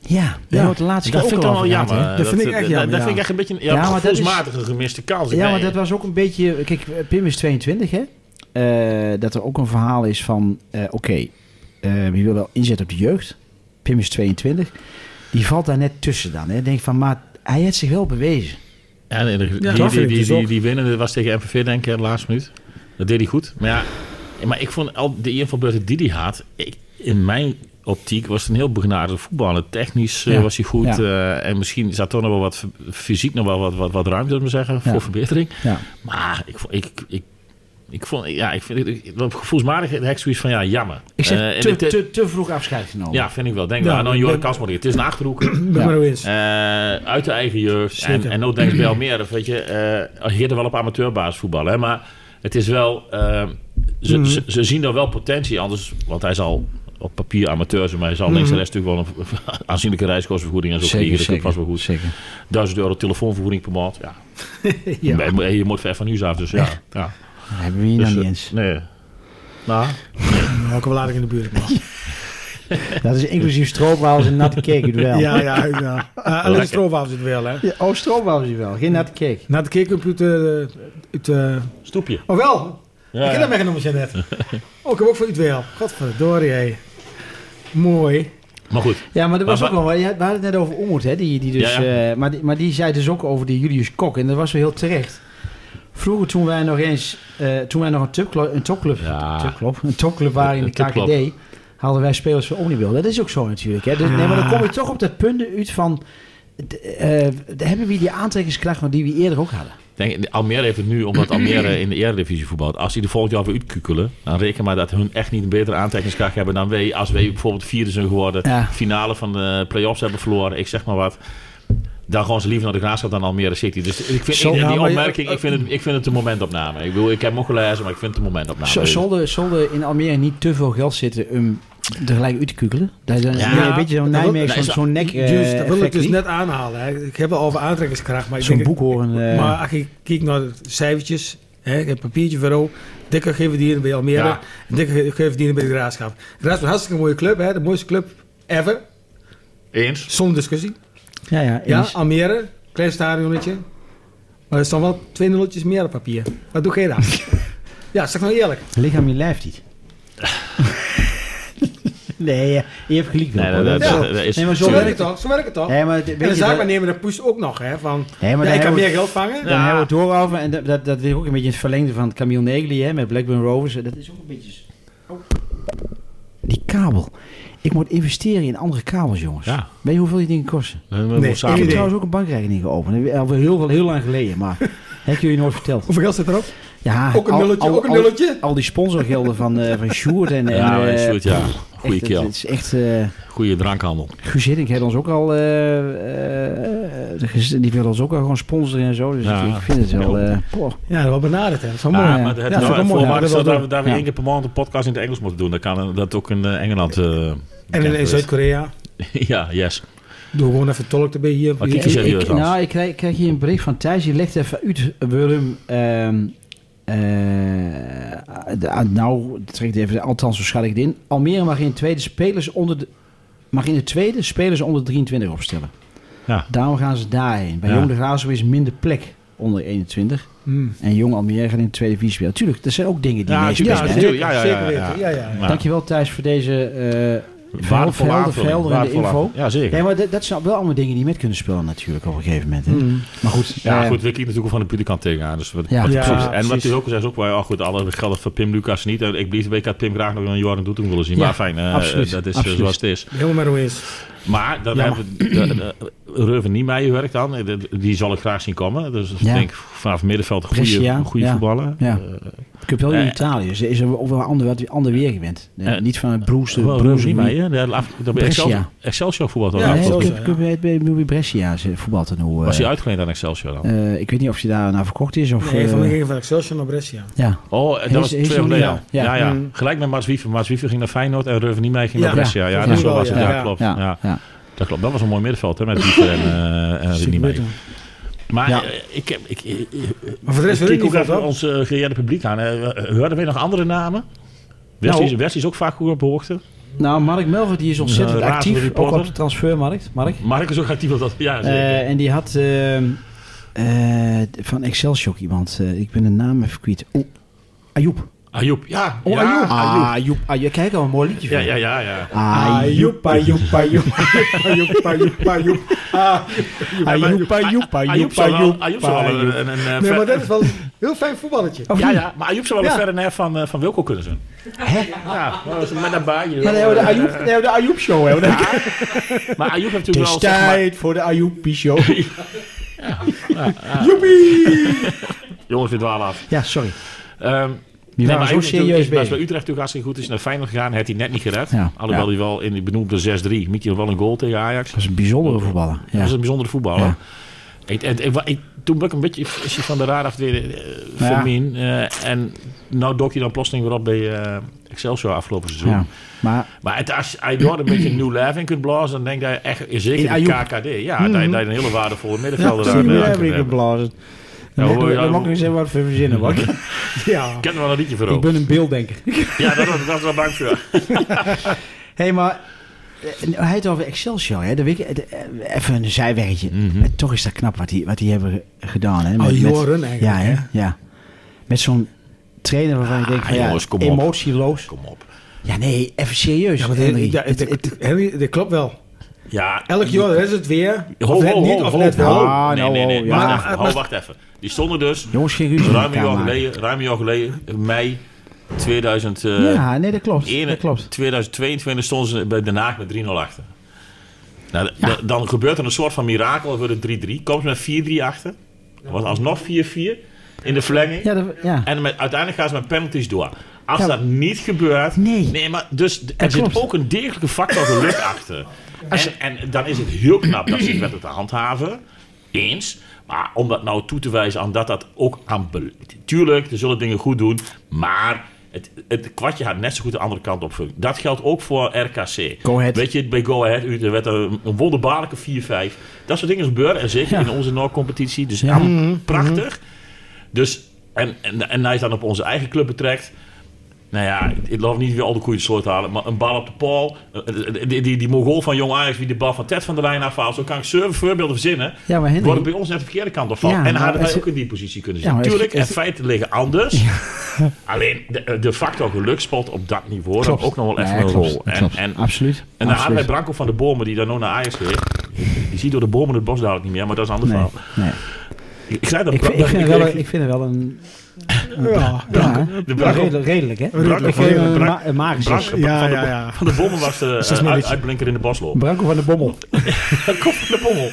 Speaker 2: Ja, daar
Speaker 4: Ja,
Speaker 2: wordt de laatste keer
Speaker 3: Dat
Speaker 2: ook
Speaker 3: vind ik
Speaker 2: al
Speaker 3: dan wel
Speaker 2: over gehad,
Speaker 3: jammer.
Speaker 2: hè.
Speaker 4: Dat vind ik echt jammer,
Speaker 3: Dat, dat
Speaker 4: ja.
Speaker 3: vind ik echt een beetje een
Speaker 2: Ja,
Speaker 3: ja,
Speaker 2: maar dat is-
Speaker 3: gevoelsmatige gemiste kans.
Speaker 2: Ja,
Speaker 3: Nee.
Speaker 2: maar dat was ook een beetje... Kijk, Pim is 22, hè? Eh, dat er ook een verhaal is van... eh, Oké, eh, wie wil wel inzetten op de jeugd? Pim is 22. Die valt daar net tussen dan, hè? Denk van, maar hij heeft zich wel bewezen.
Speaker 3: Ja, nee, de-
Speaker 4: dat
Speaker 3: die,
Speaker 4: vind ik
Speaker 3: die, die,
Speaker 4: dus ook.
Speaker 3: die, die winnende was tegen MVV, denk ik, de laatste minuut. Dat deed hij goed. Maar ja, maar ik vond al de invalbeurten die hij had... Ik, in mijn optiek was het een heel begnadigde voetballer. Technisch eh,
Speaker 2: Ja.
Speaker 3: was hij goed.
Speaker 2: Ja.
Speaker 3: eh, en misschien zat toch nog wel wat... f- fysiek nog wel wat, wat, wat ruimte, zullen we zeggen,
Speaker 2: Ja.
Speaker 3: voor verbetering.
Speaker 2: Ja.
Speaker 3: Maar ik, vond- ik, ik, ik vond... Ja, ik vind... Ik, op gevoelsmatig heb ik zoiets van, ja, jammer.
Speaker 2: Ik zeg,
Speaker 3: Eh, en
Speaker 2: te,
Speaker 3: het-
Speaker 2: te, te vroeg afscheid genomen.
Speaker 3: Ja, vind ik wel. Denk
Speaker 4: Ja,
Speaker 3: wel. En dan
Speaker 4: ik
Speaker 3: Jorik
Speaker 4: ben-
Speaker 3: Kasmer. Het is een Achterhoek.
Speaker 4: Ben
Speaker 2: Ja.
Speaker 4: maar hoe eens.
Speaker 3: Eh, uit de eigen jeugd. En,
Speaker 4: Zeker.
Speaker 3: en ook denk ik bij Almere, weet je, eh je gaat er wel op amateurbasis voetballen. Hè, maar het is wel, eh, ze,
Speaker 4: Mhm.
Speaker 3: ze, ze zien daar wel potentie. Anders, want hij zal op papier amateur zijn, maar hij zal
Speaker 4: Mhm.
Speaker 3: links en rechts natuurlijk wel een aanzienlijke reiskostenvergoeding en zo
Speaker 2: Zeker,
Speaker 3: krijgen. Dus dat
Speaker 2: zeker,
Speaker 3: was wel goed.
Speaker 2: zeker.
Speaker 3: 1000 euro telefoonvergoeding per maand. Ja.
Speaker 4: Ja.
Speaker 3: Nee, maar Je moet ver van huis af, dus ja. ja.
Speaker 2: Dat hebben we hier
Speaker 3: Dus,
Speaker 2: nog niet
Speaker 3: eh,
Speaker 2: eens.
Speaker 3: nee. Nou,
Speaker 4: Nou, ik wel aardig in de buurt. man.
Speaker 2: Dat is inclusief stroopwafels en natte cake het wel.
Speaker 4: Ja, ja, ja. Eh, alleen de
Speaker 3: Lekker.
Speaker 4: stroopwafels het wel, hè.
Speaker 2: Ja, Oh, stroopwafels wel. Geen natte cake.
Speaker 4: Na de keercomputer... eh, uit, eh,
Speaker 3: stoepje.
Speaker 4: oh, wel.
Speaker 3: Ja,
Speaker 4: ik heb
Speaker 3: ja.
Speaker 4: dat meegenomen, Janet. oh, ik heb ook voor u het wel. Godverdorie, hé. Mooi.
Speaker 3: Maar goed,
Speaker 2: Ja, maar dat was
Speaker 3: Maar
Speaker 2: ook wel... We hadden het net over Ommoed, hè. Die, die dus,
Speaker 3: Ja, ja.
Speaker 2: eh, maar, die, maar die zei dus ook over die Julius Kok. En dat was wel heel terecht. Vroeger toen wij nog eens... eh, toen wij nog een topclub, een topclub,
Speaker 3: Ja.
Speaker 2: topclub, een topclub waren in de
Speaker 3: Een topclub.
Speaker 2: KKD... hadden wij spelers van Omnibuil. Dat is ook zo natuurlijk, hè. Dus, nee, maar dan kom je toch op dat punt uit van... d- eh, hebben we die aantrekkingskracht nog die we eerder ook hadden?
Speaker 3: Denk, Almere heeft het nu, omdat Almere in de Eredivisie voetbalt. Als die de volgend jaar weer uitkukelen, dan reken maar dat hun echt niet een betere aantrekkingskracht hebben dan wij. Als wij bijvoorbeeld vierde zijn geworden,
Speaker 2: Ja.
Speaker 3: finale van de play-offs hebben verloren, ik zeg maar wat. Dan gewoon ze liever naar de Graafschap dan Almere City. Dus ik vind
Speaker 4: Zo,
Speaker 3: die-
Speaker 4: ja,
Speaker 3: die
Speaker 4: maar je-
Speaker 3: opmerking, ik vind, het, ik vind het een momentopname. Ik bedoel, ik heb hem ook gelezen, maar ik vind het een momentopname.
Speaker 2: Zo- Zolder, zolder in Almere niet te veel geld zitten om tegelijk uit te kukelen. Dat is dan
Speaker 3: Ja.
Speaker 2: ja, een beetje zo'n
Speaker 4: Dat wil-
Speaker 2: Nijmegen, zo'n
Speaker 3: dat is-
Speaker 2: zo'n nek eh,
Speaker 4: Juist, dat wil ik
Speaker 2: effect
Speaker 4: dus
Speaker 2: niet.
Speaker 4: net aanhalen. Hè. Ik heb wel over aantrekkingskracht, maar ik
Speaker 2: Zo'n
Speaker 4: denk-
Speaker 2: boek horen. eh,
Speaker 4: Maar als je kijkt naar de cijfertjes, hè, ik heb een papiertje voor jou. Dikker geven dieren bij Almere.
Speaker 3: Ja.
Speaker 4: En dikker ge- geven dieren bij de Graafschap. De Graafschap is een hartstikke mooie club, hè, de mooiste club ever.
Speaker 3: Eens.
Speaker 4: Zonder discussie.
Speaker 2: ja, ja,
Speaker 4: Ja,
Speaker 2: eens.
Speaker 4: Almere, klein stadionnetje. Maar er staan wel twee nulletjes meer op papier. Wat doe jij dan? ja, zeg nou eerlijk.
Speaker 2: Lichaam je lijf niet. nee, ja, je hebt gelijk.
Speaker 3: Nee,
Speaker 2: Wilco,
Speaker 3: dat-
Speaker 2: dat is
Speaker 3: dat- dat-
Speaker 2: zo.
Speaker 3: dat is-
Speaker 2: Nee, maar
Speaker 4: Zo
Speaker 2: zo
Speaker 4: werkt
Speaker 2: werkt
Speaker 4: het toch? Zo werkt het toch?
Speaker 2: Nee, maar het- weet
Speaker 4: en
Speaker 2: je,
Speaker 4: de
Speaker 2: dat-
Speaker 4: zaakwaarnemer pusht ook nog, hè, van...
Speaker 2: Nee, maar
Speaker 4: ja,
Speaker 2: daar
Speaker 4: ik kan
Speaker 2: hebben we-
Speaker 4: meer geld vangen.
Speaker 2: Dan hebben we het daarover. En dat, dat, dat is ook een beetje het verlengde van Camille Negli hè, met Blackburn Rovers. Dat is ook een beetje... s- Oh. Die kabel. Ik moet investeren in andere kabels, jongens.
Speaker 3: Ja.
Speaker 2: Weet je hoeveel die dingen kosten?
Speaker 4: Nee,
Speaker 2: Ik
Speaker 4: Geen
Speaker 2: heb
Speaker 4: idee.
Speaker 2: trouwens ook een bankrekening geopend. Alweer heel, heel, heel lang geleden, maar heb je je nooit verteld.
Speaker 4: Hoeveel geld zit erop?
Speaker 2: Ja,
Speaker 4: Ook een
Speaker 2: al-
Speaker 4: nulletje,
Speaker 2: al-
Speaker 4: ook een
Speaker 2: al-
Speaker 4: nulletje.
Speaker 2: Al die sponsorgelden van, eh van Sjoerd en... en,
Speaker 3: Ja,
Speaker 2: eh,
Speaker 3: eh, Sjoerd, ja.
Speaker 2: echt,
Speaker 3: Goeie
Speaker 2: Het
Speaker 3: keel.
Speaker 2: is echt... eh
Speaker 3: Goeie drankhandel.
Speaker 2: Guus Hiddink heeft ons ook al... eh, eh, eh, gez- die wil ons ook al gewoon sponsoren en zo. Dus
Speaker 3: Ja.
Speaker 2: ik, ik vind het wel... eh poh.
Speaker 4: Ja, wel benaderd, hè. Dat is wel
Speaker 2: Ja,
Speaker 4: mooi.
Speaker 3: Ja,
Speaker 2: ja.
Speaker 3: maar het
Speaker 4: Ja,
Speaker 3: ja,
Speaker 4: dat is ook mooi. Ja,
Speaker 3: voorwaarde
Speaker 4: dat
Speaker 3: is
Speaker 4: wil
Speaker 3: dat,
Speaker 4: doen.
Speaker 3: we- dat we
Speaker 2: Ja.
Speaker 3: één keer per maand een podcast in het Engels moeten doen. Dan kan dat ook in eh, Engeland. eh,
Speaker 4: En
Speaker 3: bekend
Speaker 4: in, in
Speaker 3: wordt.
Speaker 4: Zuid-Korea.
Speaker 3: ja, yes.
Speaker 4: Doe gewoon even tolk erbij hier.
Speaker 3: Maar
Speaker 4: hier.
Speaker 3: kijk eens,
Speaker 2: Ik-
Speaker 3: serieus
Speaker 2: ik-
Speaker 3: als.
Speaker 2: Nou, ik krijg, ik krijg hier een bericht van Thijs. Die legt even uit waarom... ehm eh, de- nou, trek het even, althans, zo schat ik het in. Almere mag in de tweede spelers onder de, mag in de tweede spelers onder 23 opstellen.
Speaker 3: Ja.
Speaker 2: Daarom gaan ze daarheen. Bij
Speaker 3: Ja.
Speaker 2: Jong de Graafschap is minder plek onder 21.
Speaker 4: Hmm.
Speaker 2: En Jong Almere gaat in de tweede visie spelen. Tuurlijk, dat zijn ook dingen die
Speaker 3: Ja,
Speaker 2: meespelen.
Speaker 3: tuurlijk,
Speaker 2: hè?
Speaker 3: ja,
Speaker 4: zeker,
Speaker 3: ja, ja,
Speaker 4: zeker
Speaker 3: ja,
Speaker 4: weten. Ja, ja.
Speaker 3: Ja.
Speaker 2: Dankjewel Thijs voor deze eh
Speaker 3: Waardevolle
Speaker 2: helder,
Speaker 3: aanvulling,
Speaker 2: helderende
Speaker 3: waardevolle
Speaker 2: info.
Speaker 3: aanvulling. Ja, zeker.
Speaker 2: Nee, maar dat, dat zijn wel allemaal dingen die met kunnen spelen natuurlijk op een gegeven moment. Hè?
Speaker 4: Hmm.
Speaker 2: Maar goed.
Speaker 3: Ja,
Speaker 2: eh,
Speaker 3: goed, we kiezen natuurlijk ook van de buitenkant tegenaan. Dus wat,
Speaker 2: Ja,
Speaker 3: wat-
Speaker 4: ja,
Speaker 3: precies. En
Speaker 2: precies.
Speaker 3: wat u ook zei, is ook wel, oh goed, alle gelden van Pim Lucas niet. En Ik blieft ik had Pim graag nog een Jordan Doeting willen zien.
Speaker 2: Ja,
Speaker 3: maar fijn, eh,
Speaker 2: absoluut,
Speaker 3: dat is eh,
Speaker 2: absoluut.
Speaker 3: zoals het is.
Speaker 4: Helemaal met hoe eens.
Speaker 3: Maar dan
Speaker 2: Jammer.
Speaker 3: hebben we de- de- Reuven Niemeyer werkt dan. Eh, de- Die zal ik graag zien komen. Dus ik
Speaker 2: Ja.
Speaker 3: denk vanaf middenveld een goede,
Speaker 2: Brescia,
Speaker 3: een goede
Speaker 2: ja.
Speaker 3: voetballer.
Speaker 2: Ja. Ik heb wel in
Speaker 3: Eh,
Speaker 2: Italië. Ze is er over een ander, wat- ander weer gewend. Eh,
Speaker 3: Eh,
Speaker 2: niet van het broes,
Speaker 3: Wel,
Speaker 2: broes
Speaker 3: Reuven Niemeyer. Ja, de af- Dat bij
Speaker 2: Brescia.
Speaker 3: Excelsior, Excelsior voetbal.
Speaker 4: Ja,
Speaker 2: Ja,
Speaker 4: zo,
Speaker 2: ik
Speaker 4: zo,
Speaker 2: heb- ik heb bij- bij Ruby Brescia ze voetbal te doen.
Speaker 3: Was hij uitgeleend aan Excelsior dan?
Speaker 2: ik weet niet of hij daar naar verkocht is of.
Speaker 4: Nee,
Speaker 2: eh,
Speaker 4: van mij ging van Excelsior naar Brescia.
Speaker 2: ja.
Speaker 3: Oh, eh,
Speaker 2: Hij
Speaker 3: dat
Speaker 2: is-
Speaker 3: was
Speaker 2: hij is
Speaker 3: twee jaar
Speaker 2: nog
Speaker 3: geleden.
Speaker 2: niet, ja.
Speaker 3: Ja, ja.
Speaker 4: Mm.
Speaker 3: Gelijk met Maas Wiever. Maas Wiever ging naar Feyenoord en Reuven Niemeyer ging
Speaker 4: Ja.
Speaker 3: naar Brescia.
Speaker 4: Ja,
Speaker 3: Ja,
Speaker 4: dat
Speaker 3: dat
Speaker 4: is
Speaker 3: zo
Speaker 4: wel,
Speaker 3: was het.
Speaker 4: ja.
Speaker 3: Ja,
Speaker 4: Ja.
Speaker 3: klopt.
Speaker 2: Ja,
Speaker 3: Ja.
Speaker 2: ja.
Speaker 3: Dat klopt. Dat was een mooi middenveld hè, met Wiever en, eh en Niemeyer. Maar
Speaker 2: Ja.
Speaker 3: eh, ik, heb- ik, ik,
Speaker 4: Maar voor de rest wil ik
Speaker 3: kijk
Speaker 4: niet
Speaker 3: ook even
Speaker 4: van
Speaker 3: ons eh geëerde publiek aan. Hoorden hoorden we nog andere namen? West
Speaker 2: Nou.
Speaker 3: is, West is ook vaak goed op de hoogte.
Speaker 2: Nou, Mark Melver die is ontzettend
Speaker 3: Een razende
Speaker 2: actief. Ook
Speaker 3: reporter.
Speaker 2: op de transfermarkt. Mark.
Speaker 3: Mark is ook actief op dat. Ja, zeker.
Speaker 2: Eh, en die had ehm, eh, van Excelsior iemand. eh, ik ben de naam even kwijt. Oh, Ayoub.
Speaker 3: Ayoub. Ja, Ah,
Speaker 2: Oh,
Speaker 3: ja,
Speaker 2: Ayoub. Ah, Ayoub. Ayoub. Kijk al een mooi liedje.
Speaker 3: Ja,
Speaker 2: van.
Speaker 3: ja, ja, ja.
Speaker 2: Ayoub.
Speaker 4: Ajoep, ajoep, ajoep, ajoep, ajoep. Ah,
Speaker 2: Ayoub. Ayoub.
Speaker 3: Ayoub
Speaker 2: Ayoub.
Speaker 3: zou wel-
Speaker 2: Ayoub.
Speaker 3: Ayoub zou wel een- een- een, eh,
Speaker 4: Nee,
Speaker 3: ver-
Speaker 4: maar dat is wel Oh, een heel fijn voetballetje.
Speaker 2: Of
Speaker 3: Ja,
Speaker 2: niet?
Speaker 3: ja, maar Ayoub zou wel
Speaker 4: Ja.
Speaker 3: een verre neer van, eh, van Wilco kunnen zijn. Ja, maar dat is met een baai.
Speaker 2: Ja, dan hebben we de Ayoub- dan hebben we de Ayoub-show. hè.
Speaker 3: Maar Ayoub heeft
Speaker 2: Het
Speaker 3: natuurlijk
Speaker 2: is
Speaker 3: wel... zeg maar-
Speaker 2: tijd voor de Ayoub-show.
Speaker 3: jongens, we dwalen af.
Speaker 2: Ja, sorry. Die
Speaker 3: Ehm, nee,
Speaker 2: waren
Speaker 3: maar
Speaker 2: zo
Speaker 3: Ayoub natuurlijk
Speaker 2: serieus
Speaker 3: is best bij
Speaker 2: bezig.
Speaker 3: Utrecht natuurlijk hartstikke goed is naar Feyenoord gegaan. Heeft hij net niet gered.
Speaker 2: Ja.
Speaker 3: Alhoewel hij wel in die benoemde 6-3. Mietje nog wel een goal tegen Ajax.
Speaker 2: Dat is een bijzondere voetballer.
Speaker 3: Dat
Speaker 2: Ja.
Speaker 3: was een bijzondere voetballer.
Speaker 2: Ja.
Speaker 3: Ik, en- ik, wa- ik- toen ben ik een beetje is hij van de raar af weer eh, van
Speaker 2: Ja.
Speaker 3: min. Eh, en nou dook je dan plotseling weer op bij eh, Excelsior afgelopen seizoen.
Speaker 2: Ja. Maar
Speaker 3: Maar het, als je door een beetje nieuw leven in kunt blazen, dan denk je echt eh,
Speaker 2: In
Speaker 3: zeker in de
Speaker 2: Ayoub.
Speaker 3: KKD. Ja, dat, je, dat je een hele waardevolle middenvelder
Speaker 2: zie
Speaker 3: aan,
Speaker 2: je
Speaker 3: aan kunt
Speaker 2: weer
Speaker 3: hebben.
Speaker 2: geblazen.
Speaker 3: Ja,
Speaker 2: Dan
Speaker 3: hoor
Speaker 2: mag
Speaker 3: je
Speaker 2: ik- dan
Speaker 3: dan-
Speaker 2: mag ik eens even wat voor verzinnen. Bak.
Speaker 4: Ja.
Speaker 3: Ik ken er wel een liedje voor
Speaker 2: Ik
Speaker 3: ook.
Speaker 2: ben een beelddenker.
Speaker 3: Ja, dat, dat, dat is wel bang voor.
Speaker 2: Hé, hey, maar eh, nou, hij had het over Excelsior, hè? De week, eh, de- eh, even een zijweggetje. En toch is dat knap wat die, wat die hebben ge- gedaan, hè?
Speaker 4: Al jaren eigenlijk,
Speaker 2: Ja, hè?
Speaker 4: hè?
Speaker 2: Ja. Met zo'n trainer waarvan ik denk van, ja,
Speaker 3: jongens, kom op.
Speaker 2: emotieloos.
Speaker 3: Kom op.
Speaker 2: Ja, nee, even serieus,
Speaker 4: Ja,
Speaker 2: ja,
Speaker 4: maar dat-
Speaker 2: Henry.
Speaker 4: ja,
Speaker 2: Het-
Speaker 4: het-
Speaker 2: het-
Speaker 4: het- Henry, dat klopt wel.
Speaker 3: Ja,
Speaker 4: Elk jaar is het weer.
Speaker 3: ho,
Speaker 4: Of net
Speaker 3: ho,
Speaker 4: niet,
Speaker 3: ho,
Speaker 4: of
Speaker 3: ho,
Speaker 4: net
Speaker 3: ho.
Speaker 4: wel.
Speaker 2: Ah,
Speaker 3: nee,
Speaker 2: nou,
Speaker 3: nee, nee.
Speaker 2: ho,
Speaker 3: Wacht
Speaker 4: ja.
Speaker 3: even.
Speaker 4: Maar-
Speaker 3: ho,
Speaker 4: maar-
Speaker 3: wacht even. Die stonden dus
Speaker 2: Jongens, geen ruzie met
Speaker 3: ruim een
Speaker 2: elkaar
Speaker 3: jaar
Speaker 2: maken.
Speaker 3: geleden, ruim een jaar geleden, in mei 2000, eh,
Speaker 2: Ja, nee, dat klopt. dat klopt.
Speaker 3: 2022 stonden ze bij Den Haag met 3-0 achter. Nou, d- d- dan gebeurt er een soort van mirakel voor de 3-3. Komt ze met 4-3 achter. Was alsnog 4-4 in de verlenging.
Speaker 2: Ja, dat, ja.
Speaker 3: En met, uiteindelijk gaan ze met penalties door. Als
Speaker 2: Ja.
Speaker 3: dat niet gebeurt...
Speaker 2: Nee.
Speaker 3: maar dus d- er
Speaker 2: Dat
Speaker 3: zit
Speaker 2: klopt.
Speaker 3: ook een degelijke factor geluk achter. En, en dan is het heel knap dat ze het met het handhaven. Eens. Maar om dat nou toe te wijzen aan dat dat ook aan... bel- Tuurlijk, ze zullen dingen goed doen. Maar Het, het kwartje had net zo goed de andere kant op. Dat geldt ook voor RKC.
Speaker 2: Go Ahead.
Speaker 3: Weet je, bij Go Ahead Utrecht werd er een, een wonderbaarlijke 4-5. Dat soort dingen gebeuren. En zeker
Speaker 2: Ja.
Speaker 3: in onze Noord-competitie. Dus
Speaker 2: Ja.
Speaker 3: allemaal prachtig. Dus, en, en, en hij is dan op onze eigen club betrekt. Nou ja, ik geloof niet weer al de koeien de soort halen. Maar een bal op de paal. eh, eh, Die, die, die Mongool van Jong Ajax die de bal van Ted van der Lijn afhaalt. Zo kan ik zeven voorbeelden verzinnen.
Speaker 2: Ja, maar Henry-
Speaker 3: Wordt het bij ons net de verkeerde kant op
Speaker 2: Ja,
Speaker 3: en
Speaker 2: maar
Speaker 3: hadden wij
Speaker 2: het-
Speaker 3: ook in die positie kunnen
Speaker 2: Ja,
Speaker 3: zitten.
Speaker 2: maar het-
Speaker 3: Tuurlijk, en
Speaker 2: het-
Speaker 3: feiten liggen anders. Alleen de, eh, de factor geluk speelt op dat niveau dan
Speaker 2: Klopt.
Speaker 3: ook nog wel even
Speaker 2: Nee,
Speaker 3: een
Speaker 2: klopt,
Speaker 3: rol. En,
Speaker 2: klopt.
Speaker 3: en,
Speaker 2: absoluut.
Speaker 3: en dan hadden wij
Speaker 2: absoluut.
Speaker 3: Branko van de Bomen, die dan ook naar Ajax ging. Je ziet door de bomen het bos dadelijk niet meer, maar dat is een ander
Speaker 2: Nee,
Speaker 3: verhaal.
Speaker 2: nee.
Speaker 3: Ik, ik zei dat
Speaker 2: Ik, vind- ik,
Speaker 3: dat-
Speaker 2: vind
Speaker 3: ik-
Speaker 2: er wel
Speaker 3: ik-
Speaker 2: een, ik vind er wel een...
Speaker 4: Ja,
Speaker 2: Ja, hè?
Speaker 3: de
Speaker 2: Ja,
Speaker 3: Branko,
Speaker 2: redelijk, redelijk, hè?
Speaker 4: Redelijk.
Speaker 2: Ik geef hem een,
Speaker 3: Brak-
Speaker 2: ma een magische
Speaker 3: Brak-
Speaker 2: zes.
Speaker 4: ja,
Speaker 3: van, de,
Speaker 4: ja, ja.
Speaker 3: van de Bommen was de eh,
Speaker 4: Zesmannetje.
Speaker 3: uit- uitblinker in de bosloop.
Speaker 2: Branko van de Bommel.
Speaker 3: Kop van de Bommel.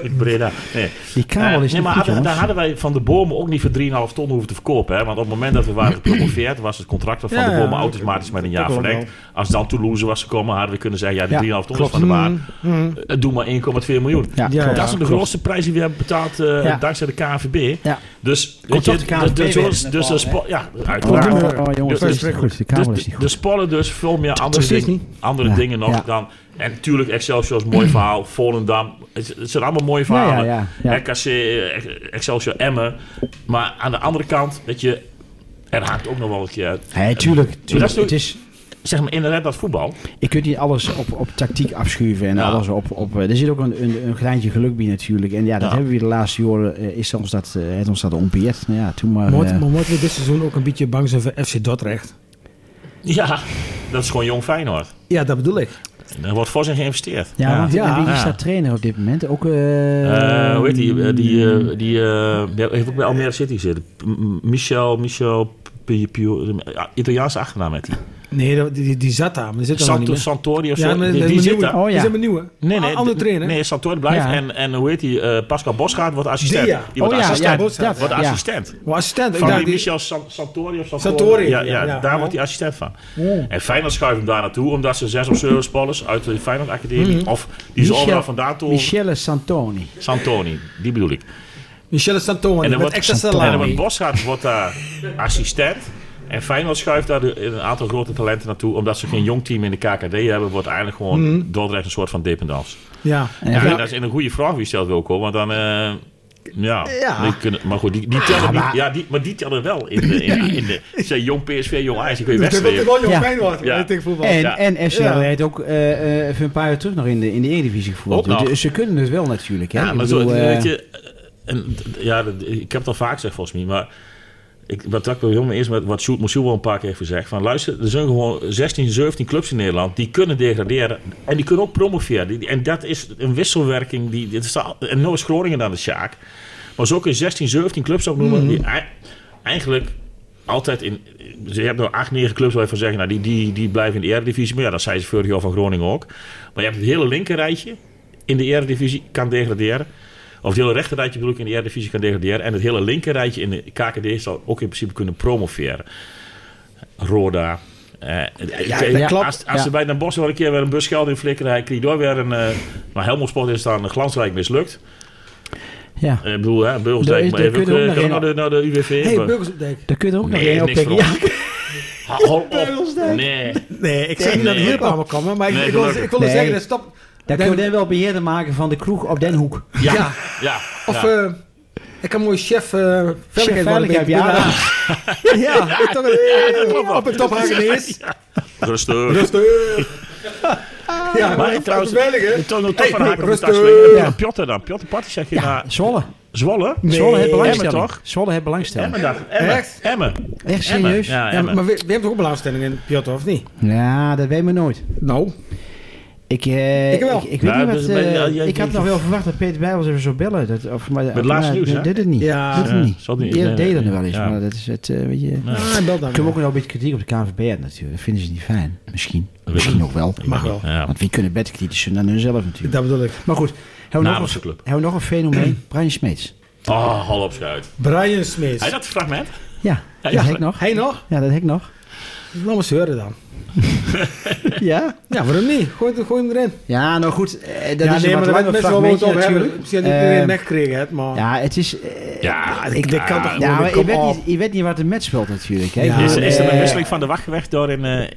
Speaker 3: Ik Breda. Nee.
Speaker 2: Die kabel
Speaker 3: Eh,
Speaker 2: is
Speaker 3: nee,
Speaker 2: niet
Speaker 3: maar
Speaker 2: goed,
Speaker 3: hadden- daar
Speaker 2: jongens.
Speaker 3: hadden wij van de bomen ook niet voor 3,5 ton hoeven te verkopen. Hè? Want op het moment dat we waren gepromoveerd, was het contract van
Speaker 4: Ja,
Speaker 3: de
Speaker 4: ja,
Speaker 3: bomen
Speaker 4: dat-
Speaker 3: automatisch met een
Speaker 4: dat
Speaker 3: jaar
Speaker 4: klopt
Speaker 3: verlengd. Als dan Toulouse was gekomen, hadden we kunnen zeggen: ja, die
Speaker 2: Ja,
Speaker 3: 3,5 ton is
Speaker 2: klopt.
Speaker 3: van de baan.
Speaker 4: Mm.
Speaker 3: Eh, Doe maar 1,2 miljoen.
Speaker 2: Ja,
Speaker 4: Ja,
Speaker 2: klopt.
Speaker 3: dat is de
Speaker 2: Klopt.
Speaker 3: grootste prijs die we hebben betaald eh,
Speaker 2: Ja.
Speaker 3: dankzij de KNVB.
Speaker 2: Ja.
Speaker 3: Dus
Speaker 2: Komt
Speaker 3: weet
Speaker 2: toch
Speaker 3: je,
Speaker 2: de KNVB
Speaker 3: dus,
Speaker 2: weer in
Speaker 3: dus,
Speaker 2: de
Speaker 3: dus,
Speaker 2: bal,
Speaker 3: de spo- ja,
Speaker 2: Oh,
Speaker 3: uiteraard.
Speaker 2: oh, oh, jongens,
Speaker 3: Dus-
Speaker 2: dat is niet goed. Die
Speaker 3: Dus
Speaker 2: kabel is
Speaker 3: de,
Speaker 2: niet
Speaker 3: de
Speaker 2: goed.
Speaker 3: spullen dus veel meer andere,
Speaker 4: steeds
Speaker 3: dingen- andere
Speaker 2: Ja,
Speaker 3: dingen nog
Speaker 2: ja.
Speaker 3: dan. En natuurlijk Excelsior is een mooi verhaal. Volendam. Het, het zijn allemaal mooie verhalen.
Speaker 2: ja, ja.
Speaker 3: RKC, eh, Excelsior, Emmen. Maar aan de andere kant, weet je... Er haakt ook nog wel een keer uit.
Speaker 2: Nee, tuurlijk.
Speaker 3: dat
Speaker 2: tuurlijk.
Speaker 3: is toch-
Speaker 2: Het is,
Speaker 3: Zeg maar inderdaad dat voetbal.
Speaker 2: je kunt niet alles op, op tactiek afschuiven en
Speaker 3: Ja.
Speaker 2: alles op, op... eh, Er zit ook een, een, een greintje geluk bij natuurlijk. En ja, dat
Speaker 3: Ja.
Speaker 2: hebben we de laatste jaren... eh, Is ons dat, eh, het ons dat ontbeerd. Nou ja, toen maar...
Speaker 4: Maar moeten-
Speaker 2: eh,
Speaker 4: maar moeten we dit seizoen ook een beetje bang zijn voor FC Dordrecht?
Speaker 3: Ja, dat is gewoon jong Feyenoord.
Speaker 4: Ja, dat bedoel ik.
Speaker 3: Er wordt voor zijn geïnvesteerd.
Speaker 2: ja, want
Speaker 4: Ja.
Speaker 2: en wie
Speaker 3: Ja.
Speaker 2: staat trainer op dit moment? Ook... eh
Speaker 3: Eh, hoe heet die? eh, Die, eh, die eh, die heeft ook bij Almere City zitten. M- Michel, Michel... Pio- Pio- ja, Italiaanse achternaam met die.
Speaker 4: Nee, dat- die, die, die zat daar, maar die zit er nog niet
Speaker 3: Santo,
Speaker 4: meer.
Speaker 3: Santori of zo.
Speaker 4: maar
Speaker 3: die
Speaker 4: dat
Speaker 3: die
Speaker 4: is
Speaker 3: zit
Speaker 4: mijn
Speaker 3: daar.
Speaker 4: nieuwe.
Speaker 2: Oh, ja.
Speaker 4: Die zijn nieuwe.
Speaker 3: Nee, nee.
Speaker 4: Een andere
Speaker 3: d-
Speaker 4: trainer.
Speaker 3: Nee, Santori blijft.
Speaker 2: Ja.
Speaker 3: En, en hoe heet die? eh, Pascal Bosgaard wordt assistent.
Speaker 4: Dia.
Speaker 3: Die wordt
Speaker 2: Oh, ja,
Speaker 3: assistent.
Speaker 2: ja,
Speaker 4: dat,
Speaker 3: wordt
Speaker 2: ja.
Speaker 3: assistent.
Speaker 4: Maar assistent, ik
Speaker 3: Van
Speaker 4: dacht
Speaker 3: die
Speaker 4: die-
Speaker 3: Michel San- Santori of Santori.
Speaker 4: Santori,
Speaker 3: Ja, ja,
Speaker 4: ja,
Speaker 3: daar
Speaker 4: ja.
Speaker 3: wordt hij assistent van.
Speaker 2: Oh.
Speaker 3: En Feyenoord schuift hem daar naartoe, omdat ze zes of zeven spelers uit de Feyenoord Academie, of die ze
Speaker 2: Michel-
Speaker 3: overal vandaan toe,
Speaker 2: Michele Santoni.
Speaker 3: Santoni, die bedoel ik.
Speaker 4: Michelle Santoni
Speaker 3: En dan
Speaker 4: met
Speaker 3: wordt,
Speaker 4: extra
Speaker 3: en dan wordt
Speaker 4: salaris.
Speaker 3: Bosgaard wordt daar assistent. En Feyenoord schuift daar de- een aantal grote talenten naartoe, omdat ze geen jong team in de KKD hebben, wordt eigenlijk gewoon Dordrecht een soort van dependance.
Speaker 4: Ja.
Speaker 2: Ja,
Speaker 3: Mhm. Ja,
Speaker 2: ja.
Speaker 3: dat is een goede vraag wie stelt Wilco, want dan... eh, ja,
Speaker 4: Ja.
Speaker 3: die kunnen- maar goed, die, die tellen niet- ja, die, maar die tellen wel in de, in, in de zeg, jong PSV, jong Ajax, die kun je
Speaker 4: Dus dat wordt
Speaker 3: wegstreven.
Speaker 4: wel jong
Speaker 2: Ja.
Speaker 4: Feyenoord.
Speaker 3: Ja.
Speaker 4: hè, tegen voetbal.
Speaker 2: En,
Speaker 3: Ja.
Speaker 2: en FC
Speaker 4: Ja.
Speaker 2: heeft ook eh, eh, even een paar jaar terug nog in de, in de Eredivisie gevoerd.
Speaker 3: Ook nog.
Speaker 2: Dus ze kunnen het wel natuurlijk. Hè?
Speaker 3: Ja,
Speaker 2: Ik
Speaker 3: maar zo,
Speaker 2: bedoel, eh,
Speaker 3: weet je, en, d- ja, dat- ik heb het al vaak gezegd volgens mij, maar ik, wat ik wil helemaal eerst met wat Sjoerd Moussou al een paar keer heeft gezegd, van luister, er zijn gewoon 16, 17 clubs in Nederland die kunnen degraderen en die kunnen ook promoveren. Die- En dat is een wisselwerking, die, dit is al- en nou is Groningen dan de Sjaak. Maar zo kun je 16, 17 clubs
Speaker 2: Mhm.
Speaker 3: opnoemen die ei- eigenlijk altijd in... Ze hebben nog 8, 9 clubs waar je van zeggen, nou, die, die, die blijven in de eredivisie. Maar ja, dat zei ze vorig jaar van Groningen ook. Maar je hebt het hele linkerrijtje in de eredivisie kan degraderen. Of het hele rechterrijtje bedoel ik in de eredivisie kan degraderen. En het hele linkerrijtje in de KKD zal ook in principe kunnen promoveren. Roda. eh, ik-
Speaker 4: dat klopt.
Speaker 3: Als, als
Speaker 2: Ja.
Speaker 3: ze bij Den Bosch wel een keer weer een busgeld in flikkeren, hij kreeg door weer een... eh maar Helmond Sport is dan glansrijk mislukt.
Speaker 2: ja.
Speaker 3: Eh, Ik bedoel, hè,
Speaker 2: Daar
Speaker 3: Beugelsdijk,
Speaker 2: is-
Speaker 3: maar
Speaker 2: daar
Speaker 3: even ook,
Speaker 2: kun je ook
Speaker 3: eh,
Speaker 2: nog
Speaker 3: kan naar de, naar de UWV.
Speaker 4: Hey,
Speaker 3: maar-
Speaker 4: Burgers op dijk.
Speaker 2: Daar kun je er ook nog
Speaker 3: nee,
Speaker 2: één op
Speaker 3: niks
Speaker 2: tegen.
Speaker 3: voor
Speaker 2: Ja,
Speaker 3: ons. Ha, Hou op.
Speaker 4: Beugelsdijk.
Speaker 3: Nee.
Speaker 4: Nee, ik zeg niet
Speaker 3: Nee.
Speaker 4: dat de hulp allemaal komen, maar ik-
Speaker 3: Nee,
Speaker 4: ik wil-
Speaker 3: gelukkig.
Speaker 4: ik wilde
Speaker 2: Nee.
Speaker 4: zeggen, dat stop.
Speaker 2: daar kunnen we dan wel beheerder maken van de kroeg op Den Hoek.
Speaker 3: Ja.
Speaker 4: Ja.
Speaker 3: Ja.
Speaker 4: Of
Speaker 3: ja.
Speaker 4: eh, ik kan mooi chef eh, veiligheid worden.
Speaker 2: veiligheid,
Speaker 4: bij-
Speaker 2: ja.
Speaker 4: Ja, ja, toch een- op een tophaken is.
Speaker 3: Rustig.
Speaker 4: Rustig.
Speaker 3: Maar
Speaker 4: Ja, maar
Speaker 3: trouwens,
Speaker 4: trouwens, veiligheid.
Speaker 3: Toch nog
Speaker 4: Hey,
Speaker 3: toch van haak op de
Speaker 4: rustig.
Speaker 3: tak springen.
Speaker 2: Ja.
Speaker 3: Ja. Piotter dan. Piotter Patti zeg je naar
Speaker 2: Zwolle.
Speaker 3: Zwolle.
Speaker 2: Zwolle heeft
Speaker 4: Emmen
Speaker 2: belangstelling.
Speaker 3: toch?
Speaker 2: Zwolle heeft belangstelling.
Speaker 3: Emmen dan. Emmen.
Speaker 4: Echt?
Speaker 3: Emmen.
Speaker 2: Echt
Speaker 3: Emmen.
Speaker 2: serieus? Ja,
Speaker 3: Ja,
Speaker 4: Ja,
Speaker 3: Emmen.
Speaker 4: maar we, we hebben toch ook belangstelling in Piotr, of niet?
Speaker 2: dat weet men nooit.
Speaker 4: Nou.
Speaker 2: Ik, eh,
Speaker 4: Ik wel.
Speaker 2: Ik, ik weet
Speaker 3: Ja,
Speaker 2: niet wat...
Speaker 3: dus ben-
Speaker 2: eh,
Speaker 3: ja, ja,
Speaker 2: ik had
Speaker 3: ja.
Speaker 2: nog wel verwacht dat Peter Bijbels even zou bellen. Dat, of, maar,
Speaker 3: het laatste
Speaker 2: maar
Speaker 3: nieuws, hè?
Speaker 2: dat Dit het niet.
Speaker 4: Ja.
Speaker 2: Dit het
Speaker 3: Ja,
Speaker 2: niet.
Speaker 3: zal die-
Speaker 2: Eerder
Speaker 3: nee,
Speaker 2: deden
Speaker 3: nee,
Speaker 2: er wel eens.
Speaker 3: ja.
Speaker 2: Maar dat is het, eh, weet je...
Speaker 4: Ah, bel dan.
Speaker 2: Ik heb ook nog een beetje kritiek op de KNVB uit natuurlijk. Dat vinden ze niet fijn. Misschien.
Speaker 3: weet
Speaker 2: Misschien
Speaker 3: ik.
Speaker 2: ook wel.
Speaker 4: Mag wel.
Speaker 3: Ja.
Speaker 2: Want wie kunnen beter kritisch zijn dan hunzelf natuurlijk.
Speaker 4: Dat bedoel ik.
Speaker 2: Maar goed, hebben we, nog
Speaker 3: Namens de
Speaker 2: een,
Speaker 3: club.
Speaker 2: hebben we nog een fenomeen? Brian Smeets.
Speaker 3: Oh, hal op schuit.
Speaker 4: Brian Smith.
Speaker 3: Hij dat fragment?
Speaker 2: Ja,
Speaker 3: Ja,
Speaker 2: dat
Speaker 3: ja.
Speaker 2: heb ik nog.
Speaker 4: Hij nog?
Speaker 2: Ja, dat heb ik nog.
Speaker 4: Laat maar zeuren dan.
Speaker 2: Ja.
Speaker 4: Ja, waarom niet? Gooi, het- gooi hem erin.
Speaker 2: Ja, nou goed. eh, dat
Speaker 4: ja,
Speaker 2: is een wat
Speaker 4: dat
Speaker 2: langer
Speaker 4: mensen wel wat Ehm,
Speaker 2: fragmentje
Speaker 4: op hebben.
Speaker 2: natuurlijk.
Speaker 4: Misschien dat iedereen
Speaker 2: Eh,
Speaker 4: meegekregen hebt, maar...
Speaker 2: ja, het is... eh,
Speaker 3: Ja,
Speaker 4: ik- dit kan toch-
Speaker 2: Ja,
Speaker 4: Kom
Speaker 2: maar je weet,
Speaker 4: op.
Speaker 2: niet, je weet niet wat de match speelt natuurlijk. Hè?
Speaker 4: Ja.
Speaker 2: Ik
Speaker 3: Is,
Speaker 2: bedoel,
Speaker 3: is er
Speaker 2: eh,
Speaker 3: een wisseling van de wacht geweest door in... eh,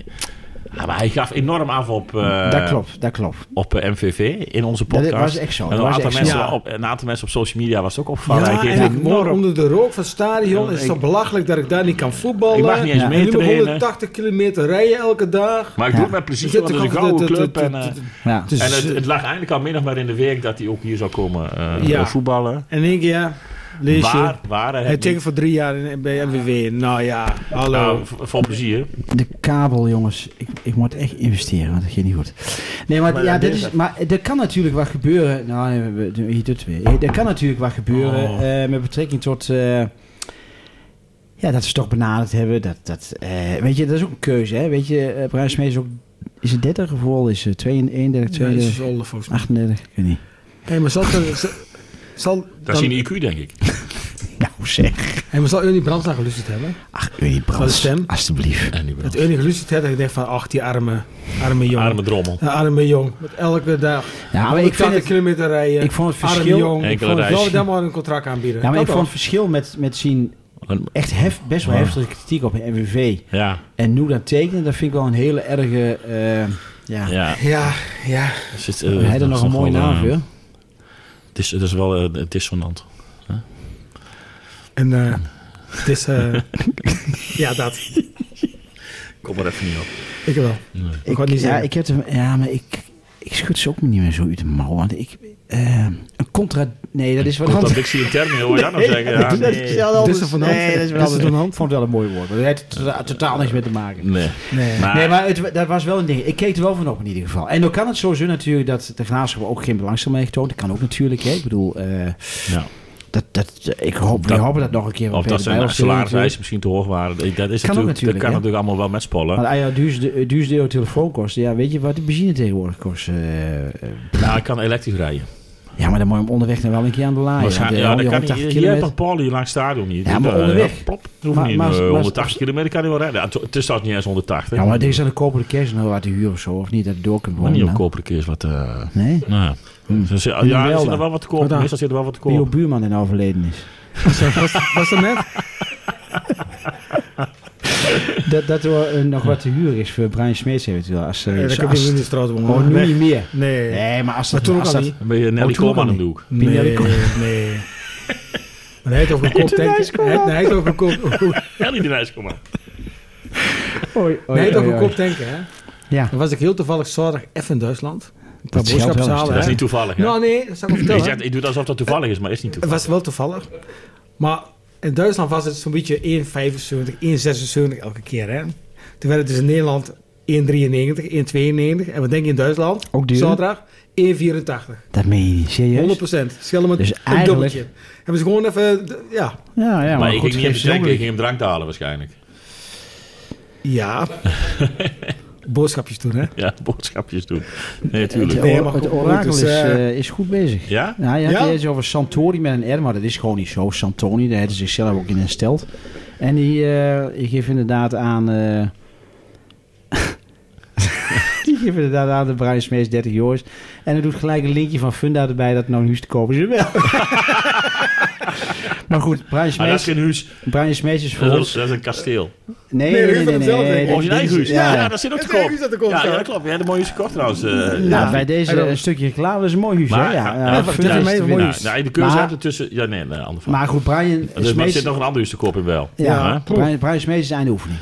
Speaker 3: ja, maar hij gaf enorm af op, eh,
Speaker 2: Dat klopt, dat klopt.
Speaker 3: op eh, MVV in onze
Speaker 2: Dat
Speaker 3: podcast.
Speaker 2: was echt zo,
Speaker 3: En
Speaker 2: dat
Speaker 3: een,
Speaker 2: was
Speaker 3: aantal
Speaker 2: echt
Speaker 3: mensen
Speaker 4: zo.
Speaker 3: op, een aantal mensen op social media was het ook opgevallen. hij geeft
Speaker 4: en ik woon
Speaker 3: enorm...
Speaker 4: onder de rook van het stadion.
Speaker 3: Ja,
Speaker 4: Het is
Speaker 3: ik-
Speaker 4: toch belachelijk dat ik daar niet kan voetballen.
Speaker 3: Ik mag niet eens
Speaker 2: Ja.
Speaker 4: En nu nog
Speaker 3: meetrainen.
Speaker 4: 180 kilometer rijden elke dag.
Speaker 3: Maar ik
Speaker 2: Ja.
Speaker 3: doe het met plezier, want het is een gouden club. En, eh,
Speaker 2: Ja.
Speaker 4: Dus-
Speaker 3: en het, het lag eigenlijk al min of meer in de week dat hij ook hier zou komen eh,
Speaker 4: Ja.
Speaker 3: voetballen.
Speaker 4: En één keer, ja, lees je.
Speaker 3: Waar, waren
Speaker 4: Hij
Speaker 3: het
Speaker 4: tekent
Speaker 3: niet.
Speaker 4: voor drie jaar in- bij MWW. Nou ja, hallo.
Speaker 3: Nou, voor voor plezier.
Speaker 2: De kabel, jongens. Ik, ik moet echt investeren, want dat gaat niet goed. Nee, maar,
Speaker 3: Maar
Speaker 2: ja,
Speaker 3: dat
Speaker 2: dit
Speaker 3: is
Speaker 2: is,
Speaker 3: het.
Speaker 2: maar er kan natuurlijk wat gebeuren. Nou, nee, we- we- hier doet het weer. Er kan natuurlijk wat gebeuren
Speaker 3: Oh.
Speaker 2: eh, met betrekking tot... eh, ja, dat ze toch benaderd hebben. Dat, dat, eh, weet je, dat is ook een keuze, hè. Weet je, eh Bruin Smees is ook... Is het 30 of wel? Is het 31,
Speaker 4: Ja, dat is
Speaker 2: 32,
Speaker 4: zonde volgens mij.
Speaker 2: 38? Ik weet niet.
Speaker 4: Hé, maar zal... zal- zal
Speaker 3: Dat is in IQ, denk ik.
Speaker 2: Nou zeg.
Speaker 4: Hé, maar zal Ernie Brandt nou geluisterd hebben?
Speaker 2: Ach, Ernie
Speaker 4: Van de
Speaker 2: Brands.
Speaker 4: stem?
Speaker 2: Alsjeblieft.
Speaker 3: En die wel.
Speaker 4: Dat Ernie geluisterd heeft, dat ik denk van, ach, die arme, arme jongen.
Speaker 3: Arme drommel.
Speaker 4: Ja, arme jong. Met elke dag.
Speaker 2: Ja, maar ik vind
Speaker 4: 180
Speaker 2: het...
Speaker 4: kilometer rijden.
Speaker 2: Ik vond het verschil...
Speaker 4: Arme jong. Ik
Speaker 3: Enkele
Speaker 4: vond het wel
Speaker 3: reis.
Speaker 4: daar maar een contract aanbieden.
Speaker 2: Ja, maar ik
Speaker 4: Dat
Speaker 2: vond het verschil met, met zien echt hef, best wel
Speaker 3: Ja.
Speaker 2: heftige kritiek op MVV.
Speaker 3: Ja,
Speaker 2: En nu dat tekenen, dat vind ik wel een hele erge... eh, ja.
Speaker 3: ja.
Speaker 4: wel. Ja, ja.
Speaker 3: Dus het,
Speaker 2: Hij
Speaker 3: eh,
Speaker 2: had er
Speaker 3: dat
Speaker 2: nog
Speaker 3: is
Speaker 2: een mooie
Speaker 3: wel,
Speaker 2: naam
Speaker 3: eh,
Speaker 2: voor.
Speaker 3: Het is, het is wel eh, dissonant.
Speaker 4: En eh, het is... eh, ja, dat.
Speaker 3: Kom er even niet op.
Speaker 4: Ik wel. Ik
Speaker 2: Ik,
Speaker 4: wou het niet
Speaker 2: ja,
Speaker 4: zeggen.
Speaker 2: ik heb hem, ja, maar ik, ik schud ze ook niet meer zo uit de mouw. Want ik... eh, een contra... Nee, dat is wat anders.
Speaker 3: Contradictie in termen, hoor je dat nog zeggen?
Speaker 2: Nee,
Speaker 3: Ja,
Speaker 2: dat is
Speaker 3: nee.
Speaker 2: wel anders.
Speaker 4: Dissonant.
Speaker 2: Nee, dat is wel
Speaker 4: Dissonant.
Speaker 2: anders. Ik vond het wel een mooi woord. maar Dat heeft tota- totaal niks mee te maken.
Speaker 3: Nee.
Speaker 4: Nee.
Speaker 3: Maar,
Speaker 2: Nee, maar het, dat was wel een ding. Ik keek er wel van op in ieder geval. En dan kan het sowieso natuurlijk dat de graafschap ook geen belangstelling mee getoond. Dat kan ook natuurlijk. Hè. Ik bedoel, eh,
Speaker 3: ja,
Speaker 2: dat, dat, ik hoop,
Speaker 3: Dat-
Speaker 2: we hopen dat nog een keer.
Speaker 3: of dat zijn salariseisen misschien te hoog waren. Dat, is natuurlijk,
Speaker 2: ook
Speaker 3: dat
Speaker 2: natuurlijk,
Speaker 3: kan
Speaker 2: hè?
Speaker 3: natuurlijk allemaal wel met spullen.
Speaker 2: Maar ah ja, duurste eh, duurste euro telefoonkosten. Ja, weet je wat de benzine tegenwoordig kost? Eh, eh,
Speaker 3: Nou, ik kan elektrisch rijden.
Speaker 2: ja, maar dan moet je hem onderweg dan wel een keer aan de laai.
Speaker 3: Waarschijnlijk-
Speaker 2: want,
Speaker 3: Ah, ja,
Speaker 2: eh,
Speaker 3: dat kan niet.
Speaker 2: 180
Speaker 3: Je hebt
Speaker 2: kilometer.
Speaker 3: een Paul hier langs het stadion niet.
Speaker 2: Ja, maar
Speaker 3: Eh,
Speaker 2: onderweg.
Speaker 3: Plop, hoeft
Speaker 2: Maar-
Speaker 3: niet.
Speaker 2: maar-
Speaker 3: Eh,
Speaker 2: maar-
Speaker 3: 180 kilometer kan hij wel rijden. Ja, het- Het is trouwens niet eens 180.
Speaker 2: Ja, maar deze aan de kopere kerst nou wat de huur of zo. Of niet, dat je door kunt
Speaker 3: Maar
Speaker 2: wonen.
Speaker 3: niet op
Speaker 2: dan.
Speaker 3: kopere keer is wat... eh,
Speaker 2: Nee?
Speaker 3: Nou ja.
Speaker 2: Hm.
Speaker 3: Dus, ja,
Speaker 2: Die
Speaker 3: ja, er
Speaker 2: wel
Speaker 3: zit er
Speaker 2: dan.
Speaker 3: wel wat te
Speaker 4: Wat
Speaker 3: koop.
Speaker 4: dan?
Speaker 3: Meestal zit er wel wat te
Speaker 2: Wie jouw
Speaker 3: koop.
Speaker 2: buurman en overleden is.
Speaker 4: Was, was dat net?
Speaker 2: Dat, dat er eh, nog wat te huur is voor Brian Smeets eventueel. Als, eh,
Speaker 4: Nee, dat
Speaker 2: als,
Speaker 4: kan ik niet in de straat wonen.
Speaker 2: Oh, nu
Speaker 4: Nee.
Speaker 2: niet meer.
Speaker 4: Nee.
Speaker 2: Nee, maar als
Speaker 4: Maar
Speaker 2: dat...
Speaker 4: toen ook
Speaker 2: als
Speaker 4: al
Speaker 2: dat-
Speaker 4: niet.
Speaker 3: Dan ben je Nelly
Speaker 2: Oh, toen ook
Speaker 3: Koolman
Speaker 2: al
Speaker 3: aan de
Speaker 2: niet.
Speaker 3: hoek.
Speaker 2: Pinda
Speaker 4: Nee,
Speaker 2: de Kool.
Speaker 4: nee. Maar hij heeft ook een kop
Speaker 2: de
Speaker 4: tank.
Speaker 2: ijskool.
Speaker 4: Hij, hij heeft ook een kop,
Speaker 3: Nelly de Nijskoman.
Speaker 2: Oei,
Speaker 4: hij
Speaker 2: oei,
Speaker 4: heeft ook
Speaker 2: oei,
Speaker 4: een
Speaker 2: oei.
Speaker 4: kop tanken, hè?
Speaker 2: Ja.
Speaker 4: Dan was ik heel toevallig zaterdag even in Duitsland. Ik
Speaker 2: Dat scheelt wel eens,
Speaker 4: boodschap
Speaker 3: Dat is niet toevallig. hè?
Speaker 4: Nou nee, dat zou ik wel
Speaker 3: Ik,
Speaker 4: vertellen.
Speaker 3: zeg, ik doe het alsof dat toevallig is, maar is niet
Speaker 4: Het
Speaker 3: toevallig.
Speaker 4: was wel toevallig. Maar in Duitsland was het zo'n beetje 1,75, 1,76 elke keer. Hè? Toen werd het dus in Nederland 1,93, 1,92. En wat denk je in Duitsland?
Speaker 2: Ook duur?
Speaker 4: Zaterdag 1,84.
Speaker 2: Dat meen je niet,
Speaker 4: 100%.
Speaker 2: serieus?
Speaker 4: Schillen met
Speaker 2: Dus
Speaker 4: een
Speaker 2: eigenlijk-
Speaker 4: dubbeltje. Hebben ze gewoon even... d- Ja.
Speaker 2: Ja, ja, maar,
Speaker 3: maar ik
Speaker 2: goed,
Speaker 3: ging niet
Speaker 2: geef
Speaker 3: even
Speaker 2: ze
Speaker 3: drinken, ik
Speaker 2: ook
Speaker 3: ging hem drank te halen waarschijnlijk.
Speaker 4: Ja. Boodschapjes doen, hè?
Speaker 3: Ja, boodschapjes doen. Nee,
Speaker 2: Het,
Speaker 3: tuurlijk.
Speaker 4: Nee,
Speaker 2: or-
Speaker 4: maar
Speaker 2: het
Speaker 4: goed,
Speaker 2: orakel
Speaker 4: dus,
Speaker 2: is,
Speaker 4: eh,
Speaker 2: eh, is goed bezig.
Speaker 3: Ja?
Speaker 2: Ja, je had
Speaker 4: Ja?
Speaker 2: het eerst over Santori met een R, maar dat is gewoon niet zo. Santoni, daar hebben ze zichzelf ook in hersteld. En die, eh, die geeft inderdaad aan... eh, die geeft inderdaad aan de Brian Smees 30 jongens. En hij doet gelijk een linkje van Funda erbij dat nou nu te kopen is. Wel. maar goed,
Speaker 4: Ah,
Speaker 2: Brian
Speaker 3: Maar dat
Speaker 2: Smees,
Speaker 3: is geen huis,
Speaker 2: Brian Smees is voor
Speaker 3: dat is,
Speaker 2: ons...
Speaker 3: dat is een kasteel.
Speaker 2: Nee,
Speaker 4: Nee,
Speaker 2: nee,
Speaker 4: Ruud
Speaker 2: nee,
Speaker 4: van
Speaker 2: nee.
Speaker 4: hetzelfde.
Speaker 2: nee,
Speaker 3: Oh, is een
Speaker 2: dit- dit
Speaker 3: eigen huis.
Speaker 2: is-
Speaker 3: Ja, ja, dat zit ook te
Speaker 4: Het is een
Speaker 3: koop.
Speaker 4: huis dat te koop
Speaker 3: Ja, ja,
Speaker 4: staat.
Speaker 3: dat klopt. Ja, de mooie is gekocht trouwens. eh,
Speaker 2: Ja,
Speaker 4: Ja.
Speaker 2: Nou, bij
Speaker 4: En
Speaker 2: deze
Speaker 4: dan-
Speaker 2: een stukje reclame dat is een mooi huisje.
Speaker 3: Maar,
Speaker 2: hè? ja,
Speaker 3: ja,
Speaker 2: ja,
Speaker 4: ja,
Speaker 2: Funda
Speaker 4: vertel
Speaker 2: is
Speaker 4: mij
Speaker 2: te
Speaker 4: een
Speaker 2: winnen.
Speaker 4: mooi
Speaker 3: Nou,
Speaker 4: huis.
Speaker 3: nou, de keuze
Speaker 2: Maar-
Speaker 3: hebt ertussen... Ja, nee, nee, anders.
Speaker 2: Maar goed, Brian
Speaker 3: Dus, maar er
Speaker 2: Smeets-
Speaker 3: zit nog een ander huis te koop in wel.
Speaker 2: ja,
Speaker 3: Ja.
Speaker 2: Brian, Brian Smeets is einde oefening.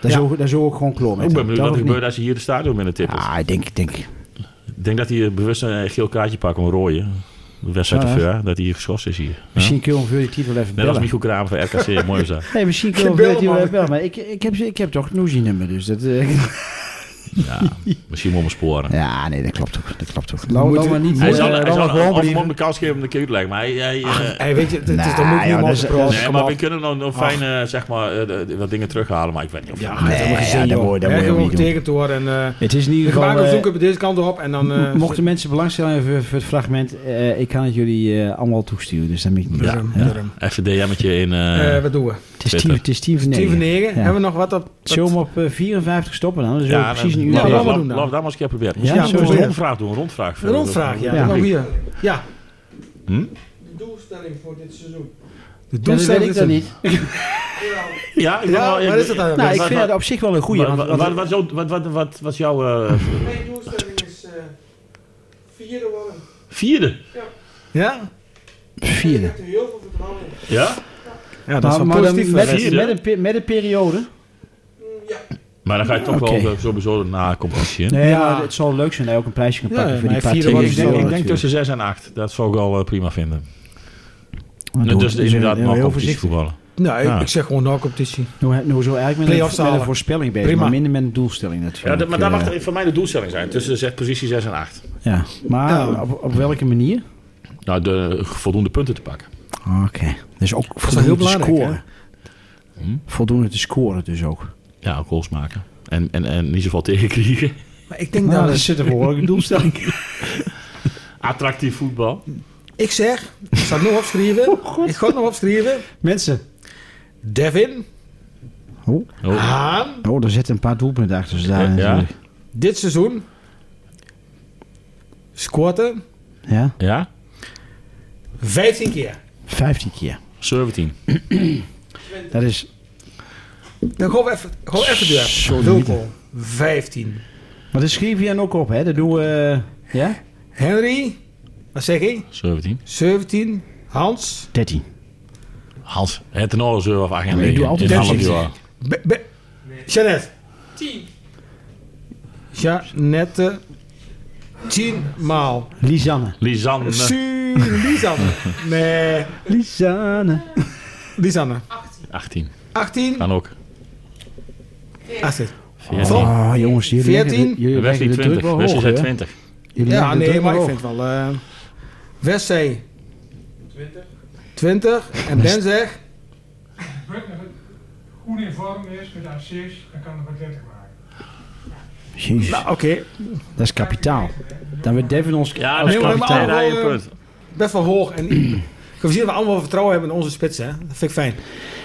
Speaker 2: Daar
Speaker 4: Ja.
Speaker 2: zou ik- daar zou ik gewoon kloor mee.
Speaker 3: Ik ben benieuwd wat er
Speaker 2: gebeurt.
Speaker 3: gebeurt als je hier de stadion met een tippelt.
Speaker 2: Ah, ik denk, ik denk.
Speaker 3: Ik denk dat hij eh, bewust een eh, geel kaartje pakt om rooien. De wedstrijd
Speaker 2: Ja,
Speaker 3: te
Speaker 2: hè?
Speaker 3: ver, dat hij geschorst is hier. Ja?
Speaker 2: Misschien kunnen we hem voor die titel even
Speaker 3: Net als
Speaker 2: bellen.
Speaker 3: Michiel Kramer van RKC, mooi was dat.
Speaker 2: Nee, misschien kunnen we
Speaker 4: Geen
Speaker 2: hem voor die titel
Speaker 4: bellen,
Speaker 2: even bellen. Maar ik, ik, heb, ik heb toch Noesie nummer, dus dat... eh,
Speaker 3: Ja, misschien wel mijn sporen.
Speaker 2: Ja, nee, dat klopt ook. Dat klopt ook. Laat laat maar niet.
Speaker 3: Hij
Speaker 2: eh,
Speaker 3: zal, hij
Speaker 2: Ronald
Speaker 3: zal
Speaker 2: Boom
Speaker 3: of hem
Speaker 2: brieven.
Speaker 3: om de kans geven om de keer uit te leggen. Maar hij, hij, eh,
Speaker 4: Hey, weet je, het is
Speaker 2: Nou,
Speaker 4: dan moet
Speaker 2: joh,
Speaker 4: niemand
Speaker 2: dat is-
Speaker 4: praten.
Speaker 3: nee, maar we kunnen nog, nog fijn eh, zeg maar, eh, de- de- wat dingen terughalen. Maar ik weet niet of...
Speaker 4: Ja,
Speaker 3: Ja,
Speaker 4: dat is helemaal
Speaker 2: Nee,
Speaker 4: geen zin,
Speaker 2: eh, ja, dat
Speaker 4: joh.
Speaker 2: moet je- dat
Speaker 4: Hè,
Speaker 2: moet je
Speaker 4: gewoon
Speaker 2: ook niet doen.
Speaker 4: getekend worden. En, eh
Speaker 2: Het is in ieder
Speaker 4: ik
Speaker 2: geval...
Speaker 4: maak een
Speaker 2: eh,
Speaker 4: zoeken deze kant op en dan... eh,
Speaker 2: Mochten mensen belangstelling hebben voor het fragment, eh, ik kan het jullie eh, allemaal toesturen, dus dat moet ik niet.
Speaker 4: Durham,
Speaker 2: Ja.
Speaker 4: Durham.
Speaker 3: Even DM'tje in... eh,
Speaker 4: Eh, wat doen we?
Speaker 2: Het is tien- Het is tien voor
Speaker 4: 10
Speaker 2: negen.
Speaker 4: van 9.
Speaker 2: Ja.
Speaker 4: Hebben we nog wat op... wat-
Speaker 2: Zullen we hem op eh, 54 stoppen dan? Dan is
Speaker 3: ja,
Speaker 2: ja, precies een
Speaker 3: dan-
Speaker 2: uur.
Speaker 4: Ja,
Speaker 3: laten we-
Speaker 4: laat maar
Speaker 2: bezig.
Speaker 4: doen
Speaker 3: laten-
Speaker 4: dan.
Speaker 3: laten we maar eens een keer proberen.
Speaker 2: Ja,
Speaker 3: Ja,
Speaker 2: zullen we
Speaker 3: een
Speaker 2: doen.
Speaker 3: rondvraag doen, een rondvraag.
Speaker 4: Een rondvraag, ja.
Speaker 2: Ja.
Speaker 4: Nou, hier. Ja.
Speaker 3: Hm?
Speaker 1: De doelstelling voor dit seizoen.
Speaker 4: De
Speaker 2: Ja, dat weet ik dan
Speaker 4: is-
Speaker 2: niet.
Speaker 3: Ja, ik ben
Speaker 4: Ja,
Speaker 3: wel- ik-
Speaker 4: waar is dat dan?
Speaker 2: Nou, ik
Speaker 3: Wat-
Speaker 2: vind
Speaker 3: wat-
Speaker 2: dat op zich wel een goeie.
Speaker 3: Wat-
Speaker 2: want-
Speaker 3: wat-
Speaker 2: want-
Speaker 3: wat- wat jou- Wat wat- wat was jouw eh,
Speaker 1: Mijn doelstelling is eh vierde worden.
Speaker 3: vierde?
Speaker 4: Ja?
Speaker 1: Ik
Speaker 2: Vierde.
Speaker 1: heb er heel veel vertrouwen in.
Speaker 3: Ja?
Speaker 4: Ja, dat
Speaker 2: Maar,
Speaker 4: is wel
Speaker 2: maar dan
Speaker 4: positief.
Speaker 2: met,
Speaker 4: hè.
Speaker 3: Vierde.
Speaker 2: met, een, pe- met een periode.
Speaker 1: Mm, Ja,
Speaker 3: Maar dan ga je toch
Speaker 2: Oké.
Speaker 3: wel eh, sowieso na competitie in.
Speaker 2: Nee,
Speaker 4: Ja.
Speaker 2: maar het zal leuk zijn dat je ook een prijsje kan
Speaker 4: Ja,
Speaker 2: pakken voor
Speaker 4: maar
Speaker 2: die paar
Speaker 4: vierde
Speaker 3: Ik,
Speaker 4: Dat
Speaker 2: tientjes.
Speaker 4: wordt
Speaker 3: ik denk,
Speaker 4: wel
Speaker 3: ik denk
Speaker 2: natuurlijk.
Speaker 3: tussen 6 en 8. Dat zou ik al eh, prima vinden.
Speaker 2: Maar doe
Speaker 3: dus
Speaker 2: het.
Speaker 3: inderdaad,
Speaker 2: Heel
Speaker 3: maar competitie
Speaker 2: voorzichtig.
Speaker 3: voetballen.
Speaker 4: Nou, ik-
Speaker 2: Ah.
Speaker 3: Ja.
Speaker 4: ik zeg gewoon nou competitie.
Speaker 2: Nou, nou, zo eigenlijk met
Speaker 4: Play-offs
Speaker 2: een, met een
Speaker 4: halen.
Speaker 2: voorspelling bezig,
Speaker 4: Prima.
Speaker 2: maar minder met een doelstelling natuurlijk.
Speaker 3: Ja, dat- maar dat
Speaker 2: Eh,
Speaker 3: mag er voor mij de doelstelling zijn. Tussen de zes- positie 6 en 8.
Speaker 2: Ja, maar
Speaker 4: Ja.
Speaker 2: Op, op welke manier?
Speaker 3: Nou, de voldoende punten te pakken.
Speaker 2: Oké, dus ook
Speaker 4: wel heel
Speaker 2: voldoende te
Speaker 4: belangrijk,
Speaker 2: scoren.
Speaker 3: Hm?
Speaker 2: Voldoende te scoren dus ook.
Speaker 3: Ja, ook goals maken. En, en, en niet zoveel tegenkriegen.
Speaker 4: Maar ik denk
Speaker 2: Nou,
Speaker 4: nou,
Speaker 2: dat zit een behoorlijke doelstelling.
Speaker 3: Attractief voetbal.
Speaker 4: ik zeg, ik zal nog opschrijven.
Speaker 2: Oh,
Speaker 4: ik ga het nog opschrijven.
Speaker 2: Mensen.
Speaker 4: Devin,
Speaker 2: Oh,
Speaker 3: Oh.
Speaker 4: Haan,
Speaker 2: oh, er zitten een paar doelpunten achter. Dus daar
Speaker 3: Ja.
Speaker 2: natuurlijk.
Speaker 4: dit seizoen. Squatten
Speaker 2: Ja,
Speaker 3: Ja?
Speaker 4: 15 keer.
Speaker 2: 15 keer.
Speaker 3: 17.
Speaker 2: Dat is
Speaker 4: Dan gaan we even, gaan we even
Speaker 2: Zo
Speaker 4: door. Wilco, 15.
Speaker 2: Maar dat schreef je dan ook op, hè? Dat doen we. eh, ja?
Speaker 4: Henry, wat zeg ik?
Speaker 3: 17.
Speaker 4: 17. Hans,
Speaker 2: 13.
Speaker 3: Hans, het en alles of 8 en
Speaker 2: ik
Speaker 3: 9.
Speaker 2: doe altijd
Speaker 3: in een half
Speaker 2: 13.
Speaker 3: jaar.
Speaker 4: Be- Be- Jeanette.
Speaker 1: 10.
Speaker 4: Jeanette. 10 maal.
Speaker 2: Lisanne.
Speaker 3: Lisanne.
Speaker 4: Su- Lisanne. Nee,
Speaker 2: Lisanne.
Speaker 4: Lisanne.
Speaker 3: 18.
Speaker 4: 18.
Speaker 3: Kan ook.
Speaker 4: 18.
Speaker 3: 14.
Speaker 4: Van-
Speaker 2: Oh, jongens, jullie
Speaker 4: 14.
Speaker 2: leggen de- Jullie leggen
Speaker 3: Wesley
Speaker 2: de druk
Speaker 3: 20.
Speaker 2: wel
Speaker 3: Wesley
Speaker 2: hoog,
Speaker 3: zei
Speaker 2: hè?
Speaker 3: 20.
Speaker 2: Jullie
Speaker 4: Ja,
Speaker 2: leggen de
Speaker 4: nee,
Speaker 2: druk
Speaker 4: maar ik
Speaker 2: wel
Speaker 4: vind het
Speaker 2: hoog.
Speaker 4: wel. eh Wes zei
Speaker 1: 20.
Speaker 4: 20 en Ben zegt.
Speaker 1: Als het goed in vorm is met assist, dan kan er wat 30 maken.
Speaker 2: Jezus,
Speaker 4: Nou, oké.
Speaker 2: dat is kapitaal. Dan werd Devin ons
Speaker 3: Ja, dat
Speaker 2: als
Speaker 3: is
Speaker 4: nee, maar-
Speaker 2: kapitaal.
Speaker 3: kapitein.
Speaker 4: maar-
Speaker 3: Daar heb je een punt.
Speaker 4: Best wel hoog. En gezien dat we allemaal vertrouwen hebben in onze spits, hè? Dat vind ik fijn.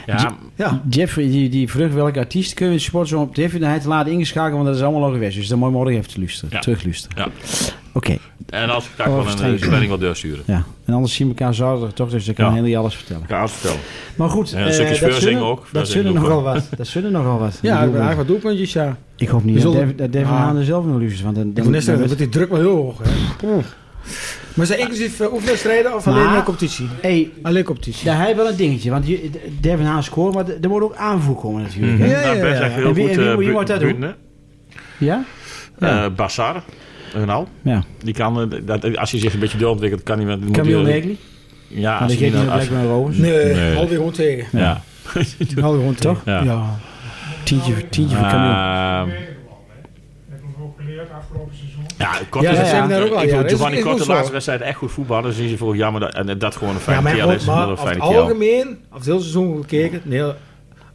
Speaker 2: eh,
Speaker 3: Ja,
Speaker 4: Ja.
Speaker 2: Jeffrey, die, die vroeg welke artiest kunnen we in de sportzone op Jeffrey. Hij heeft laten ingeschakeld, want dat is allemaal al geweest. Dus dan moet je morgen even luisteren,
Speaker 3: Ja.
Speaker 2: terugluisteren.
Speaker 3: Ja.
Speaker 2: Oké,
Speaker 3: en als ik daar
Speaker 2: Oh,
Speaker 3: wel een
Speaker 2: verstreken.
Speaker 3: eh, planning wat doorsturen.
Speaker 2: ja. En anders zien we elkaar zaterdag toch, dus dan kan
Speaker 3: Ja.
Speaker 2: Henry alles vertellen.
Speaker 3: Ik ga vertellen.
Speaker 2: Maar goed,
Speaker 3: Ja, een
Speaker 2: eh,
Speaker 3: stukjes
Speaker 2: dat
Speaker 3: voorzingen
Speaker 2: zullen-
Speaker 3: ook.
Speaker 2: Dat
Speaker 3: Voorzingen
Speaker 2: zullen
Speaker 3: ook
Speaker 2: nogal wat. Dat zullen nogal wat. Die
Speaker 4: Ja, ik ben
Speaker 2: doelpunten.
Speaker 4: eigenlijk wat doelpuntjes, ja.
Speaker 2: Ik hoop niet dat
Speaker 4: We zullen-
Speaker 2: Devin, dat Devin
Speaker 4: Ah.
Speaker 2: Haan er zelf nog liefst is. Want dan,
Speaker 4: Ik
Speaker 2: dan,
Speaker 4: moet net
Speaker 2: dan
Speaker 4: zeggen, wordt die druk wel heel hoog, hè? Maar zijn inclusief eh, oefenwedstrijden of alleen
Speaker 2: Maar-
Speaker 4: eh, competitie?
Speaker 2: hey,
Speaker 4: Alleen competitie.
Speaker 2: daar heb je wel een dingetje. Want je, Devin Haan scoort, maar er er moet ook aanvoer komen natuurlijk. hè?
Speaker 4: Ja, ja,
Speaker 3: Nou,
Speaker 4: ja,
Speaker 3: Bert
Speaker 4: ja.
Speaker 3: zegt
Speaker 2: En
Speaker 3: heel
Speaker 2: wie-
Speaker 3: goed.
Speaker 2: en wie-
Speaker 3: eh,
Speaker 2: wie
Speaker 3: Bu-
Speaker 2: wordt dat doen?
Speaker 3: Buurtne,
Speaker 2: Ja? Ja.
Speaker 3: eh, Bassar. Renaal.
Speaker 2: Ja.
Speaker 3: Die kan, eh, dat, als hij zich een beetje doorontwikkelt, kan hij... met- moet
Speaker 2: Camille
Speaker 3: hij-
Speaker 2: Negli.
Speaker 4: Ah,
Speaker 3: Ja,
Speaker 2: Maar
Speaker 3: als
Speaker 2: dat
Speaker 3: hij
Speaker 2: geeft niet
Speaker 3: dan... als-
Speaker 2: blijkbaar Rovers.
Speaker 4: Nee,
Speaker 3: Nee.
Speaker 4: alweer gewoon tegen.
Speaker 3: Ja.
Speaker 4: Alweer gewoon tegen.
Speaker 2: Toch?
Speaker 3: Ja.
Speaker 4: Ja.
Speaker 2: Tientje, voor- tientje
Speaker 4: Ah.
Speaker 2: voor Camille.
Speaker 3: Ehm,
Speaker 1: Dat weten we wel, hè. Dat hebben we ook geleerd afgelopen seizoen.
Speaker 3: Ja,
Speaker 4: Ja,
Speaker 3: Korte
Speaker 4: dat
Speaker 2: zei ik
Speaker 4: net ook al,
Speaker 3: Ik vond
Speaker 4: ja. Dat is-
Speaker 3: Giovanni
Speaker 4: is
Speaker 3: Korte
Speaker 4: ook
Speaker 3: de
Speaker 4: zo.
Speaker 3: laatste wedstrijd echt goed voetballen. Dus die is voor jammer dat, en dat gewoon een
Speaker 4: Ja,
Speaker 3: fijne
Speaker 4: maar,
Speaker 3: keer.
Speaker 4: maar,
Speaker 3: Dat is een hele
Speaker 4: over het
Speaker 3: fijne keer.
Speaker 4: algemeen, over het hele seizoen bekeken, nee, over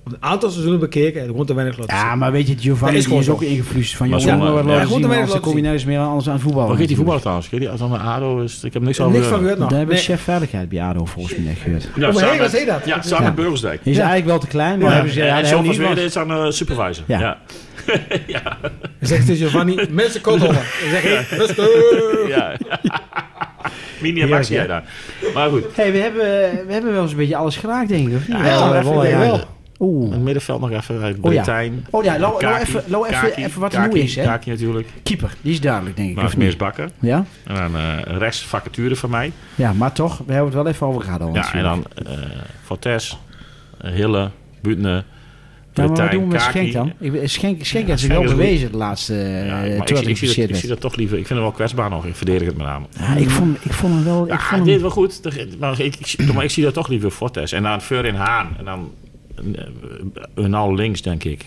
Speaker 4: een aantal seizoenen bekeken, en gewoon te weinig laten zien.
Speaker 2: Ja, maar weet je, Giovanni
Speaker 4: Dat is
Speaker 2: die
Speaker 4: gewoon
Speaker 2: is ook
Speaker 4: zo.
Speaker 2: ingevloeid van
Speaker 3: Maar
Speaker 2: jongen,
Speaker 3: zonder-
Speaker 2: wat
Speaker 3: ja.
Speaker 2: laten
Speaker 4: Goed,
Speaker 2: zien,
Speaker 4: dan
Speaker 2: maar
Speaker 4: weet
Speaker 2: anders
Speaker 4: ik wat
Speaker 2: kom je
Speaker 4: zien.
Speaker 2: nergens meer aan, anders aan het voetballen.
Speaker 3: Wat geeft die voetballer
Speaker 2: natuurlijk.
Speaker 3: trouwens? Geeft die als aan de ADO? Is, ik heb niks
Speaker 4: Er
Speaker 3: over
Speaker 4: is niks van gebeurd nog.
Speaker 2: Daar hebben we
Speaker 4: Nee.
Speaker 2: chef veiligheid bij ADO volgens mij gehoord.
Speaker 3: Ja,
Speaker 4: Oh, maar
Speaker 3: samen
Speaker 4: hey, wat
Speaker 3: met-
Speaker 4: zei dat?
Speaker 3: Ja, dus, samen
Speaker 2: Ja.
Speaker 3: met Burgersdijk.
Speaker 2: Hij is eigenlijk wel te klein, maar
Speaker 4: Ja.
Speaker 2: hebben ze ja,
Speaker 3: en
Speaker 2: daar
Speaker 3: John
Speaker 2: hebben
Speaker 3: van
Speaker 2: we niet
Speaker 3: Zweden
Speaker 2: wat.
Speaker 3: is aan eh, supervisor.
Speaker 2: Ja.
Speaker 3: Ja.
Speaker 4: Zegt de Giovanni, mensen komen Dan zeg ik, rustig.
Speaker 3: ja. Mini en Maxi jij daar. Maar goed.
Speaker 2: Hey, we hebben, we hebben wel eens een beetje alles geraakt, denk ik. of niet?
Speaker 3: Ja, ja,
Speaker 2: wel,
Speaker 3: even,
Speaker 2: wel,
Speaker 3: ik denk
Speaker 2: ja.
Speaker 3: wel.
Speaker 2: Oeh.
Speaker 3: Het middenveld nog even uit
Speaker 2: Oh ja.
Speaker 3: Bretijn.
Speaker 2: Oh ja, laat
Speaker 3: Kaki,
Speaker 2: even, laat even,
Speaker 3: Kaki,
Speaker 2: even wat er
Speaker 3: Kaki,
Speaker 2: nieuw is, hè.
Speaker 3: Kaki natuurlijk.
Speaker 2: Keeper, die is duidelijk, denk ik.
Speaker 3: Maar
Speaker 2: of niet?
Speaker 3: Smeers Bakker.
Speaker 2: Ja?
Speaker 3: En dan eh, rechts vacature van mij.
Speaker 2: ja, maar toch, we hebben het wel even over gehad. al
Speaker 3: Ja, en
Speaker 2: natuurlijk.
Speaker 3: dan eh Fortes, eh, Hille, Butne,
Speaker 2: Ja, maar wat
Speaker 3: Bretijn,
Speaker 2: doen we met
Speaker 3: Kaki.
Speaker 2: Schenk dan? Ik weet- Schenk, Schenk heeft zich
Speaker 3: Schenk
Speaker 2: wel
Speaker 3: is goed.
Speaker 2: bewezen de laatste
Speaker 3: Ja,
Speaker 2: eh,
Speaker 3: maar ik,
Speaker 2: terwijl hij
Speaker 3: zie- ik, zie dat,
Speaker 2: geblesseerd
Speaker 3: ik
Speaker 2: werd.
Speaker 3: zie dat toch liever. Ik vind hem wel kwetsbaar nog. Ik verdedig het met name.
Speaker 2: Ja, ik, vond, ik vond hem wel... Ik
Speaker 3: Ja,
Speaker 2: vond hem-
Speaker 3: dit deed wel goed. De- Maar ik, ik, zie- maar ik zie dat toch liever Fortes. En dan Feur in Haan. En dan eh, een al links, denk ik.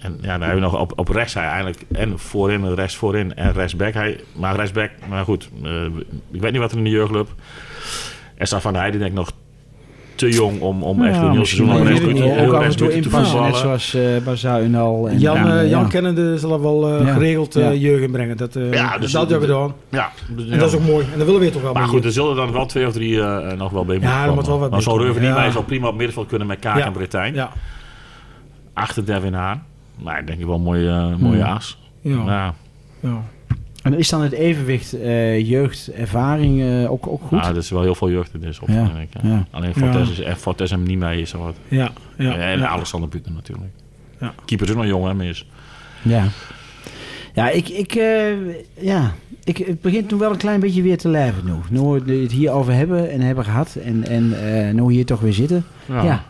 Speaker 3: En ja, dan hebben we nog op, op rechts hij eigenlijk. En voorin, en rechts voorin en rechtsback. Hij, maar rechtsback, maar goed. eh, ik weet niet wat er in de jeugdclub. En staat van der Heijden denk ik nog te jong om, om echt een heel seizoen
Speaker 2: maar
Speaker 3: op
Speaker 2: je
Speaker 3: rechts
Speaker 2: weet het
Speaker 3: buiten-
Speaker 2: niet.
Speaker 3: heel
Speaker 2: Ook af en
Speaker 3: rechts
Speaker 2: toe
Speaker 3: buiten te
Speaker 2: inpassen, net
Speaker 3: voetballen.
Speaker 2: zoals eh Bazuinal. En,
Speaker 4: Jan,
Speaker 2: ja,
Speaker 4: eh, Jan
Speaker 2: ja.
Speaker 4: kennende zal er wel eh,
Speaker 2: Ja.
Speaker 4: geregeld
Speaker 2: Ja.
Speaker 4: eh jeugd in brengen. Dat, eh,
Speaker 3: Ja, dus
Speaker 4: dat
Speaker 3: dat-
Speaker 4: hebben we gedaan.
Speaker 3: Ja,
Speaker 4: En dat is ook mooi. En dat willen we toch wel.
Speaker 3: Maar
Speaker 4: mee.
Speaker 3: goed, er zullen dan wel twee of drie eh, nog wel bij moeten
Speaker 4: er moet wel
Speaker 3: Maar
Speaker 4: wat bij
Speaker 3: zo'n
Speaker 4: komen,
Speaker 3: Reuven niet
Speaker 4: ja.
Speaker 3: bij zou prima op middenveld kunnen met Kaak
Speaker 4: Ja.
Speaker 3: en Bretijn.
Speaker 4: ja.
Speaker 3: Achter Devin Haan. Maar ik denk wel een mooie, eh, mooie
Speaker 2: Hmm.
Speaker 3: aas.
Speaker 4: Ja. Ja.
Speaker 3: Ja,
Speaker 2: En is dan het evenwicht eh, jeugd, ervaring eh, ook, ook goed?
Speaker 3: ja, dat Ah, is wel heel veel jeugd in deze op.
Speaker 2: Ja.
Speaker 3: denk ik, ja.
Speaker 2: ja.
Speaker 3: Alleen Fortes, is, eh, Fortes hem niet mee is. of Wat.
Speaker 4: Ja. Ja.
Speaker 3: en
Speaker 4: Ja.
Speaker 3: Alexander Buter natuurlijk.
Speaker 4: Ja.
Speaker 3: Keeper is ook nog jong, hè, mis.
Speaker 2: Ja, ja ik, ik, eh, ja, ik, het begint toen wel een klein beetje weer te lijven nu. Nu we het hierover hebben en hebben gehad en, en eh, nu hier toch weer zitten. Ja.
Speaker 3: ja.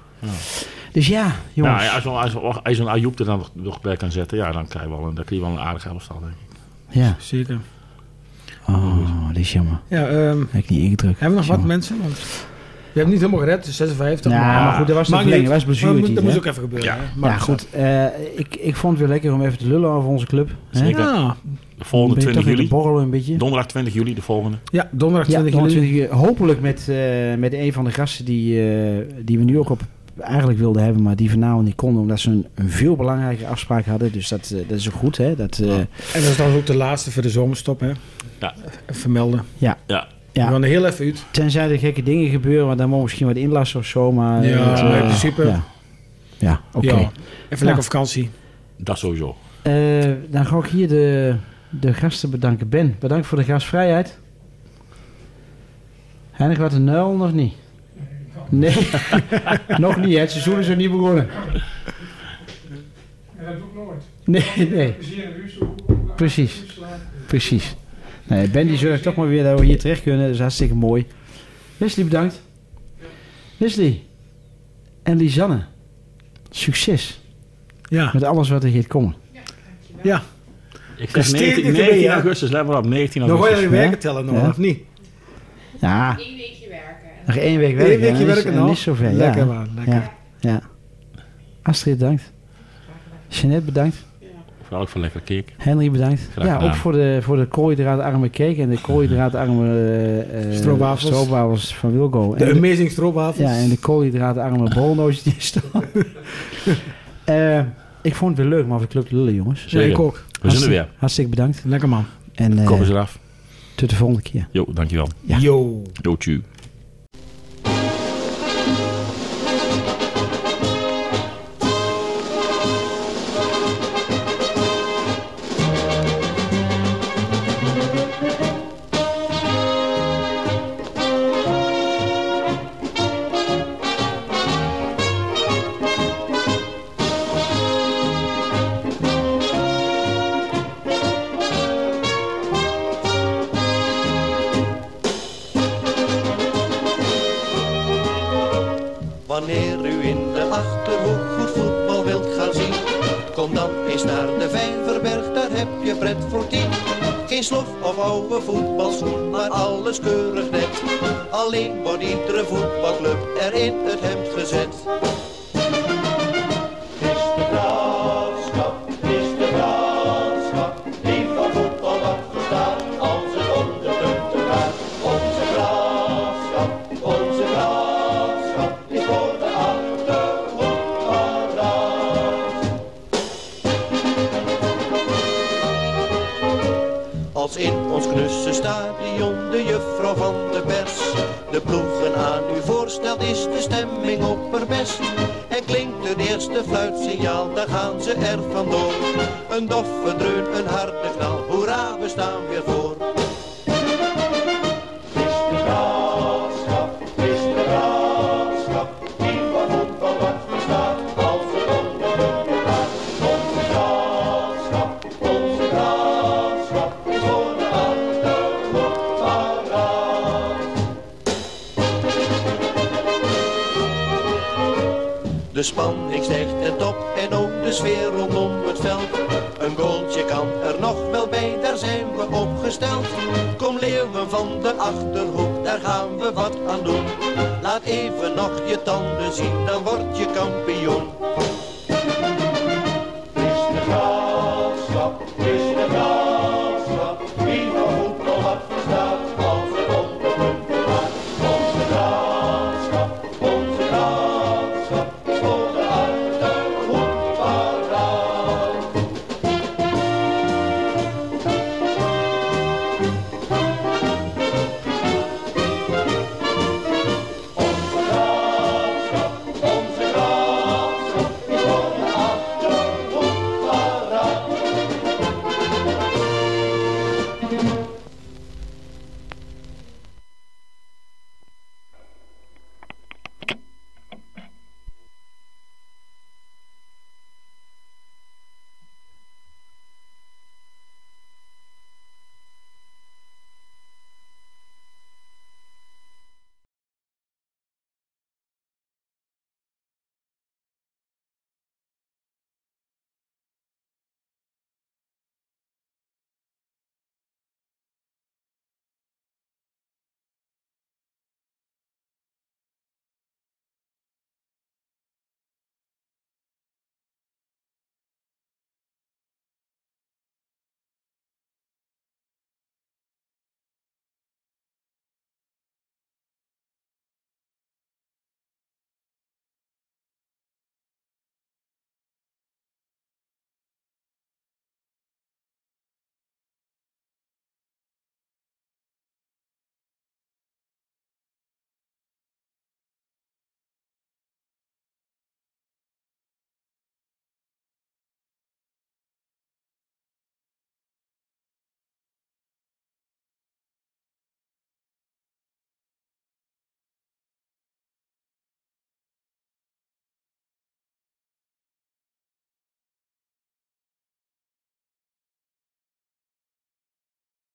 Speaker 2: Dus ja, jongens.
Speaker 3: Nou, ja, als zo'n als, als, als zo'n Ayoub er dan nog, nog bij kan zetten, ja, dan krijg je wel een, dan krijg je wel een aardige elftal, denk ik.
Speaker 2: ja.
Speaker 4: Zeker.
Speaker 2: Oh, dat is jammer.
Speaker 4: Ja, ehm,
Speaker 2: Heb ik niet ingedrukt.
Speaker 4: hebben we nog
Speaker 2: Jammer.
Speaker 4: wat mensen? Want we hebben niet helemaal gered, dus 56.
Speaker 2: Nou, maar goed, dat was te
Speaker 4: Maakt niet
Speaker 2: verlengen. Dat was
Speaker 4: uit.
Speaker 2: blessure
Speaker 4: Maar moet-
Speaker 2: niet,
Speaker 4: Dat
Speaker 2: hè?
Speaker 4: moest ook even gebeuren.
Speaker 3: Ja.
Speaker 4: hè? Maar
Speaker 2: Ja, goed. eh, ik, ik vond het weer lekker om even te lullen over onze club. Hè?
Speaker 3: Zeker.
Speaker 4: Ja.
Speaker 3: De
Speaker 2: Dan
Speaker 3: volgende
Speaker 2: ben je
Speaker 3: 20
Speaker 2: toch in de
Speaker 3: juli.
Speaker 2: borrel een beetje.
Speaker 3: Donderdag 20 juli, de volgende.
Speaker 4: ja, donderdag
Speaker 2: Ja,
Speaker 4: 20
Speaker 2: dan
Speaker 4: juli.
Speaker 2: natuurlijk, eh, hopelijk met, eh, met een van de gasten die, eh, die we nu ook op eigenlijk wilden hebben, maar die vanavond niet konden, omdat ze een, een veel belangrijke afspraak hadden. Dus dat, eh, dat is ook goed. Hè? Dat, eh,
Speaker 4: En dat is trouwens ook de laatste voor de zomerstop, hè?
Speaker 3: Ja.
Speaker 4: Even vermelden.
Speaker 3: Ja,
Speaker 2: Ja.
Speaker 4: We gaan er heel even uit.
Speaker 2: Tenzij er gekke dingen gebeuren, want dan mogen we misschien wat inlassen of zo. Maar,
Speaker 4: Ja,
Speaker 2: eh,
Speaker 4: in principe.
Speaker 2: Ja, ja oké.
Speaker 4: Ja. Even
Speaker 2: Nou.
Speaker 4: lekker op vakantie.
Speaker 3: dat sowieso.
Speaker 2: Eh, dan ga ik hier de, de gasten bedanken. Ben, bedankt voor de gastvrijheid. Heinig wat een nul, nog niet? Nee, nog niet. hè. Het seizoen is nog niet begonnen.
Speaker 1: En dat doe ik nooit.
Speaker 2: Nee, nee.
Speaker 1: Plezier in uw stoel.
Speaker 2: Precies. Precies. Nee, ben die zorgt toch maar weer dat we hier terecht kunnen. Dat is hartstikke mooi. Leslie, bedankt. Leslie en Lisanne, succes
Speaker 4: Ja.
Speaker 2: met alles wat er gaat komen.
Speaker 4: Ja.
Speaker 3: Ik
Speaker 4: Dus
Speaker 3: zeg 19,
Speaker 4: steek het erbij,
Speaker 3: 19
Speaker 4: hè?
Speaker 3: augustus, let maar op, 19
Speaker 4: Dan ga je
Speaker 3: augustus.
Speaker 4: je werken tellen nog,
Speaker 2: Ja.
Speaker 4: of niet?
Speaker 2: Ja,
Speaker 5: Eén weekje werken.
Speaker 2: nog één week werken.
Speaker 4: Eén weekje
Speaker 2: en dan is-
Speaker 4: werken
Speaker 2: en
Speaker 4: nog.
Speaker 2: dan is het zover. ja.
Speaker 4: Lekker man, lekker.
Speaker 2: Ja, ja. Astrid, bedankt. Jeanette, bedankt.
Speaker 3: Vooral ook voor lekker cake.
Speaker 2: Henry, bedankt.
Speaker 3: Graag
Speaker 2: ja,
Speaker 3: gedaan.
Speaker 2: ook voor de, voor de koolhydraatarme cake en de koolhydraatarme eh, eh,
Speaker 4: Stroopwafels.
Speaker 2: stroopwafels van Wilgo.
Speaker 4: De
Speaker 2: En de-
Speaker 4: Amazing Stroopwafels.
Speaker 2: ja, en de koolhydraatarme bolnootjes die er staan. Eh, ik vond het weer leuk, maar we club lullen, jongens.
Speaker 4: Ja, ik
Speaker 3: Zeker.
Speaker 4: ook.
Speaker 3: We zijn er weer.
Speaker 2: Hartstikke bedankt.
Speaker 4: Lekker man.
Speaker 2: En eh,
Speaker 3: Kom eens eraf.
Speaker 2: tot de volgende keer.
Speaker 3: Jo, dankjewel.
Speaker 2: Ja.
Speaker 4: Yo.
Speaker 3: Jo, tjoe.
Speaker 6: Wanneer u in de Achterhoek goed voetbal wilt gaan zien Kom dan eens naar de Vijverberg, daar heb je pret voor tien Geen slof of oude voetbalschoen, maar alles keurig net Alleen wordt iedere voetbalclub er in het hemd gezet Het is de graafschap, het is de graafschap Die van voetbal wat verstaat, als het om de punten gaat Onze graafschap, onze graafschap Is voor de achterhoek paraat Als in ons knusse stadion de juffrouw van de pers De ploegen aan u voorstelt is de stemming opperbest En klinkt het eerste fluitsignaal, daar gaan ze er vandoor Een doffe dreun, een harde knal, hoera we staan weer voor Het is de graafschap, het is de graafschap Die van voetbal wat verstaat, als het om de punten gaat Onze graafschap, onze graafschap Is voor de achterhoek paraat De spanning stijgt ten top en ook de sfeer rondom het veld. Een goaltje kan er nog wel bij, daar zijn we opgesteld. Kom leeuwen van de Achterhoek, daar gaan we wat aan doen. Laat even nog je tanden zien, dan word je kampioen.